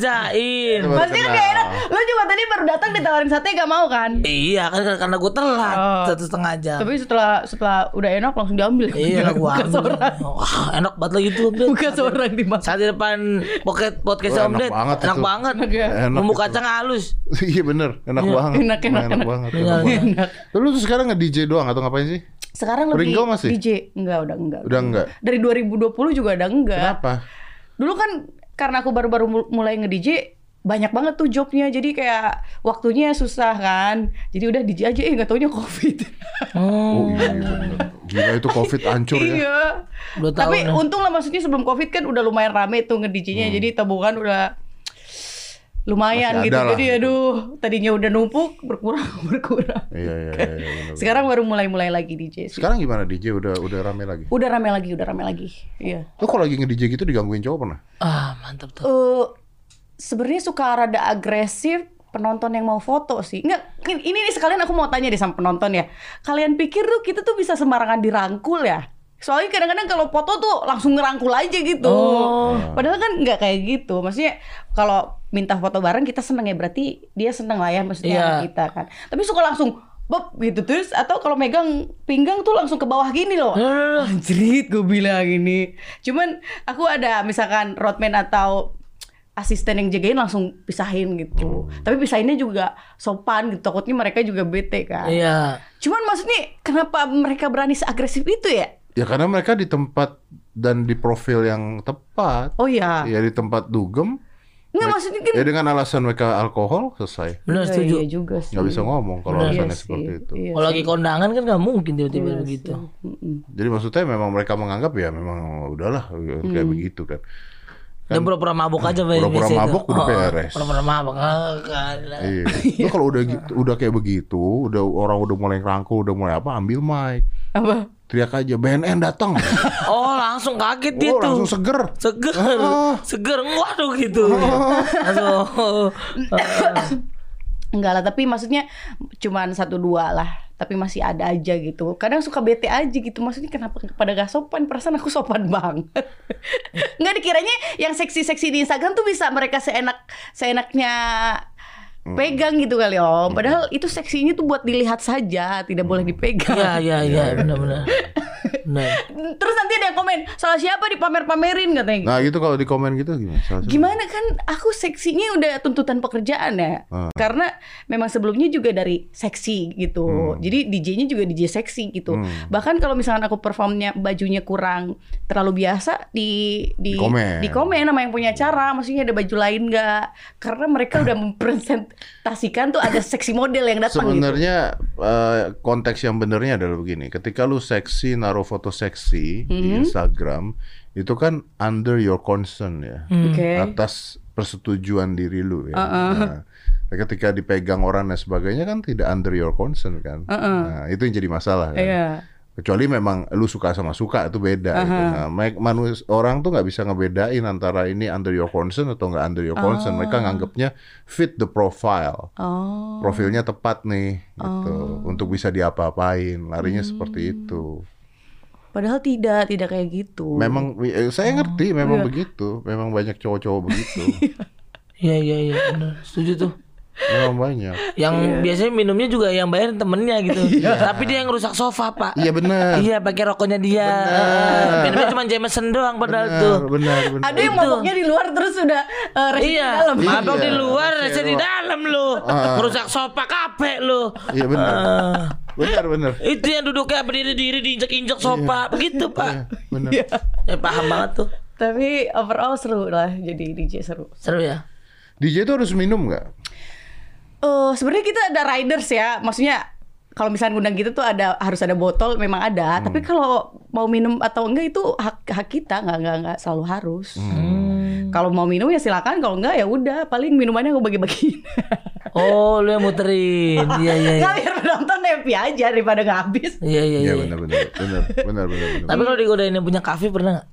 [SPEAKER 1] Cak, kerjain.
[SPEAKER 3] Baru
[SPEAKER 2] Pasti kan
[SPEAKER 3] kenal.
[SPEAKER 2] gak enak. Lo juga tadi baru datang ditawarin sate gak mau kan?
[SPEAKER 1] Iya kan karena gue telat
[SPEAKER 2] Oh.
[SPEAKER 1] satu setengah
[SPEAKER 3] Iya.
[SPEAKER 1] jam.
[SPEAKER 2] Tapi setelah setelah udah enak langsung diambil.
[SPEAKER 1] Iya lah gue
[SPEAKER 2] Buka
[SPEAKER 1] ambil.
[SPEAKER 2] seorang.
[SPEAKER 1] Wah, enak banget lagi tuh. Bel.
[SPEAKER 2] Buka seorang di mas.
[SPEAKER 1] Saat di depan pocket podcast
[SPEAKER 3] Wah,
[SPEAKER 1] Om
[SPEAKER 3] enak
[SPEAKER 1] Ded.
[SPEAKER 3] banget
[SPEAKER 1] enak
[SPEAKER 3] itu.
[SPEAKER 1] banget.
[SPEAKER 2] Enak ya?
[SPEAKER 3] Enak
[SPEAKER 1] Bumbu
[SPEAKER 3] itu.
[SPEAKER 1] kacang halus.
[SPEAKER 3] Iya bener, enak banget.
[SPEAKER 2] enak, enak, enak.
[SPEAKER 3] banget.
[SPEAKER 1] Enak,
[SPEAKER 3] enak banget.
[SPEAKER 2] enak.
[SPEAKER 3] Lu tuh sekarang nge-DJ doang atau ngapain sih?
[SPEAKER 2] Sekarang lebih
[SPEAKER 3] Ringo masih?
[SPEAKER 2] DJ. Enggak, udah enggak.
[SPEAKER 3] Udah enggak?
[SPEAKER 2] Dari 2020 juga udah enggak.
[SPEAKER 3] Kenapa?
[SPEAKER 2] Dulu kan karena aku baru-baru mul- mulai nge-DJ banyak banget tuh jobnya jadi kayak waktunya susah kan jadi udah DJ aja eh nggak taunya covid
[SPEAKER 3] Oh iya bener. Gila itu covid hancur ya.
[SPEAKER 2] iya.
[SPEAKER 1] Dua
[SPEAKER 2] Tapi
[SPEAKER 1] tahun ya. Hmm.
[SPEAKER 2] untung lah maksudnya sebelum Covid kan udah lumayan rame tuh nge-DJ-nya. Jadi tabungan udah lumayan
[SPEAKER 3] Masih
[SPEAKER 2] gitu.
[SPEAKER 3] ada lah.
[SPEAKER 2] Jadi aduh, tadinya udah numpuk berkurang berkurang.
[SPEAKER 3] Iya iya iya. iya, bener.
[SPEAKER 2] Sekarang baru mulai-mulai lagi DJ. sih.
[SPEAKER 3] Sekarang gimana DJ udah udah rame lagi?
[SPEAKER 2] Udah rame lagi, udah rame lagi. Iya.
[SPEAKER 3] Lu kalau lagi nge-DJ gitu digangguin cowok pernah?
[SPEAKER 1] Ah mantap tuh.
[SPEAKER 2] Eh sebenarnya suka rada agresif penonton yang mau foto sih. Enggak, ini ini nih sekalian aku mau tanya deh sama penonton ya. Kalian pikir tuh kita tuh bisa sembarangan dirangkul ya? Soalnya kadang-kadang kalau foto tuh langsung ngerangkul aja gitu. Padahal kan nggak kayak gitu. Maksudnya kalau minta foto bareng kita seneng ya berarti dia seneng lah ya maksudnya
[SPEAKER 1] Iya.
[SPEAKER 2] anak kita kan. Tapi suka langsung beb gitu terus atau kalau megang pinggang tuh langsung ke bawah gini loh. Anjrit gue bilang ini. Cuman aku ada misalkan roadman atau asisten yang jagain langsung pisahin gitu. Tapi pisahinnya juga sopan gitu. Takutnya mereka juga bete kan.
[SPEAKER 1] Iya.
[SPEAKER 2] Cuman maksudnya kenapa mereka berani seagresif itu ya?
[SPEAKER 3] Ya karena mereka di tempat dan di profil yang tepat.
[SPEAKER 2] Oh ya.
[SPEAKER 3] Ya di tempat dugem.
[SPEAKER 2] Nggak maksudnya kan
[SPEAKER 3] Ya dengan alasan mereka alkohol selesai.
[SPEAKER 1] Benar
[SPEAKER 2] Iya,
[SPEAKER 1] setuju.
[SPEAKER 2] iya juga sih.
[SPEAKER 3] Nggak bisa ngomong
[SPEAKER 2] Iya
[SPEAKER 3] kalau alasannya
[SPEAKER 2] sih.
[SPEAKER 3] seperti
[SPEAKER 2] Iya
[SPEAKER 3] itu.
[SPEAKER 1] Kalau gitu.
[SPEAKER 2] sih.
[SPEAKER 1] lagi kondangan kan nggak mungkin tiba-tiba
[SPEAKER 2] Iya
[SPEAKER 1] begitu.
[SPEAKER 2] sih. Mm-mm.
[SPEAKER 3] Jadi maksudnya memang mereka menganggap ya memang udahlah kayak begitu kan.
[SPEAKER 1] Dia pura-pura mabuk aja Bel,
[SPEAKER 3] Pura-pura
[SPEAKER 1] biasa itu.
[SPEAKER 3] mabuk udah
[SPEAKER 1] Oh,
[SPEAKER 3] beres.
[SPEAKER 1] Pura-pura mabuk. Ah, kalah.
[SPEAKER 3] Iya. Lu kalau udah gitu, udah kayak begitu, udah orang udah mulai rangkul, udah mulai apa, ambil mic,
[SPEAKER 2] Apa?
[SPEAKER 3] teriak aja BNN datang.
[SPEAKER 1] Oh langsung kaget dia tuh.
[SPEAKER 3] oh, langsung seger.
[SPEAKER 1] seger
[SPEAKER 3] Ah.
[SPEAKER 1] seger waduh gitu
[SPEAKER 3] Oh.
[SPEAKER 1] Oh, langsung
[SPEAKER 2] Enggak lah, tapi maksudnya cuman satu dua lah. Tapi masih ada aja gitu. Kadang suka bete aja gitu. Maksudnya kenapa pada gak sopan? Perasaan aku sopan banget. Enggak dikiranya yang seksi-seksi di Instagram tuh bisa mereka seenak seenaknya pegang gitu kali
[SPEAKER 1] Iya.
[SPEAKER 2] om.
[SPEAKER 3] Iya,
[SPEAKER 2] Padahal itu seksinya tuh buat dilihat saja, tidak boleh dipegang.
[SPEAKER 1] ya ya ya benar-benar Nah,
[SPEAKER 2] Terus nanti ada yang komen, salah siapa dipamer-pamerin katanya.
[SPEAKER 3] Nah gitu kalau di komen gitu gimana? Salah siapa?
[SPEAKER 2] Gimana kan aku seksinya udah tuntutan pekerjaan ya.
[SPEAKER 3] Ah.
[SPEAKER 2] Karena memang sebelumnya juga dari seksi gitu.
[SPEAKER 3] Hmm.
[SPEAKER 2] Jadi DJ-nya juga DJ seksi gitu. Bahkan kalau misalkan aku performnya bajunya kurang terlalu biasa di di
[SPEAKER 3] Di komen.
[SPEAKER 2] di komen sama yang punya acara, maksudnya ada baju lain nggak? Karena mereka udah mempresentasikan tuh ada seksi model yang datang gitu.
[SPEAKER 3] Sebenarnya eh, konteks yang benernya adalah begini. Ketika lu seksi naruh foto seksi di Instagram itu kan under your concern ya.
[SPEAKER 2] Oke.
[SPEAKER 3] Atas persetujuan diri lu ya. Nah, ketika dipegang orang dan sebagainya kan tidak under your concern kan. Nah, itu yang jadi masalah kan.
[SPEAKER 2] Iya.
[SPEAKER 3] Kecuali memang lu suka sama suka itu beda gitu. Nah, ma- manus- orang tuh nggak bisa ngebedain antara ini under your concern atau nggak under your concern. Mereka nganggapnya fit the profile
[SPEAKER 2] Oh.
[SPEAKER 3] profilnya tepat nih gitu untuk bisa diapa-apain larinya seperti itu
[SPEAKER 2] Padahal tidak, tidak kayak gitu.
[SPEAKER 3] memang eh, saya ngerti memang begitu memang banyak cowok-cowok begitu
[SPEAKER 1] iya iya iya. bener. Setuju tuh.
[SPEAKER 3] memang banyak
[SPEAKER 1] Yang
[SPEAKER 3] Iya.
[SPEAKER 1] biasanya minumnya juga yang bayar temennya gitu. Tapi dia yang rusak sofa, Pak.
[SPEAKER 3] iya benar
[SPEAKER 1] Iya, pakai rokoknya dia.
[SPEAKER 3] Benar.
[SPEAKER 1] Minumnya cuma Jameson doang padahal tuh.
[SPEAKER 3] benar benar benar.
[SPEAKER 2] Ada yang maboknya di luar terus udah uh, resi di
[SPEAKER 1] Iya,
[SPEAKER 2] dalam.
[SPEAKER 1] mabok
[SPEAKER 3] Iya, Ah.
[SPEAKER 1] di luar,
[SPEAKER 3] iya,
[SPEAKER 1] saya di
[SPEAKER 3] Wak.
[SPEAKER 1] dalam lu. Merusak sofa kabeh lu.
[SPEAKER 3] iya benar
[SPEAKER 1] Eh,
[SPEAKER 3] benar benar
[SPEAKER 1] itu yang duduknya berdiri-diri diinjak-injak
[SPEAKER 3] Iya.
[SPEAKER 1] sofa, begitu, Pak.
[SPEAKER 3] benar Iya.
[SPEAKER 1] Eh, paham banget tuh.
[SPEAKER 2] Tapi overall seru lah jadi DJ seru.
[SPEAKER 1] Seru ya?
[SPEAKER 3] DJ itu harus minum nggak
[SPEAKER 2] Eh sebenarnya kita ada riders ya, maksudnya kalau misalnya ngundang gitu tuh ada harus ada botol memang ada,
[SPEAKER 1] Hmm.
[SPEAKER 2] tapi kalau mau minum atau enggak itu hak hak kita nggak nggak nggak selalu harus.
[SPEAKER 1] Hmm.
[SPEAKER 2] Kalau mau minum ya silakan, kalau enggak ya udah paling minumannya aku bagi-bagiin.
[SPEAKER 1] Oh, lu yang muterin. Iya, iya. iya.
[SPEAKER 2] Nggak biar penonton happy aja daripada nggak habis.
[SPEAKER 1] Iya, iya,
[SPEAKER 3] iya
[SPEAKER 1] iya.
[SPEAKER 3] benar benar benar benar benar benar.
[SPEAKER 1] Tapi kalau digodain yang punya kafe pernah gak?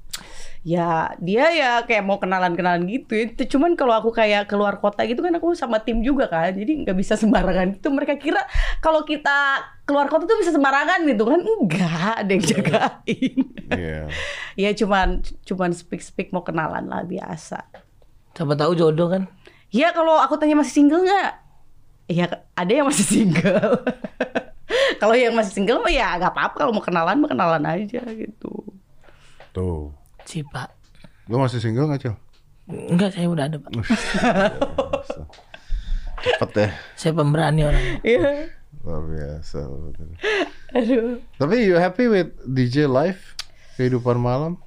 [SPEAKER 2] Ya dia ya kayak mau kenalan-kenalan gitu ya. Itu Cuman kalau aku kayak keluar kota gitu kan aku sama tim juga kan. Jadi nggak bisa sembarangan gitu. Mereka kira kalau kita keluar kota tuh bisa sembarangan gitu kan. Enggak ada yang jagain.
[SPEAKER 3] iya
[SPEAKER 2] ya cuman cuman speak-speak mau kenalan lah biasa.
[SPEAKER 1] Siapa tahu jodoh kan?
[SPEAKER 2] Ya kalau aku tanya masih single nggak? Ya ada yang masih single. kalau yang masih single mah ya nggak apa-apa. Kalau mau kenalan mah kenalan aja gitu.
[SPEAKER 3] tuh
[SPEAKER 1] Si Pak.
[SPEAKER 3] lu masih single nggak cil
[SPEAKER 1] Enggak, saya udah ada, Pak.
[SPEAKER 3] cepet ya
[SPEAKER 1] Saya pemberani orangnya.
[SPEAKER 2] Iya.
[SPEAKER 3] luar biasa luar biasa.
[SPEAKER 2] Aduh.
[SPEAKER 3] Tapi you happy with DJ life kehidupan malam?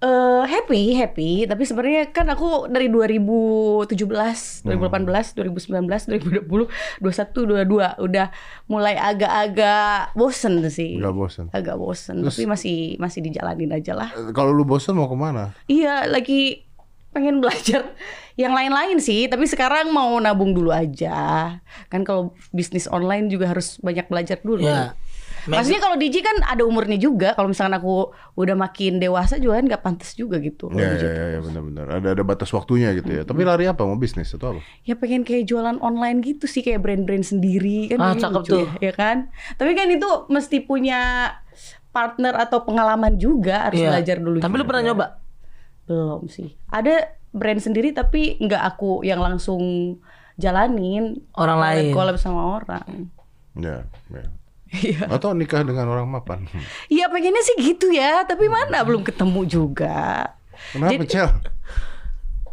[SPEAKER 2] eh happy, happy. Tapi sebenarnya kan aku dari 2017, 2018, 2019, 2020, 21, 22 udah mulai agak-agak bosen sih.
[SPEAKER 3] Gak bosan.
[SPEAKER 2] Agak bosen, tapi masih masih dijalanin aja lah.
[SPEAKER 3] Kalau lu bosan mau kemana?
[SPEAKER 2] Iya, lagi pengen belajar yang lain-lain sih, tapi sekarang mau nabung dulu aja. Kan kalau bisnis online juga harus banyak belajar dulu.
[SPEAKER 1] Ya.
[SPEAKER 2] Maksudnya kalau DJ kan ada umurnya juga. Kalau misalkan aku udah makin dewasa juga kan nggak pantas juga gitu. kalau
[SPEAKER 3] Ya,
[SPEAKER 2] DJ.
[SPEAKER 3] ya, ya, ya benar-benar. Ada ada batas waktunya gitu ya. Tapi lari apa? Mau bisnis atau apa?
[SPEAKER 2] ya pengen kayak jualan online gitu sih kayak brand-brand sendiri kan
[SPEAKER 1] Ah,
[SPEAKER 2] kayaknya
[SPEAKER 1] cakep
[SPEAKER 2] lucu
[SPEAKER 1] tuh.
[SPEAKER 2] ya, ya kan tapi kan itu mesti punya partner atau pengalaman juga harus
[SPEAKER 1] Iya.
[SPEAKER 2] belajar dulu
[SPEAKER 1] Tapi lu
[SPEAKER 2] juga.
[SPEAKER 1] pernah nyoba?
[SPEAKER 2] belum sih ada brand sendiri tapi nggak aku yang langsung jalanin
[SPEAKER 1] Orang lain.
[SPEAKER 2] collab sama orang
[SPEAKER 3] Ya, ya. Atau nikah dengan orang mapan?
[SPEAKER 2] Iya pengennya sih gitu ya tapi mana belum ketemu juga
[SPEAKER 3] Kenapa, Cel?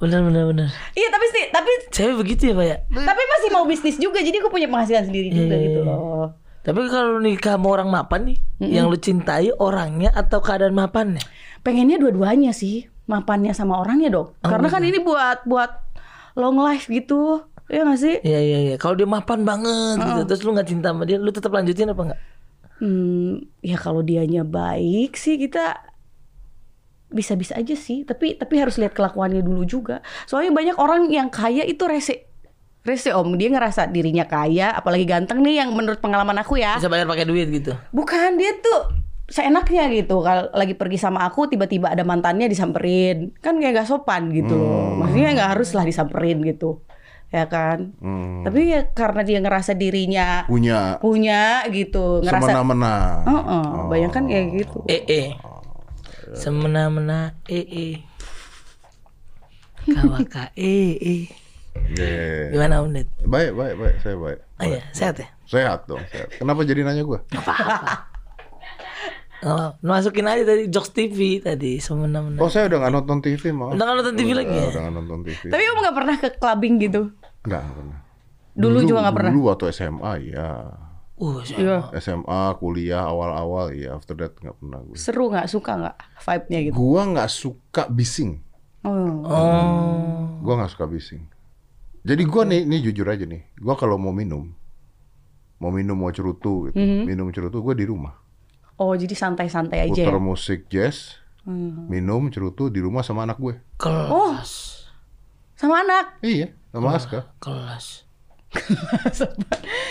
[SPEAKER 1] Bener, bener, bener.
[SPEAKER 2] iya tapi sih tapi
[SPEAKER 1] Cewek begitu ya, Pak ya?
[SPEAKER 2] tapi masih mau bisnis juga jadi aku punya penghasilan sendiri juga
[SPEAKER 1] Iya,
[SPEAKER 2] gitu loh
[SPEAKER 1] Tapi kalau nikah sama orang mapan nih, yang lu cintai orangnya atau keadaan mapannya?
[SPEAKER 2] pengennya dua-duanya sih mapannya sama orangnya dong karena kan ini buat buat long life gitu ya nggak sih
[SPEAKER 1] Iya, iya, iya. Kalau dia mapan banget gitu, terus lu nggak cinta sama dia, lu tetap lanjutin apa enggak?
[SPEAKER 2] hmm, ya kalau dianya baik sih kita bisa-bisa aja sih tapi tapi harus lihat kelakuannya dulu juga soalnya banyak orang yang kaya itu rese rese om dia ngerasa dirinya kaya apalagi ganteng nih yang menurut pengalaman aku ya
[SPEAKER 1] Bisa bayar pakai duit gitu.
[SPEAKER 2] Bukan dia tuh seenaknya gitu kalau lagi pergi sama aku tiba-tiba ada mantannya disamperin kan kayak gak sopan gitu loh maksudnya nggak harus lah disamperin gitu ya kan tapi ya karena dia ngerasa dirinya
[SPEAKER 3] Punya
[SPEAKER 2] punya gitu ngerasa
[SPEAKER 3] semena-mena.
[SPEAKER 2] Heeh, bayangkan kayak gitu
[SPEAKER 1] Eh, eh. Semena-mena, eh, eh. Kawaka, eh, eh.
[SPEAKER 3] Iya.
[SPEAKER 1] Gimana, Om Ded?
[SPEAKER 3] Baik, baik, baik. Saya baik.
[SPEAKER 1] Oh, iya, sehat ya?
[SPEAKER 3] Sehat dong. Sehat. Kenapa jadi nanya gua?
[SPEAKER 1] Oh, masukin aja tadi Jokes TV tadi semena-mena.
[SPEAKER 3] Oh saya udah nggak nonton TV mau.
[SPEAKER 1] Udah nggak nonton TV lagi ya?
[SPEAKER 3] Udah nggak nonton TV.
[SPEAKER 2] Tapi kamu nggak pernah ke clubbing gitu?
[SPEAKER 3] Nggak nggak pernah.
[SPEAKER 2] Dulu, juga nggak pernah.
[SPEAKER 3] Dulu waktu SMA ya.
[SPEAKER 1] Uh,
[SPEAKER 2] Iya.
[SPEAKER 3] SMA, kuliah, awal-awal ya. After that nggak pernah gue.
[SPEAKER 2] Seru nggak? Suka nggak vibe-nya gitu?
[SPEAKER 3] Gua nggak suka bising.
[SPEAKER 2] Oh.
[SPEAKER 1] oh.
[SPEAKER 3] Gua nggak suka bising. Jadi gua nih, nih jujur aja nih. Gua kalau mau minum, mau minum mau cerutu, gitu.
[SPEAKER 2] Mhm.
[SPEAKER 3] minum cerutu gue di rumah.
[SPEAKER 2] Oh, jadi santai-santai aja. ya?
[SPEAKER 3] Puter musik jazz,
[SPEAKER 2] Mhm.
[SPEAKER 3] minum cerutu di rumah sama anak gue.
[SPEAKER 1] Kelas.
[SPEAKER 2] Oh. Sama anak.
[SPEAKER 3] Iya, sama Aska.
[SPEAKER 1] Kelas.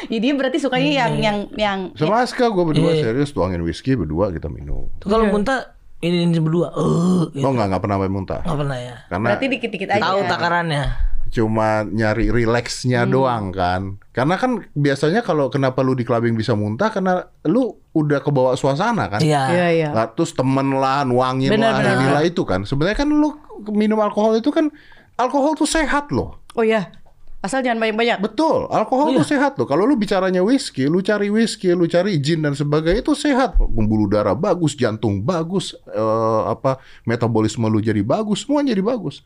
[SPEAKER 2] Jadi dia berarti sukanya yang yang yang
[SPEAKER 3] Sama Aska gue berdua
[SPEAKER 1] Iya.
[SPEAKER 3] serius tuangin whisky berdua kita minum.
[SPEAKER 1] Tuh
[SPEAKER 2] Iya.
[SPEAKER 1] kalau muntah ini, ini berdua. Eh, gitu.
[SPEAKER 3] Oh nggak nggak pernah sampai muntah.
[SPEAKER 1] Nggak pernah ya.
[SPEAKER 3] Karena
[SPEAKER 2] berarti dikit-dikit aja.
[SPEAKER 1] Tahu takarannya.
[SPEAKER 3] cuma nyari relaxnya doang kan. Karena kan biasanya kalau kenapa lu di clubbing bisa muntah karena lu udah kebawa suasana kan.
[SPEAKER 1] Iya.
[SPEAKER 2] Iya, iya.
[SPEAKER 3] Nah, terus temen lah, nuangin lah,
[SPEAKER 2] Benar-benar.
[SPEAKER 3] inilah itu kan. Sebenarnya kan lu minum alkohol itu kan alkohol tuh sehat loh.
[SPEAKER 2] Oh iya. Asal jangan banyak-banyak.
[SPEAKER 3] Betul, alkohol tuh sehat loh. Kalau lu bicaranya whisky, lu cari whisky, lu cari gin dan sebagainya itu sehat. Pembuluh darah bagus, jantung bagus, eh, apa metabolisme lu jadi bagus, semua jadi bagus.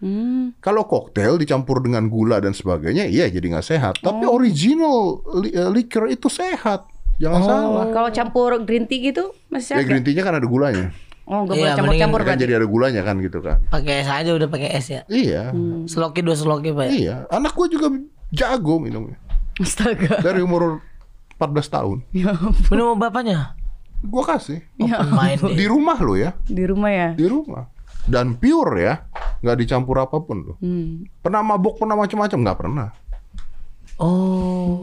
[SPEAKER 3] Kalau koktail dicampur dengan gula dan sebagainya, iya jadi nggak sehat. Tapi original li- eh, liquor itu sehat, jangan salah.
[SPEAKER 2] Oh, Kalau campur green tea gitu masih
[SPEAKER 3] Ya
[SPEAKER 2] sehat
[SPEAKER 3] green tea-nya kan ada gulanya,
[SPEAKER 2] Oh, nggak
[SPEAKER 1] Iya,
[SPEAKER 2] boleh campur-campur
[SPEAKER 3] kan
[SPEAKER 2] berarti.
[SPEAKER 3] jadi ada gulanya kan gitu kan.
[SPEAKER 1] Pakai es aja udah pakai es ya.
[SPEAKER 3] Iya,
[SPEAKER 1] Seloki dua seloki pak. ya?
[SPEAKER 3] iya. Anak gua juga jago minumnya
[SPEAKER 2] Astaga.
[SPEAKER 3] dari umur 14 tahun.
[SPEAKER 2] Ya,
[SPEAKER 1] Minum sama bapaknya.
[SPEAKER 3] Gua kasih
[SPEAKER 2] Iya.
[SPEAKER 1] Open mind deh.
[SPEAKER 3] di rumah lo ya.
[SPEAKER 2] di rumah ya.
[SPEAKER 3] di rumah dan pure ya nggak dicampur apapun loh pernah mabok pernah macam-macam nggak pernah
[SPEAKER 1] Oh.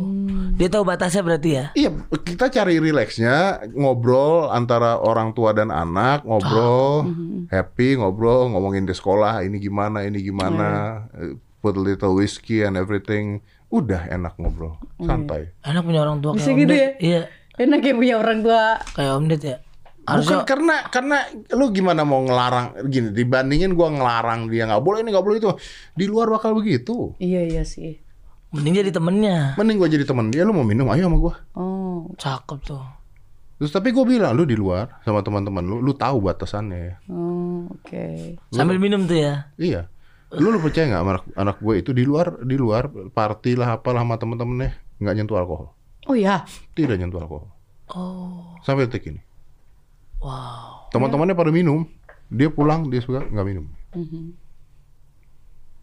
[SPEAKER 1] Dia tahu batasnya berarti ya.
[SPEAKER 3] iya kita cari rileksnya ngobrol antara orang tua dan anak ngobrol happy ngobrol ngomongin di sekolah ini gimana ini gimana eh, put a little whiskey and everything udah enak ngobrol santai
[SPEAKER 1] Enak punya orang tua kayak
[SPEAKER 2] Bisa
[SPEAKER 1] Om
[SPEAKER 2] gitu
[SPEAKER 1] Ded.
[SPEAKER 2] ya?
[SPEAKER 1] Iya.
[SPEAKER 2] Enak ya punya orang tua.
[SPEAKER 1] Kayak Om Ded ya.
[SPEAKER 3] Bukan
[SPEAKER 1] Harusnya
[SPEAKER 3] karena karena lu gimana mau ngelarang gini dibandingin gua ngelarang dia nggak boleh ini nggak boleh itu di luar bakal begitu
[SPEAKER 2] Iya iya sih.
[SPEAKER 1] mending jadi temennya.
[SPEAKER 3] mending gua jadi temen dia lu mau minum ayo sama gua
[SPEAKER 2] Oh.
[SPEAKER 1] Cakep tuh.
[SPEAKER 3] Terus tapi gue bilang lu di luar sama teman-teman lu, lu tahu batasannya ya.
[SPEAKER 2] Oh, oke.
[SPEAKER 1] Sambil minum tuh ya.
[SPEAKER 3] Iya. Lu lu percaya nggak sama anak, anak gue itu di luar di luar party lah apalah sama temen-temennya nggak nyentuh alkohol,
[SPEAKER 2] Oh ya.
[SPEAKER 3] tidak nyentuh alkohol
[SPEAKER 1] Oh.
[SPEAKER 3] sampai detik ini.
[SPEAKER 1] Wow.
[SPEAKER 3] Teman-temannya pada minum, dia pulang dia suka nggak minum.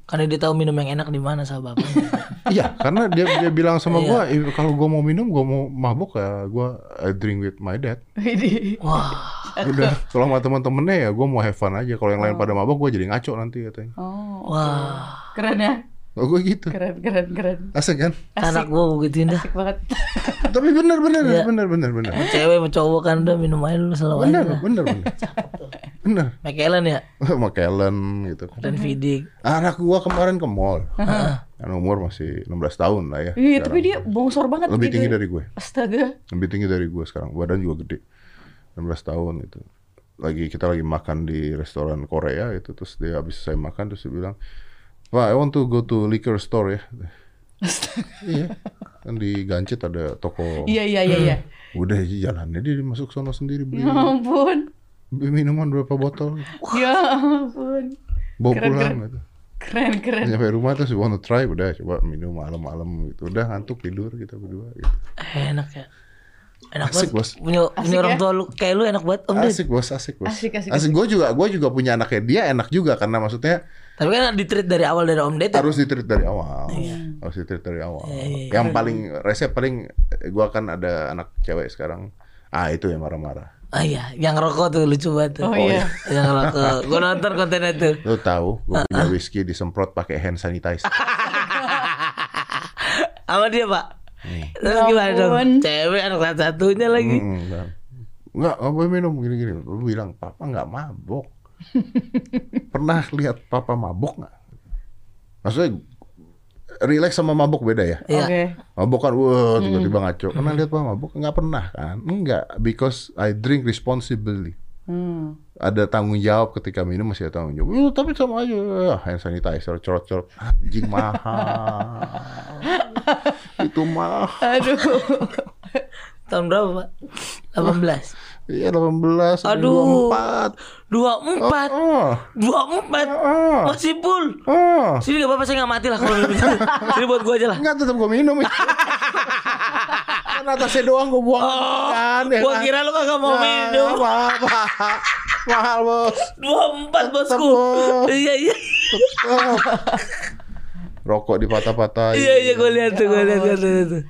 [SPEAKER 1] Karena dia tahu minum yang enak di mana sama bapaknya.
[SPEAKER 3] Iya, karena dia dia bilang sama gue
[SPEAKER 1] Iya.
[SPEAKER 3] "Eh, kalau gue mau minum gue mau mabuk ya gue I drink with my dad.
[SPEAKER 2] Ini.
[SPEAKER 1] Wah.
[SPEAKER 3] Udah kalau sama teman-temannya ya gue mau have fun aja. Kalau yang
[SPEAKER 1] Oh.
[SPEAKER 3] lain pada mabuk gue jadi ngaco nanti katanya.
[SPEAKER 2] Oh.
[SPEAKER 1] Wah.
[SPEAKER 2] Keren ya.
[SPEAKER 3] Oh, gue gitu.
[SPEAKER 2] Keren keren keren.
[SPEAKER 3] Asik kan?
[SPEAKER 1] Anak gua begitu indah.
[SPEAKER 2] Asik banget.
[SPEAKER 3] Tapi bener bener
[SPEAKER 2] Iya.
[SPEAKER 3] bener bener bener.
[SPEAKER 1] Cewek sama cowok kan udah minum aja dulu
[SPEAKER 2] Oh,
[SPEAKER 1] selalu aja.
[SPEAKER 3] Bener,
[SPEAKER 2] iya.
[SPEAKER 3] bener, bener. bener.
[SPEAKER 1] McAllen ya
[SPEAKER 3] Sama Kellen gitu kan.
[SPEAKER 1] dan Vidik.
[SPEAKER 3] Anak gua kemarin ke mall. Kan umur masih 16 tahun lah ya.
[SPEAKER 2] Iya, tapi dia bongsor banget
[SPEAKER 3] Lebih
[SPEAKER 2] gitu.
[SPEAKER 3] tinggi dari gue.
[SPEAKER 2] Astaga.
[SPEAKER 3] Lebih tinggi dari gue sekarang. Badan juga gede. 16 tahun gitu. Lagi kita lagi makan di restoran Korea gitu. Terus dia habis saya makan terus dia bilang, "Wah, I want to go to liquor store ya."
[SPEAKER 2] Astaga.
[SPEAKER 3] iya. Kan di Gancet ada toko.
[SPEAKER 2] Iya iya iya iya.
[SPEAKER 3] Udah jalannya dia masuk sono sendiri
[SPEAKER 2] Ya
[SPEAKER 3] beli,
[SPEAKER 2] ampun.
[SPEAKER 3] beli minuman berapa botol.
[SPEAKER 2] Ya ampun.
[SPEAKER 3] Bawa
[SPEAKER 2] Keren,
[SPEAKER 3] pulang
[SPEAKER 2] keren.
[SPEAKER 3] gitu.
[SPEAKER 2] Keren keren.
[SPEAKER 3] nyampe rumah terus wanna try udah coba minum malam-malam gitu udah ngantuk tidur kita berdua gitu.
[SPEAKER 1] Enak ya. Enak banget.
[SPEAKER 3] Asik, bos.
[SPEAKER 1] Punya punya
[SPEAKER 2] Asik
[SPEAKER 1] orang
[SPEAKER 2] ya?
[SPEAKER 1] tua lu kayak lu enak banget Om Ded.
[SPEAKER 3] asik bos asik bos
[SPEAKER 2] Asik, asik,
[SPEAKER 3] gue juga gue juga punya anaknya dia enak juga karena maksudnya
[SPEAKER 1] Tapi kan ditreat dari awal dari Om Ded. ya?
[SPEAKER 3] harus ditreat dari awal harus ditreat dari awal yang paling resep paling gue kan ada anak cewek sekarang ah itu yang marah-marah
[SPEAKER 1] Ah iya, yang rokok tuh lucu banget tuh.
[SPEAKER 2] Oh, iya.
[SPEAKER 1] yang rokok. Gua nonton kontennya tuh.
[SPEAKER 3] lo tahu gue punya whisky disemprot pakai hand sanitizer
[SPEAKER 1] Sama dia, Pak. Terus gimana dong?
[SPEAKER 2] ampun.
[SPEAKER 1] Cewek anak satu-satunya lagi.
[SPEAKER 3] Mm, enggak enggak nggak boleh minum gini-gini lu bilang papa nggak mabok pernah lihat papa mabok nggak maksudnya relax sama mabok beda ya
[SPEAKER 1] Iya.
[SPEAKER 2] Oke.
[SPEAKER 3] mabok kan
[SPEAKER 1] Hmm.
[SPEAKER 3] wah tiba-tiba ngaco pernah lihat papa mabok nggak pernah kan enggak because I drink responsibly
[SPEAKER 2] Hmm.
[SPEAKER 3] ada tanggung jawab ketika minum masih ada tanggung jawab. "Lu tapi sama aja hand sanitizer cerot-cerot anjing mahal. Itu mahal.
[SPEAKER 2] Aduh.
[SPEAKER 1] Tahun berapa, Pak? 18.
[SPEAKER 3] Iya 18
[SPEAKER 1] Aduh.
[SPEAKER 3] 24.
[SPEAKER 1] Dua empat.
[SPEAKER 3] Oh.
[SPEAKER 1] Dua empat.
[SPEAKER 3] Oh.
[SPEAKER 1] Masih full.
[SPEAKER 3] Oh.
[SPEAKER 1] Sini gak apa-apa saya gak mati lah kalau minum gitu. Sini buat gua aja lah.
[SPEAKER 3] Enggak tetap gue minum itu. kan atasnya doang gue buang
[SPEAKER 1] Oh,
[SPEAKER 3] kan, ya
[SPEAKER 1] gua
[SPEAKER 3] kan?
[SPEAKER 1] kira lu kagak mau
[SPEAKER 3] Ya,
[SPEAKER 1] minum.
[SPEAKER 3] apa-apa. Mahal bos.
[SPEAKER 1] Dua empat bosku.
[SPEAKER 3] Tetep,
[SPEAKER 1] Iya iya.
[SPEAKER 3] Ah. Rokok dipatah-patahin.
[SPEAKER 1] Iya iya gua lihat tuh, gua lihat gua lihat tuh.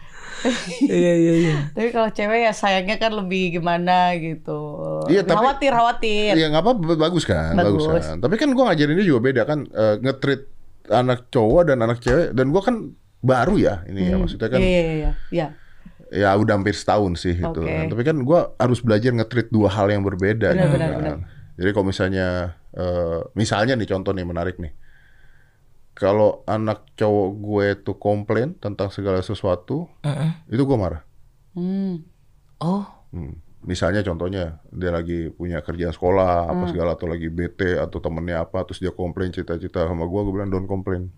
[SPEAKER 1] Iya iya iya.
[SPEAKER 2] Tapi kalau cewek ya sayangnya kan lebih gimana gitu.
[SPEAKER 3] Iya, tapi-
[SPEAKER 2] khawatir, khawatir.
[SPEAKER 3] Iya nggak apa bagus kan, bagus.
[SPEAKER 2] Bagus.
[SPEAKER 3] kan. Tapi kan gue ngajarin dia juga beda kan eh, ngetrit anak cowok dan anak cewek dan gue kan baru ya ini
[SPEAKER 1] Hmm,
[SPEAKER 3] ya maksudnya kan
[SPEAKER 2] Iya, iya, iya, iya.
[SPEAKER 3] ya udah hampir setahun sih itu.
[SPEAKER 2] Oke.
[SPEAKER 3] Tapi kan gue harus belajar ngetrit dua hal yang berbeda.
[SPEAKER 2] Benar,
[SPEAKER 3] gitu
[SPEAKER 2] benar,
[SPEAKER 3] kan.
[SPEAKER 2] benar.
[SPEAKER 3] Jadi kalau misalnya eh, misalnya nih contoh nih menarik nih. Kalau anak cowok gue tuh komplain tentang segala sesuatu, itu gue marah.
[SPEAKER 2] Hmm.
[SPEAKER 1] Oh.
[SPEAKER 3] Hmm. Misalnya contohnya dia lagi punya kerjaan sekolah
[SPEAKER 2] Hmm.
[SPEAKER 3] apa segala atau lagi bete atau temennya apa terus dia komplain cerita-cerita sama gua, gua bilang don't complain.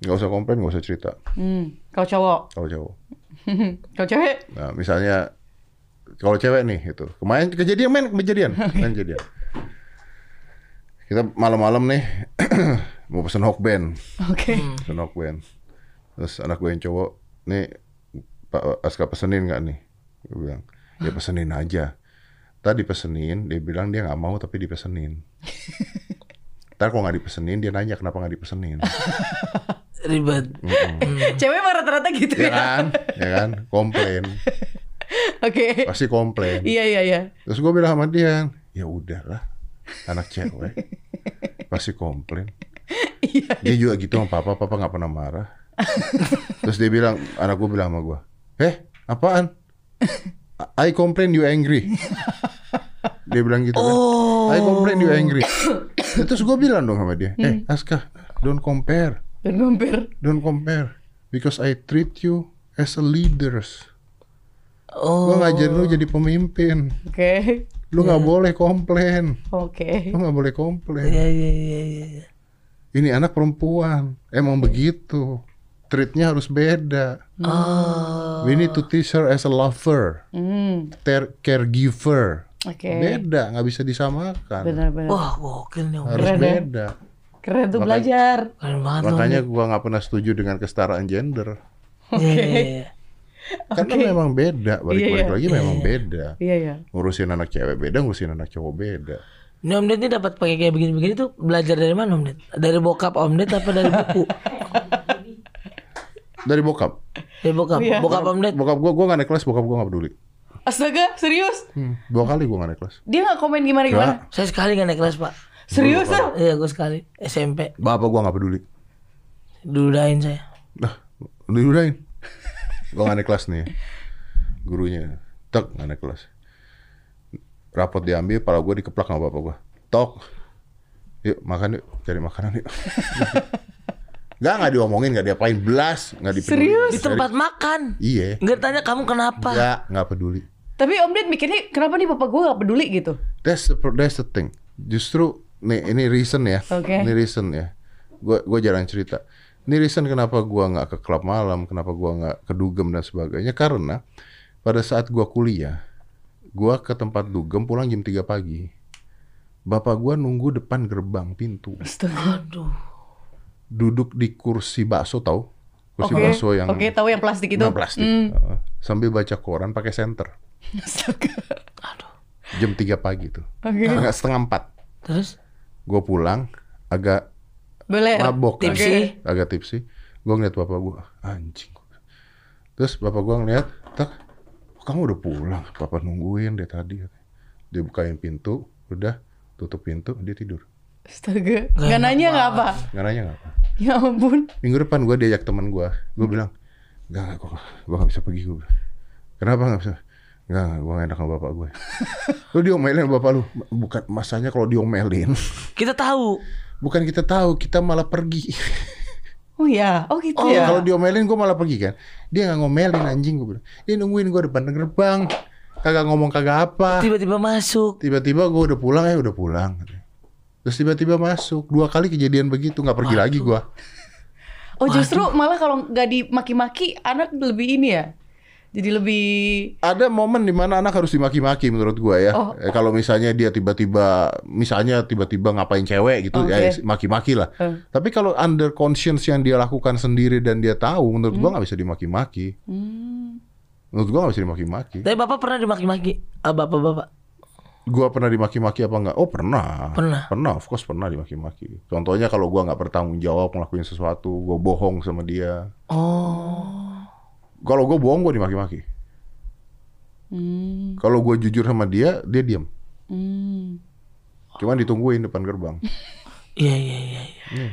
[SPEAKER 3] Gak usah komplain, gak usah cerita
[SPEAKER 2] Hmm. Kalau cowok,
[SPEAKER 3] kalau cowok.
[SPEAKER 2] kalau cewek,
[SPEAKER 3] Nah, misalnya kalau cewek nih itu. Kemarin kejadian main kejadian, main kejadian. Kita malam-malam nih mau pesen hokben.
[SPEAKER 2] oke.
[SPEAKER 3] Pesen Hawkman. Terus anak gue yang cowok, nih Pak Aska pesenin nggak nih? Gue bilang, ya pesenin aja. Tadi pesenin, dia bilang dia nggak mau tapi dipesenin. Ntar kalau nggak dipesenin, dia nanya kenapa nggak dipesenin.
[SPEAKER 1] Ribet.
[SPEAKER 2] Cewek mah rata-rata gitu ya.
[SPEAKER 3] ya kan? Ya kan? Komplain.
[SPEAKER 2] Oke.
[SPEAKER 3] Pasti komplain.
[SPEAKER 2] Iya, iya, iya.
[SPEAKER 3] Terus gue bilang sama dia, ya udahlah, anak cewek pasti komplain. Dia juga gitu sama papa, papa nggak pernah marah. Terus dia bilang, anak gue bilang sama gue, eh apaan? I complain you angry. Dia bilang gitu kan. I complain you angry. Terus gue bilang dong sama dia, eh Aska, don't compare,
[SPEAKER 2] Dan hampir.
[SPEAKER 3] don't compare, because I treat you as a leaders.
[SPEAKER 1] Oh.
[SPEAKER 3] Gue ngajarin lu jadi pemimpin.
[SPEAKER 2] Oke.
[SPEAKER 3] Lu
[SPEAKER 2] Iya.
[SPEAKER 3] nggak boleh komplain.
[SPEAKER 2] Oke.
[SPEAKER 3] Lu nggak boleh komplain.
[SPEAKER 1] Iya iya iya iya.
[SPEAKER 3] Ini anak perempuan,
[SPEAKER 2] Iya.
[SPEAKER 3] emang begitu. Treatnya harus beda.
[SPEAKER 2] Oh.
[SPEAKER 3] We need to teach her as a lover,
[SPEAKER 2] Hmm.
[SPEAKER 3] ter- caregiver.
[SPEAKER 2] Oke.
[SPEAKER 3] Beda, nggak bisa disamakan.
[SPEAKER 2] Benar-benar.
[SPEAKER 1] Wah, gokil nih. Om.
[SPEAKER 3] Harus
[SPEAKER 2] Keren ya.
[SPEAKER 3] beda.
[SPEAKER 2] Keren tuh belajar.
[SPEAKER 1] Keren banget lu.
[SPEAKER 3] Makanya gua nggak pernah setuju dengan kesetaraan gender.
[SPEAKER 1] Iya iya iya.
[SPEAKER 3] Karena memang beda, balik-balik
[SPEAKER 2] Iya,
[SPEAKER 3] lagi memang beda.
[SPEAKER 2] Iya, iya.
[SPEAKER 3] Ngurusin anak cewek beda, ngurusin anak cowok beda.
[SPEAKER 1] Ini Om Ded ini dapat pakai kayak begini-begini tuh belajar dari mana Om Ded? Dari bokap Om Ded apa dari buku?
[SPEAKER 3] Dari bokap.
[SPEAKER 1] Dari bokap.
[SPEAKER 2] Iya.
[SPEAKER 1] Bokap Om Ded.
[SPEAKER 3] Bokap gua, gua nggak naik kelas, bokap gua nggak peduli.
[SPEAKER 2] Astaga, serius?
[SPEAKER 3] Hmm, Dua kali gua nggak naik kelas.
[SPEAKER 2] Dia nggak komen gimana-gimana?
[SPEAKER 3] Nggak.
[SPEAKER 1] Saya sekali nggak naik kelas Pak.
[SPEAKER 2] Serius ah?
[SPEAKER 1] Iya, gue sekali SMP
[SPEAKER 3] Bapak gua nggak peduli.
[SPEAKER 1] dudain saya.
[SPEAKER 3] Nah, udah udahin. Gue gak naik kelas nih. ya. Gurunya, tek gak naik kelas. Rapot diambil, kepala gue dikeplak sama bapak gue. Tok. Yuk makan yuk, cari makanan yuk. gak, gak diomongin, gak diapain. Belas, gak dipeduli.
[SPEAKER 2] Serius?
[SPEAKER 1] Di tempat makan.
[SPEAKER 3] Iya.
[SPEAKER 1] Nggak tanya kamu kenapa.
[SPEAKER 3] Gak, gak peduli.
[SPEAKER 2] Tapi Om Ded mikirnya kenapa nih bapak gue gak peduli gitu?
[SPEAKER 3] That's the, pro- that's the thing. Justru nih ini reason ya.
[SPEAKER 2] Oke.
[SPEAKER 3] Ini reason ya. Gue gue jarang cerita. Ini reason kenapa gua nggak ke klub malam, kenapa gua nggak ke dugem dan sebagainya karena pada saat gua kuliah, gua ke tempat dugem pulang jam 3 pagi. Bapak gua nunggu depan gerbang pintu,
[SPEAKER 2] Astaga.
[SPEAKER 1] Aduh.
[SPEAKER 3] duduk di kursi bakso tau? Kursi
[SPEAKER 2] Oke,
[SPEAKER 3] bakso yang
[SPEAKER 2] Oke, tahu yang plastik itu? Hmm.
[SPEAKER 3] nah, plastik. Heeh. sambil baca koran pakai senter.
[SPEAKER 2] Astaga.
[SPEAKER 1] Aduh.
[SPEAKER 3] Jam 3 pagi tuh.
[SPEAKER 2] Oke.
[SPEAKER 3] Setengah setengah 4.
[SPEAKER 1] Terus
[SPEAKER 3] Gue pulang agak
[SPEAKER 2] Boleh.
[SPEAKER 3] mabok kan.
[SPEAKER 1] Tipsi.
[SPEAKER 3] agak tipsi gue ngeliat bapak gue anjing terus bapak gue ngeliat tak "Kok kamu udah pulang papa nungguin dari tadi dia bukain pintu udah tutup pintu dia tidur
[SPEAKER 2] Astaga. Gak nanya gak apa?
[SPEAKER 3] nggak nanya nggak apa
[SPEAKER 2] Ya ampun.
[SPEAKER 3] minggu depan gue diajak teman gue gue bilang nggak nggak gue gue nggak bisa pergi gue bilang. kenapa nggak bisa nggak nggak, gue gak enak sama bapak gue lu diomelin sama bapak lu bukan masanya kalau diomelin
[SPEAKER 1] kita tahu.
[SPEAKER 3] bukan kita tahu kita malah pergi
[SPEAKER 2] Oh ya, oh gitu
[SPEAKER 3] Oh,
[SPEAKER 2] ya.
[SPEAKER 3] kalau diomelin gue malah pergi kan. Dia nggak ngomelin anjing gue bilang. Dia nungguin gue depan gerbang. Kagak ngomong kagak apa.
[SPEAKER 1] Tiba-tiba masuk.
[SPEAKER 3] Tiba-tiba gue udah pulang ya udah pulang. Terus tiba-tiba masuk. Dua kali kejadian begitu nggak pergi lagi gue.
[SPEAKER 2] Oh justru malah kalau nggak dimaki-maki anak lebih ini ya. Jadi lebih
[SPEAKER 3] ada momen dimana anak harus dimaki-maki menurut gua ya.
[SPEAKER 2] Oh.
[SPEAKER 3] Eh, kalau misalnya dia tiba-tiba, misalnya tiba-tiba ngapain cewek gitu,
[SPEAKER 2] Oke.
[SPEAKER 3] ya maki-maki lah.
[SPEAKER 2] Hmm.
[SPEAKER 3] Tapi kalau under conscience yang dia lakukan sendiri dan dia tahu, menurut
[SPEAKER 2] Hmm.
[SPEAKER 3] gua nggak bisa dimaki-maki. Menurut gua nggak bisa dimaki-maki.
[SPEAKER 1] Tapi bapak pernah dimaki-maki? Ah, bapak-bapak.
[SPEAKER 3] Gua pernah dimaki-maki apa nggak? Oh pernah.
[SPEAKER 1] Pernah.
[SPEAKER 3] Pernah, of course pernah dimaki-maki. Contohnya kalau gua nggak bertanggung jawab ngelakuin sesuatu, gua bohong sama dia.
[SPEAKER 1] Oh.
[SPEAKER 3] Kalau gua bohong gua dimaki-maki.
[SPEAKER 2] hmm,
[SPEAKER 3] Kalau gua jujur sama dia, dia diam.
[SPEAKER 2] hmm.
[SPEAKER 3] Cuman ditungguin depan gerbang.
[SPEAKER 1] Iya, iya, iya. iya.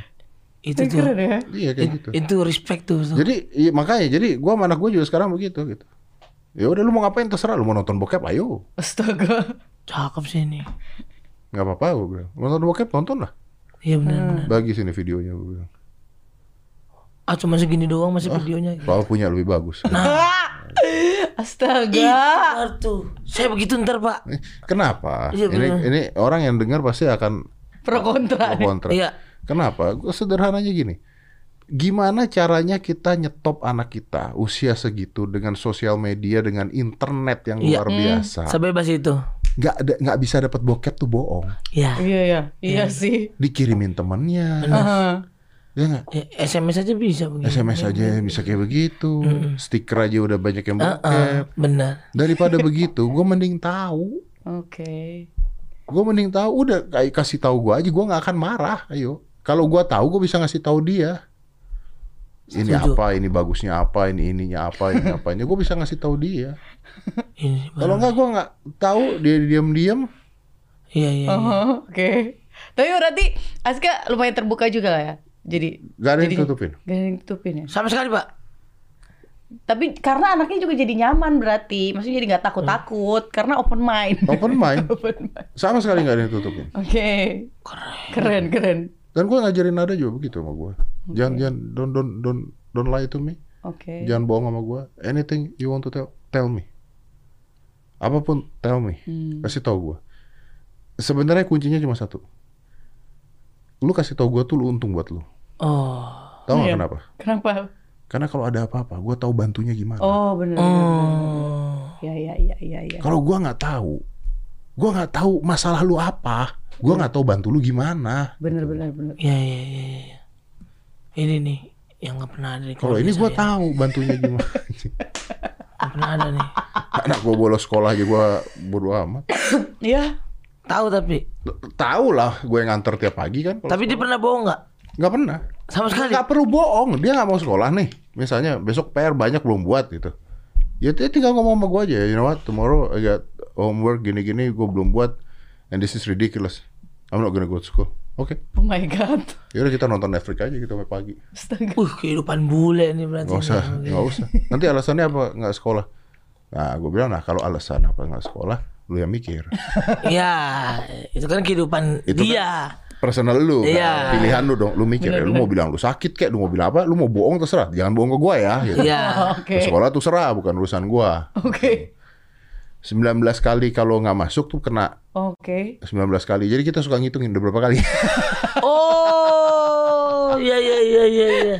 [SPEAKER 1] Itu
[SPEAKER 2] Tapi
[SPEAKER 1] tuh.
[SPEAKER 2] keren ya.
[SPEAKER 3] iya
[SPEAKER 1] it-
[SPEAKER 3] kayak gitu.
[SPEAKER 1] Itu respect tuh. tuh.
[SPEAKER 3] Jadi iya, makanya jadi gua sama anak gua juga sekarang begitu gitu. Ya udah lu mau ngapain terserah lu mau nonton bokep ayo.
[SPEAKER 2] Astaga.
[SPEAKER 1] Cakep sih ini.
[SPEAKER 3] nggak apa-apa gua bilang. Mau Nonton bokep nonton lah.
[SPEAKER 1] Iya benar-benar.
[SPEAKER 3] Bagi sini videonya gua bilang.
[SPEAKER 1] Ah cuma segini doang masih videonya.
[SPEAKER 3] Soal punya lebih bagus.
[SPEAKER 1] Nah, Ih,
[SPEAKER 2] Astaga.
[SPEAKER 1] benar tuh. Iya. Saya begitu ntar pak.
[SPEAKER 3] Eh, Kenapa?
[SPEAKER 1] Iya,
[SPEAKER 3] ini
[SPEAKER 1] bener.
[SPEAKER 3] ini orang yang dengar pasti akan
[SPEAKER 2] Pro kontra. nih.
[SPEAKER 3] kontra.
[SPEAKER 1] Iya.
[SPEAKER 3] Kenapa? Gua sederhananya gini. Gimana caranya kita nyetop anak kita usia segitu dengan sosial media dengan internet yang
[SPEAKER 1] Iya.
[SPEAKER 3] luar biasa?
[SPEAKER 1] Sebebas itu.
[SPEAKER 3] Nggak ada nggak bisa dapat bokep tuh bohong.
[SPEAKER 1] Iya.
[SPEAKER 2] Iya ya. Iya sih.
[SPEAKER 3] Dikirimin temennya,
[SPEAKER 2] Heeh.
[SPEAKER 3] ya nggak?
[SPEAKER 1] Ya, SMS aja bisa begini.
[SPEAKER 3] SMS
[SPEAKER 1] iya.
[SPEAKER 3] aja bisa kayak begitu, stiker aja udah banyak yang
[SPEAKER 1] Ah,
[SPEAKER 3] bokep.
[SPEAKER 1] ah, benar.
[SPEAKER 3] Daripada begitu, gue mending tahu,
[SPEAKER 2] Oke.
[SPEAKER 3] gue mending tahu udah kayak kasih tahu gue aja, gue nggak akan marah. Ayo, kalau gue tahu gue bisa ngasih tahu dia. Ini
[SPEAKER 1] Setuju.
[SPEAKER 3] apa, ini bagusnya apa, ini ininya apa, ini apanya, gue bisa ngasih tahu dia.
[SPEAKER 1] Ini,
[SPEAKER 3] Kalau nggak gue nggak tahu dia diam-diam,
[SPEAKER 1] Iya iya. iya.
[SPEAKER 2] Aha, Oke. Tapi berarti Aska lumayan terbuka juga lah ya. Jadi
[SPEAKER 3] gak ada yang
[SPEAKER 2] Jadi-
[SPEAKER 3] tutupin.
[SPEAKER 2] gak ada yang ditutupin ya.
[SPEAKER 1] Sama sekali pak.
[SPEAKER 2] Tapi karena anaknya juga jadi nyaman berarti, maksudnya jadi nggak takut-takut karena open mind.
[SPEAKER 3] Open mind,
[SPEAKER 2] Open mind.
[SPEAKER 3] sama sekali nggak ada yang tutupin.
[SPEAKER 2] Oke. Keren. Keren,
[SPEAKER 3] Dan gue ngajarin nada juga begitu sama gue. Jangan jangan don't don't don't don't lie to me.
[SPEAKER 2] Oke.
[SPEAKER 3] Jangan bohong sama gue. Anything you want to tell, tell me. Apapun, tell me.
[SPEAKER 2] Hmm.
[SPEAKER 3] Kasih tahu gue. Sebenarnya kuncinya cuma satu. Lu kasih tahu gue tuh lu untung buat lu.
[SPEAKER 1] Oh.
[SPEAKER 3] Tahu nggak
[SPEAKER 2] Iya.
[SPEAKER 3] kenapa?
[SPEAKER 2] Kenapa?
[SPEAKER 3] Karena kalau ada apa-apa, gue tahu bantunya gimana.
[SPEAKER 2] Oh, benar.
[SPEAKER 1] Oh.
[SPEAKER 2] Ya ya ya ya ya.
[SPEAKER 3] Kalau gue nggak tahu, gue nggak tahu masalah lu apa. Gue nggak tahu bantu lu gimana.
[SPEAKER 2] Bener bener bener.
[SPEAKER 1] Iya iya iya. iya. Ini nih yang nggak pernah ada di
[SPEAKER 2] Oh,
[SPEAKER 3] Kalau
[SPEAKER 1] keluarga
[SPEAKER 3] ini gue
[SPEAKER 2] iya,
[SPEAKER 1] saya.
[SPEAKER 3] tahu bantunya gimana.
[SPEAKER 1] Nggak pernah ada nih.
[SPEAKER 3] Anak gue bolos sekolah aja gue bodo amat.
[SPEAKER 2] Iya.
[SPEAKER 1] Tahu tapi.
[SPEAKER 3] Tahu lah, gue yang nganter tiap pagi kan. kalau
[SPEAKER 1] Tapi dia pernah bohong nggak?
[SPEAKER 3] Nggak pernah.
[SPEAKER 1] Sama sekali.
[SPEAKER 3] Nggak perlu bohong. Dia nggak mau sekolah nih. Misalnya besok PR banyak belum buat gitu. Ya dia tinggal ngomong sama gue aja. You know what? Tomorrow I got homework gini-gini gue belum buat. And this is ridiculous. I'm not gonna go to school. Oke.
[SPEAKER 2] Oh my god.
[SPEAKER 3] Yaudah kita nonton Netflix aja gitu sampai pagi.
[SPEAKER 2] Astaga.
[SPEAKER 1] Uh kehidupan bule nih berarti.
[SPEAKER 3] Nggak usah.
[SPEAKER 1] Nih.
[SPEAKER 3] Nggak usah. Nanti alasannya apa nggak sekolah? Nah gue bilang nah kalau alasan apa nggak sekolah lu yang mikir.
[SPEAKER 1] Iya. Itu kan kehidupan
[SPEAKER 3] Itu kan-
[SPEAKER 1] dia.
[SPEAKER 3] Personal lu, kan?
[SPEAKER 1] Iya.
[SPEAKER 3] pilihan lu dong, lu mikir ya, lu mau bilang lu sakit kek, lu mau bilang apa, lu mau bohong terserah, jangan bohong ke gua ya. Gitu.
[SPEAKER 1] Iya.
[SPEAKER 2] Oke.
[SPEAKER 3] Sekolah tuh serah, bukan urusan gua.
[SPEAKER 2] Oke.
[SPEAKER 3] 19 kali kalau nggak masuk tuh kena
[SPEAKER 2] Oke.
[SPEAKER 3] 19 kali. Jadi kita suka ngitungin udah berapa kali.
[SPEAKER 1] Oh. Iya iya iya iya. iya.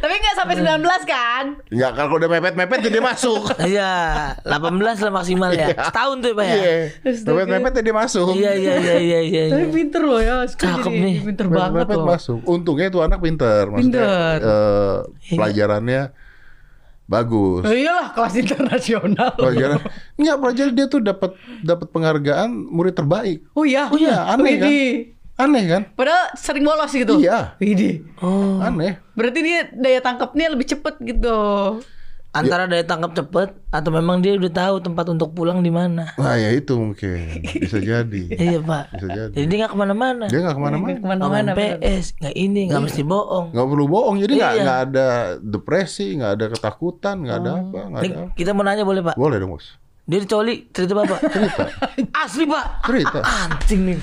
[SPEAKER 2] Tapi nggak sampai 19 kan?
[SPEAKER 3] Nggak kalau udah mepet-mepet jadi masuk.
[SPEAKER 1] Iya, 18 lah maksimal ya. Setahun tuh ya, Pak ya.
[SPEAKER 3] Iya. Mepet-mepet jadi masuk.
[SPEAKER 1] Iya, iya, iya, iya, iya.
[SPEAKER 2] Tapi pinter loh ya. Aska
[SPEAKER 1] Cakep
[SPEAKER 2] jadi
[SPEAKER 1] nih.
[SPEAKER 2] Pinter banget
[SPEAKER 3] Mepet-mepet
[SPEAKER 2] loh.
[SPEAKER 3] masuk. Untungnya itu anak pinter. Maksudnya
[SPEAKER 2] Pinter.
[SPEAKER 3] eh,
[SPEAKER 1] Iya.
[SPEAKER 3] pelajarannya bagus.
[SPEAKER 2] Oh, iyalah kelas internasional.
[SPEAKER 3] Pelajaran nggak pelajaran dia tuh dapat dapat penghargaan murid terbaik.
[SPEAKER 2] Oh iya.
[SPEAKER 3] Oh iya, aneh kan?
[SPEAKER 2] Widih.
[SPEAKER 3] Aneh kan?
[SPEAKER 2] Padahal sering bolos gitu.
[SPEAKER 3] Iya.
[SPEAKER 2] Widih.
[SPEAKER 1] Oh,
[SPEAKER 3] Aneh.
[SPEAKER 2] Berarti dia daya tangkapnya lebih cepet gitu.
[SPEAKER 1] antara daya tangkap cepet atau memang dia udah tahu tempat untuk pulang di mana.
[SPEAKER 3] Nah ya itu mungkin bisa jadi.
[SPEAKER 1] Iya, Pak.
[SPEAKER 3] Bisa jadi.
[SPEAKER 1] Jadi dia nggak kemana-mana.
[SPEAKER 3] Dia nggak kemana-mana.
[SPEAKER 1] Nggak main
[SPEAKER 2] Kemana-mana. bener.
[SPEAKER 1] PS, nggak ini, nggak mesti bohong.
[SPEAKER 3] nggak perlu bohong jadi nggak
[SPEAKER 1] Iya.
[SPEAKER 3] nggak ada depresi nggak ada ketakutan nggak
[SPEAKER 2] Oh.
[SPEAKER 3] ada apa nggak ada
[SPEAKER 1] Nih,
[SPEAKER 3] apa.
[SPEAKER 1] Eh, kita mau nanya boleh, Pak?
[SPEAKER 3] boleh dong bos
[SPEAKER 1] Dia dicoli cerita Bapak.
[SPEAKER 3] cerita
[SPEAKER 1] Asli, Pak.
[SPEAKER 3] cerita
[SPEAKER 2] Ah,
[SPEAKER 1] Anjing nih.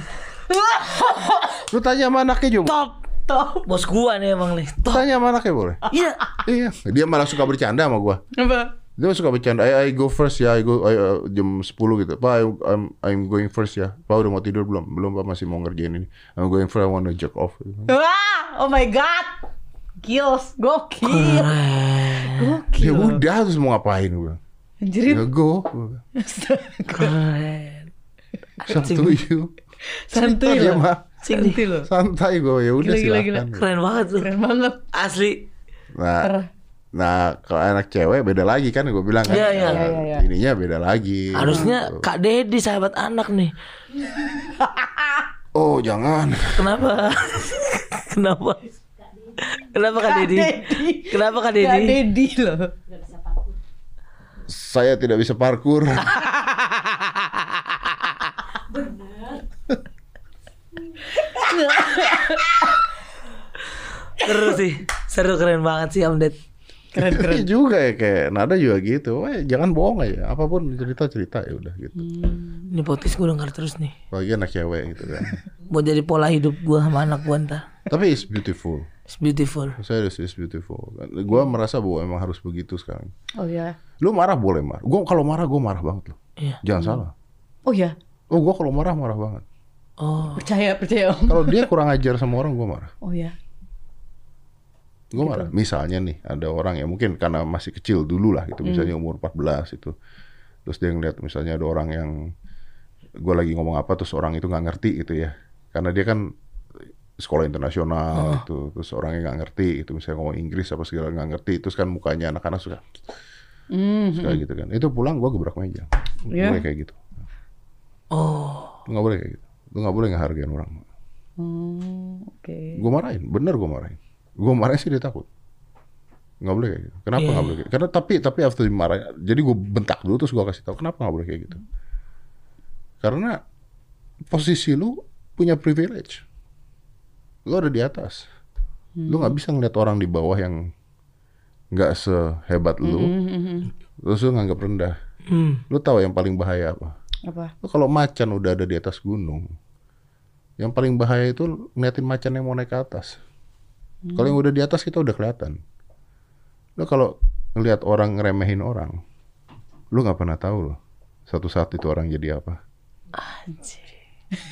[SPEAKER 3] lu tanya sama anaknya juga
[SPEAKER 1] Top. Top. Bos gua nih emang nih. Top.
[SPEAKER 3] tanya sama anaknya boleh
[SPEAKER 1] Iya.
[SPEAKER 3] iya dia malah suka bercanda sama gua
[SPEAKER 2] Apa?
[SPEAKER 3] dia suka bercanda I, I go first ya I go I, uh, jam 10 gitu pak I, I'm I'm going first ya pak udah mau tidur belum belum pak masih mau ngerjain ini I'm going first I wanna jerk off Ya
[SPEAKER 2] Wah, oh my god. Gils, gokil.
[SPEAKER 1] Keren.
[SPEAKER 3] ya udah terus mau ngapain gua
[SPEAKER 2] Anjirin.
[SPEAKER 3] Jago.
[SPEAKER 1] Keren.
[SPEAKER 3] Satu yuk.
[SPEAKER 2] Santuy
[SPEAKER 3] Bentar ya,
[SPEAKER 2] loh.
[SPEAKER 3] Ma.
[SPEAKER 2] Santuy loh.
[SPEAKER 3] Santai gue ya udah
[SPEAKER 2] Gila, gila, gila.
[SPEAKER 3] silakan.
[SPEAKER 1] Keren banget tuh.
[SPEAKER 2] Keren banget.
[SPEAKER 1] Asli.
[SPEAKER 2] Parah.
[SPEAKER 3] Nah, nah kalau anak cewek beda lagi kan gue bilang kan.
[SPEAKER 1] Iya, iya.
[SPEAKER 3] Nah,
[SPEAKER 2] Iya, iya, iya.
[SPEAKER 3] Ininya beda lagi.
[SPEAKER 1] Harusnya
[SPEAKER 3] Gitu.
[SPEAKER 1] Kak Dedi sahabat anak nih.
[SPEAKER 3] Oh jangan.
[SPEAKER 1] Kenapa? Kenapa? Kenapa Kak Dedi? Kenapa Kak
[SPEAKER 2] Kak
[SPEAKER 1] Dedi?
[SPEAKER 2] Dedi loh.
[SPEAKER 3] Saya tidak bisa parkur.
[SPEAKER 1] Seru sih. Seru keren banget sih Om Ded.
[SPEAKER 2] Keren keren.
[SPEAKER 3] Iya juga ya kayak Nada juga gitu. Wah, jangan bohong aja. Apapun cerita cerita ya udah gitu.
[SPEAKER 2] Hmm.
[SPEAKER 1] Ini podcast gue denger terus nih.
[SPEAKER 3] Bagi anak cewek gitu kan.
[SPEAKER 1] Mau jadi pola hidup gue sama anak gue ntar.
[SPEAKER 3] Tapi it's beautiful.
[SPEAKER 1] It's beautiful.
[SPEAKER 3] Serius it's beautiful. Gua merasa bahwa emang harus begitu sekarang.
[SPEAKER 2] Oh ya.
[SPEAKER 3] Lu marah boleh marah. Gua kalau marah gua marah banget loh.
[SPEAKER 1] Iya.
[SPEAKER 3] Jangan salah.
[SPEAKER 2] Oh ya.
[SPEAKER 3] Oh gua kalau marah marah banget.
[SPEAKER 1] Oh,
[SPEAKER 2] Percaya percaya om.
[SPEAKER 3] Kalau dia kurang ajar sama orang gua marah.
[SPEAKER 2] Oh ya.
[SPEAKER 3] Gua marah. Misalnya nih ada orang yang mungkin karena masih kecil dulu lah gitu. Misalnya umur 14 itu. Terus dia ngeliat misalnya ada orang yang gua lagi ngomong apa terus orang itu nggak ngerti gitu ya. Karena dia kan sekolah internasional gitu. Terus orangnya nggak ngerti gitu. Misalnya ngomong Inggris apa segala nggak ngerti. Terus kan mukanya anak-anak suka
[SPEAKER 2] Hmm.
[SPEAKER 3] suka gitu kan. Itu pulang gua gebrak meja. Nggak
[SPEAKER 2] Iya.
[SPEAKER 3] Boleh kayak gitu.
[SPEAKER 1] oh,
[SPEAKER 3] Lu nggak boleh kayak gitu. Lu nggak boleh ngehargain orang.
[SPEAKER 2] Hmm, Oke.
[SPEAKER 3] Gue marahin, bener gue marahin. Gue marahin sih dia takut. Nggak boleh kayak gitu. Kenapa nggak boleh kayak gitu? Karena tapi tapi after dimarahin, jadi gue bentak dulu terus gue kasih tahu kenapa nggak boleh kayak gitu. Karena posisi lu punya privilege. Lu ada di atas. Lu nggak bisa ngeliat orang di bawah yang nggak sehebat lu. Terus lu nganggap rendah.
[SPEAKER 1] hmm,
[SPEAKER 3] Lu tahu yang paling bahaya apa?
[SPEAKER 2] Apa?
[SPEAKER 3] Lu kalau macan udah ada di atas gunung, yang paling bahaya itu lu ngeliatin macan yang mau naik ke atas. Kalau yang udah di atas kita udah kelihatan. Lu kalau ngeliat orang ngeremehin orang, lu nggak pernah tahu loh. Satu saat itu orang jadi apa?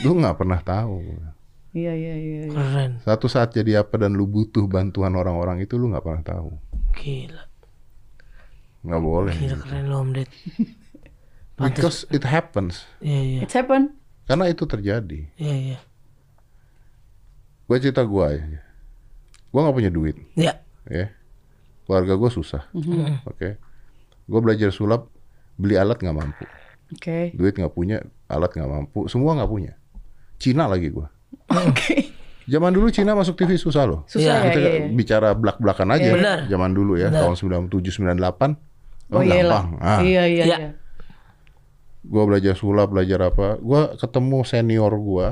[SPEAKER 3] Lu nggak pernah tahu.
[SPEAKER 2] Iya iya iya. iya.
[SPEAKER 1] keren.
[SPEAKER 3] Satu saat jadi apa dan lu butuh bantuan orang-orang itu lu nggak pernah tahu.
[SPEAKER 1] Gila,
[SPEAKER 3] Nggak boleh.
[SPEAKER 1] gila keren lo Om Ded.
[SPEAKER 3] Because it happens.
[SPEAKER 1] Iya, iya,
[SPEAKER 2] It's happen.
[SPEAKER 3] Karena itu terjadi.
[SPEAKER 1] iya, iya.
[SPEAKER 3] Gue cerita gue aja. Gue nggak punya duit.
[SPEAKER 1] Ya,
[SPEAKER 3] ya keluarga gue susah oke gue belajar sulap beli alat nggak mampu
[SPEAKER 2] Oke.
[SPEAKER 3] duit nggak punya alat nggak mampu semua nggak punya Cina lagi gue
[SPEAKER 2] Oke.
[SPEAKER 3] zaman dulu Cina masuk TV susah loh
[SPEAKER 2] Susah ya.
[SPEAKER 3] kita
[SPEAKER 2] iya, iya.
[SPEAKER 3] bicara belak belakan aja
[SPEAKER 1] Benar.
[SPEAKER 3] zaman dulu ya
[SPEAKER 1] Benar.
[SPEAKER 3] tahun 97 98
[SPEAKER 2] Oh iya lah. Iya iya
[SPEAKER 1] Iya.
[SPEAKER 2] iya.
[SPEAKER 3] gue Ah, belajar sulap belajar apa gue ketemu senior gue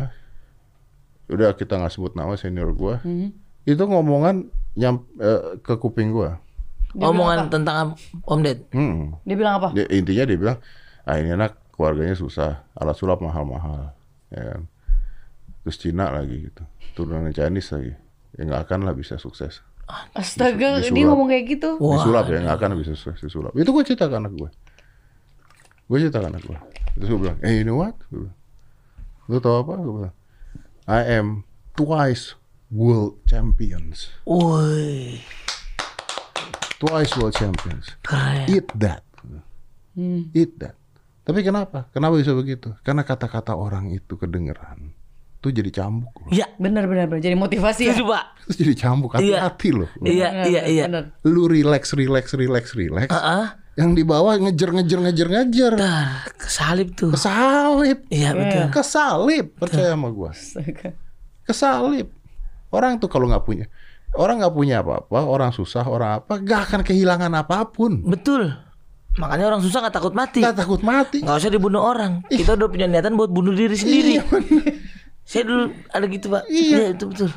[SPEAKER 3] udah kita nggak sebut nama senior gue
[SPEAKER 2] Mm-hmm.
[SPEAKER 3] itu ngomongan nyam eh, ke kuping gue
[SPEAKER 2] Dia
[SPEAKER 1] omongan tentang Om Ded.
[SPEAKER 3] Hmm.
[SPEAKER 2] Dia bilang apa?
[SPEAKER 3] Dia- intinya dia bilang, ah ini anak keluarganya susah, alat sulap mahal-mahal, ya kan. Terus Cina lagi gitu, turunan Chinese lagi, ya nggak akan lah bisa sukses.
[SPEAKER 2] Astaga,
[SPEAKER 3] Disulap.
[SPEAKER 2] dia ngomong kayak gitu.
[SPEAKER 1] Wah.
[SPEAKER 3] Disulap ya nggak akan bisa sukses disulap. Itu gue cerita ke anak gue, gue cerita ke anak gue. Terus gue bilang, eh you know what? Gue bilang, Lu tau apa? Gue bilang, I am twice world champions,
[SPEAKER 1] Woi,
[SPEAKER 3] twice world champions.
[SPEAKER 1] keren.
[SPEAKER 3] Eat that.
[SPEAKER 1] Hmm.
[SPEAKER 3] Eat that. Tapi kenapa? Kenapa bisa begitu? Karena kata-kata orang itu kedengeran. Itu jadi cambuk. loh.
[SPEAKER 1] Iya,
[SPEAKER 2] Bener bener bener. Jadi motivasi ya.
[SPEAKER 1] setuju pak.
[SPEAKER 3] Terus jadi cambuk. Hati-hati loh.
[SPEAKER 1] Iya,
[SPEAKER 2] Bener,
[SPEAKER 1] iya, iya.
[SPEAKER 2] bener.
[SPEAKER 3] Lu relax, relax, relax, relax.
[SPEAKER 1] Ah,
[SPEAKER 3] Yang di bawah ngejer, ngejer, ngejer, ngejer.
[SPEAKER 1] Bentar, kesalip tuh.
[SPEAKER 3] Kesalip.
[SPEAKER 1] Iya betul.
[SPEAKER 3] Kesalip. Percaya sama gua.
[SPEAKER 2] Astaga.
[SPEAKER 3] Kesalip. Orang tuh kalau nggak punya. Orang nggak punya apa-apa. Orang susah, orang apa. Gak akan kehilangan apapun.
[SPEAKER 1] Betul. Makanya orang susah nggak takut mati.
[SPEAKER 3] Gak takut mati.
[SPEAKER 1] Nggak usah dibunuh orang. Kita udah punya niatan buat bunuh diri sendiri.
[SPEAKER 3] Iya, bener.
[SPEAKER 1] Saya dulu ada gitu pak.
[SPEAKER 3] Iya.
[SPEAKER 1] itu betul.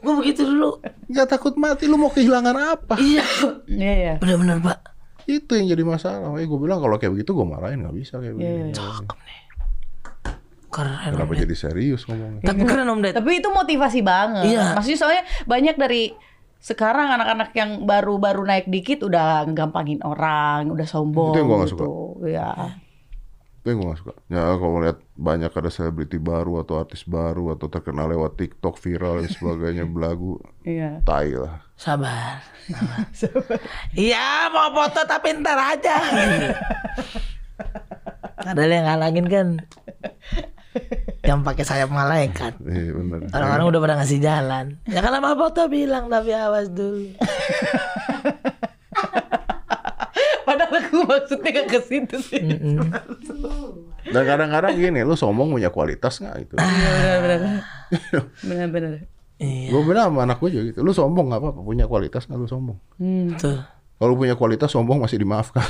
[SPEAKER 1] Gue begitu dulu.
[SPEAKER 3] Gak takut mati. Lu mau kehilangan apa?
[SPEAKER 1] Iya.
[SPEAKER 2] Iya iya.
[SPEAKER 1] Benar-benar pak.
[SPEAKER 3] itu yang jadi masalah. Eh gue bilang kalau kayak begitu gue marahin nggak bisa kayak
[SPEAKER 2] Iya,
[SPEAKER 3] begitu.
[SPEAKER 2] iya.
[SPEAKER 1] Keren.
[SPEAKER 3] Kenapa
[SPEAKER 1] Om Ded.
[SPEAKER 3] jadi serius ngomongnya?
[SPEAKER 1] Tapi keren om Ded.
[SPEAKER 2] Tapi itu motivasi banget.
[SPEAKER 1] Iya.
[SPEAKER 2] Maksudnya soalnya banyak dari sekarang anak-anak yang baru-baru naik dikit udah gampangin orang, udah sombong
[SPEAKER 3] Itu yang gua nggak
[SPEAKER 2] gitu. Iya.
[SPEAKER 3] Itu yang gue gak suka. Ya kalau lihat banyak ada selebriti baru atau artis baru atau terkenal lewat TikTok viral dan sebagainya belagu,
[SPEAKER 2] Iya.
[SPEAKER 3] tai lah.
[SPEAKER 1] Sabar. Sabar. Iya mau foto tapi ntar aja. Padahal yang ngalangin kan yang pakai sayap malaikat.
[SPEAKER 3] Iya bener.
[SPEAKER 1] Orang-orang udah pada ngasih jalan. Ya kan lama foto bilang tapi awas dulu.
[SPEAKER 2] Padahal aku maksudnya gak ke situ sih.
[SPEAKER 3] Dan kadang-kadang gini, lu sombong punya kualitas nggak gitu?
[SPEAKER 2] Ah, Benar-benar.
[SPEAKER 1] Iya,
[SPEAKER 3] Gue bilang sama anak gue juga gitu, lu sombong nggak apa-apa, punya kualitas nggak lu sombong?
[SPEAKER 1] betul.
[SPEAKER 3] Kalau punya kualitas sombong masih dimaafkan,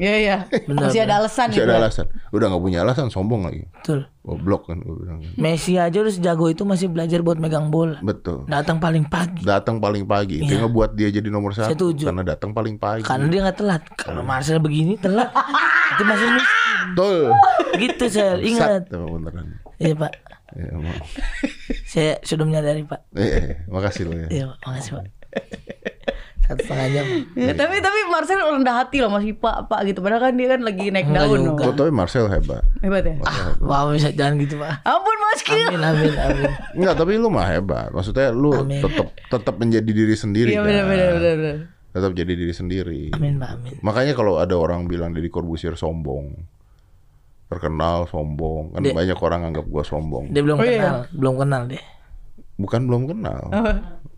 [SPEAKER 2] Iya iya.
[SPEAKER 1] Benar,
[SPEAKER 2] Masih ada alasan
[SPEAKER 3] masih
[SPEAKER 2] gitu.
[SPEAKER 3] ada alasan. Udah nggak punya alasan sombong lagi,
[SPEAKER 1] Betul.
[SPEAKER 3] goblok kan gue bilang.
[SPEAKER 1] Messi aja udah sejago itu masih belajar buat megang bola.
[SPEAKER 3] Betul.
[SPEAKER 1] Datang paling pagi
[SPEAKER 3] Datang paling pagi, itu yang ngebuat dia jadi nomor satu
[SPEAKER 1] Iya. Setuju.
[SPEAKER 3] karena datang paling pagi.
[SPEAKER 1] karena dia nggak telat. Kalau Marcel begini telat, itu masih miskin.
[SPEAKER 3] Betul.
[SPEAKER 1] Gitu saya
[SPEAKER 3] Sat,
[SPEAKER 1] ingat.
[SPEAKER 3] emang beneran.
[SPEAKER 1] Iya pak,
[SPEAKER 3] Ya, emang.
[SPEAKER 1] saya sudah menyadari pak.
[SPEAKER 3] Eh, eh, makasih lo ya.
[SPEAKER 1] Iya pak, makasih pak. Satu setengah jam.
[SPEAKER 2] Ya, tapi tapi Marcel rendah hati loh masih pak pak gitu. Padahal kan dia kan lagi naik daun. loh.
[SPEAKER 3] Gue tau Oh, Marcel hebat.
[SPEAKER 2] Hebat ya.
[SPEAKER 1] Ah, wow, bisa jangan gitu pak.
[SPEAKER 2] Ampun Mas Kil.
[SPEAKER 1] Amin, amin, amin.
[SPEAKER 3] Enggak, tapi lu mah hebat. Maksudnya lu
[SPEAKER 1] Amin.
[SPEAKER 3] tetap tetap menjadi diri sendiri.
[SPEAKER 2] Iya
[SPEAKER 3] kan?
[SPEAKER 2] benar-benar benar.
[SPEAKER 3] Tetap jadi diri sendiri.
[SPEAKER 1] Amin pak, amin.
[SPEAKER 3] Makanya kalau ada orang bilang Deddy Corbuzier sombong, terkenal sombong, kan
[SPEAKER 1] Dek.
[SPEAKER 3] banyak orang anggap gua sombong.
[SPEAKER 1] Dia belum
[SPEAKER 2] Oh, iya.
[SPEAKER 1] kenal, belum kenal deh.
[SPEAKER 3] Bukan belum kenal.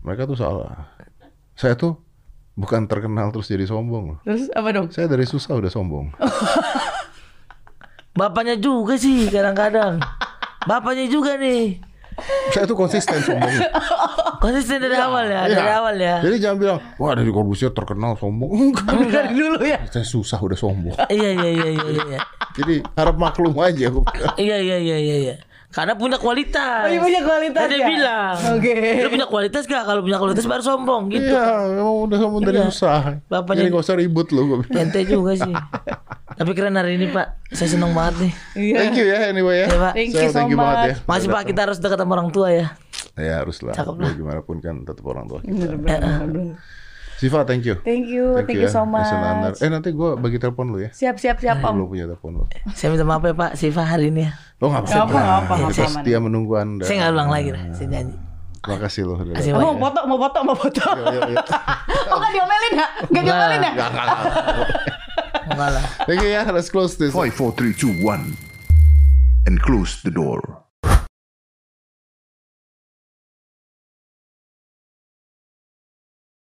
[SPEAKER 3] Mereka tuh salah. Saya tuh bukan terkenal terus jadi sombong. loh.
[SPEAKER 2] Terus apa dong?
[SPEAKER 3] Saya dari susah udah sombong.
[SPEAKER 1] Bapaknya juga sih kadang-kadang. Bapaknya juga nih.
[SPEAKER 3] Saya tuh konsisten sombong.
[SPEAKER 1] Konsisten dari awal
[SPEAKER 3] Iya.
[SPEAKER 1] ya, dari awal ya.
[SPEAKER 3] Jadi jangan bilang, wah Deddy Corbuzier terkenal sombong. Enggak.
[SPEAKER 2] Dari dulu ya.
[SPEAKER 3] Saya susah udah sombong.
[SPEAKER 1] Iya, iya, iya, iya, iya, iya.
[SPEAKER 3] Jadi harap maklum aja. gua bilang.
[SPEAKER 1] Iya, iya, iya, iya, iya. Karena punya kualitas.
[SPEAKER 2] Oh, iya punya kualitas
[SPEAKER 1] Tadi
[SPEAKER 2] ya?
[SPEAKER 1] bilang.
[SPEAKER 2] Oke.
[SPEAKER 1] Lu punya kualitas gak? Kalau punya kualitas baru sombong gitu.
[SPEAKER 3] Iya, emang udah sombong dari
[SPEAKER 1] Iya.
[SPEAKER 3] susah.
[SPEAKER 1] Bapaknya-
[SPEAKER 3] Jadi gak usah ribut loh. gua bilang.
[SPEAKER 1] Ente juga sih. Tapi keren hari ini Pak. Saya seneng banget nih.
[SPEAKER 3] Thank you ya anyway ya.
[SPEAKER 1] Iya, Pak.
[SPEAKER 2] Thank
[SPEAKER 3] Sel,
[SPEAKER 2] you so
[SPEAKER 3] banget
[SPEAKER 2] much.
[SPEAKER 3] ya.
[SPEAKER 1] Masih Pak kita harus dekat sama orang tua ya.
[SPEAKER 3] Ya haruslah.
[SPEAKER 1] Cakep
[SPEAKER 3] Biar Gimana pun kan tetap orang tua kita.
[SPEAKER 2] Benar-benar.
[SPEAKER 3] Siva, thank you.
[SPEAKER 2] Thank you, thank you
[SPEAKER 3] ya,
[SPEAKER 2] so much.
[SPEAKER 3] Jason Anwar. Eh nanti gue bagi telepon lu ya.
[SPEAKER 2] Siap siap siap
[SPEAKER 3] Belum
[SPEAKER 2] Om.
[SPEAKER 3] punya telepon lu.
[SPEAKER 1] Saya minta maaf ya Pak Siva hari ini ya.
[SPEAKER 3] Lo nggak apa-apa.
[SPEAKER 2] Nggak apa-apa, nggak
[SPEAKER 3] Kita
[SPEAKER 2] apa-apa.
[SPEAKER 3] setia menunggu anda.
[SPEAKER 1] Saya nggak ulang lagi lah. Saya janji.
[SPEAKER 3] Terima kasih loh. udah
[SPEAKER 1] Kasih
[SPEAKER 3] datang.
[SPEAKER 1] banyak.
[SPEAKER 2] Mau foto, mau foto, mau foto. Oh nggak diomelin ya? Nggak diomelin ya?
[SPEAKER 3] Nggak, nggak, nggak.
[SPEAKER 1] Enggak lah.
[SPEAKER 3] Thank you ya. Let's close this.
[SPEAKER 4] 5, 4, 3, 2, 1, and close the door.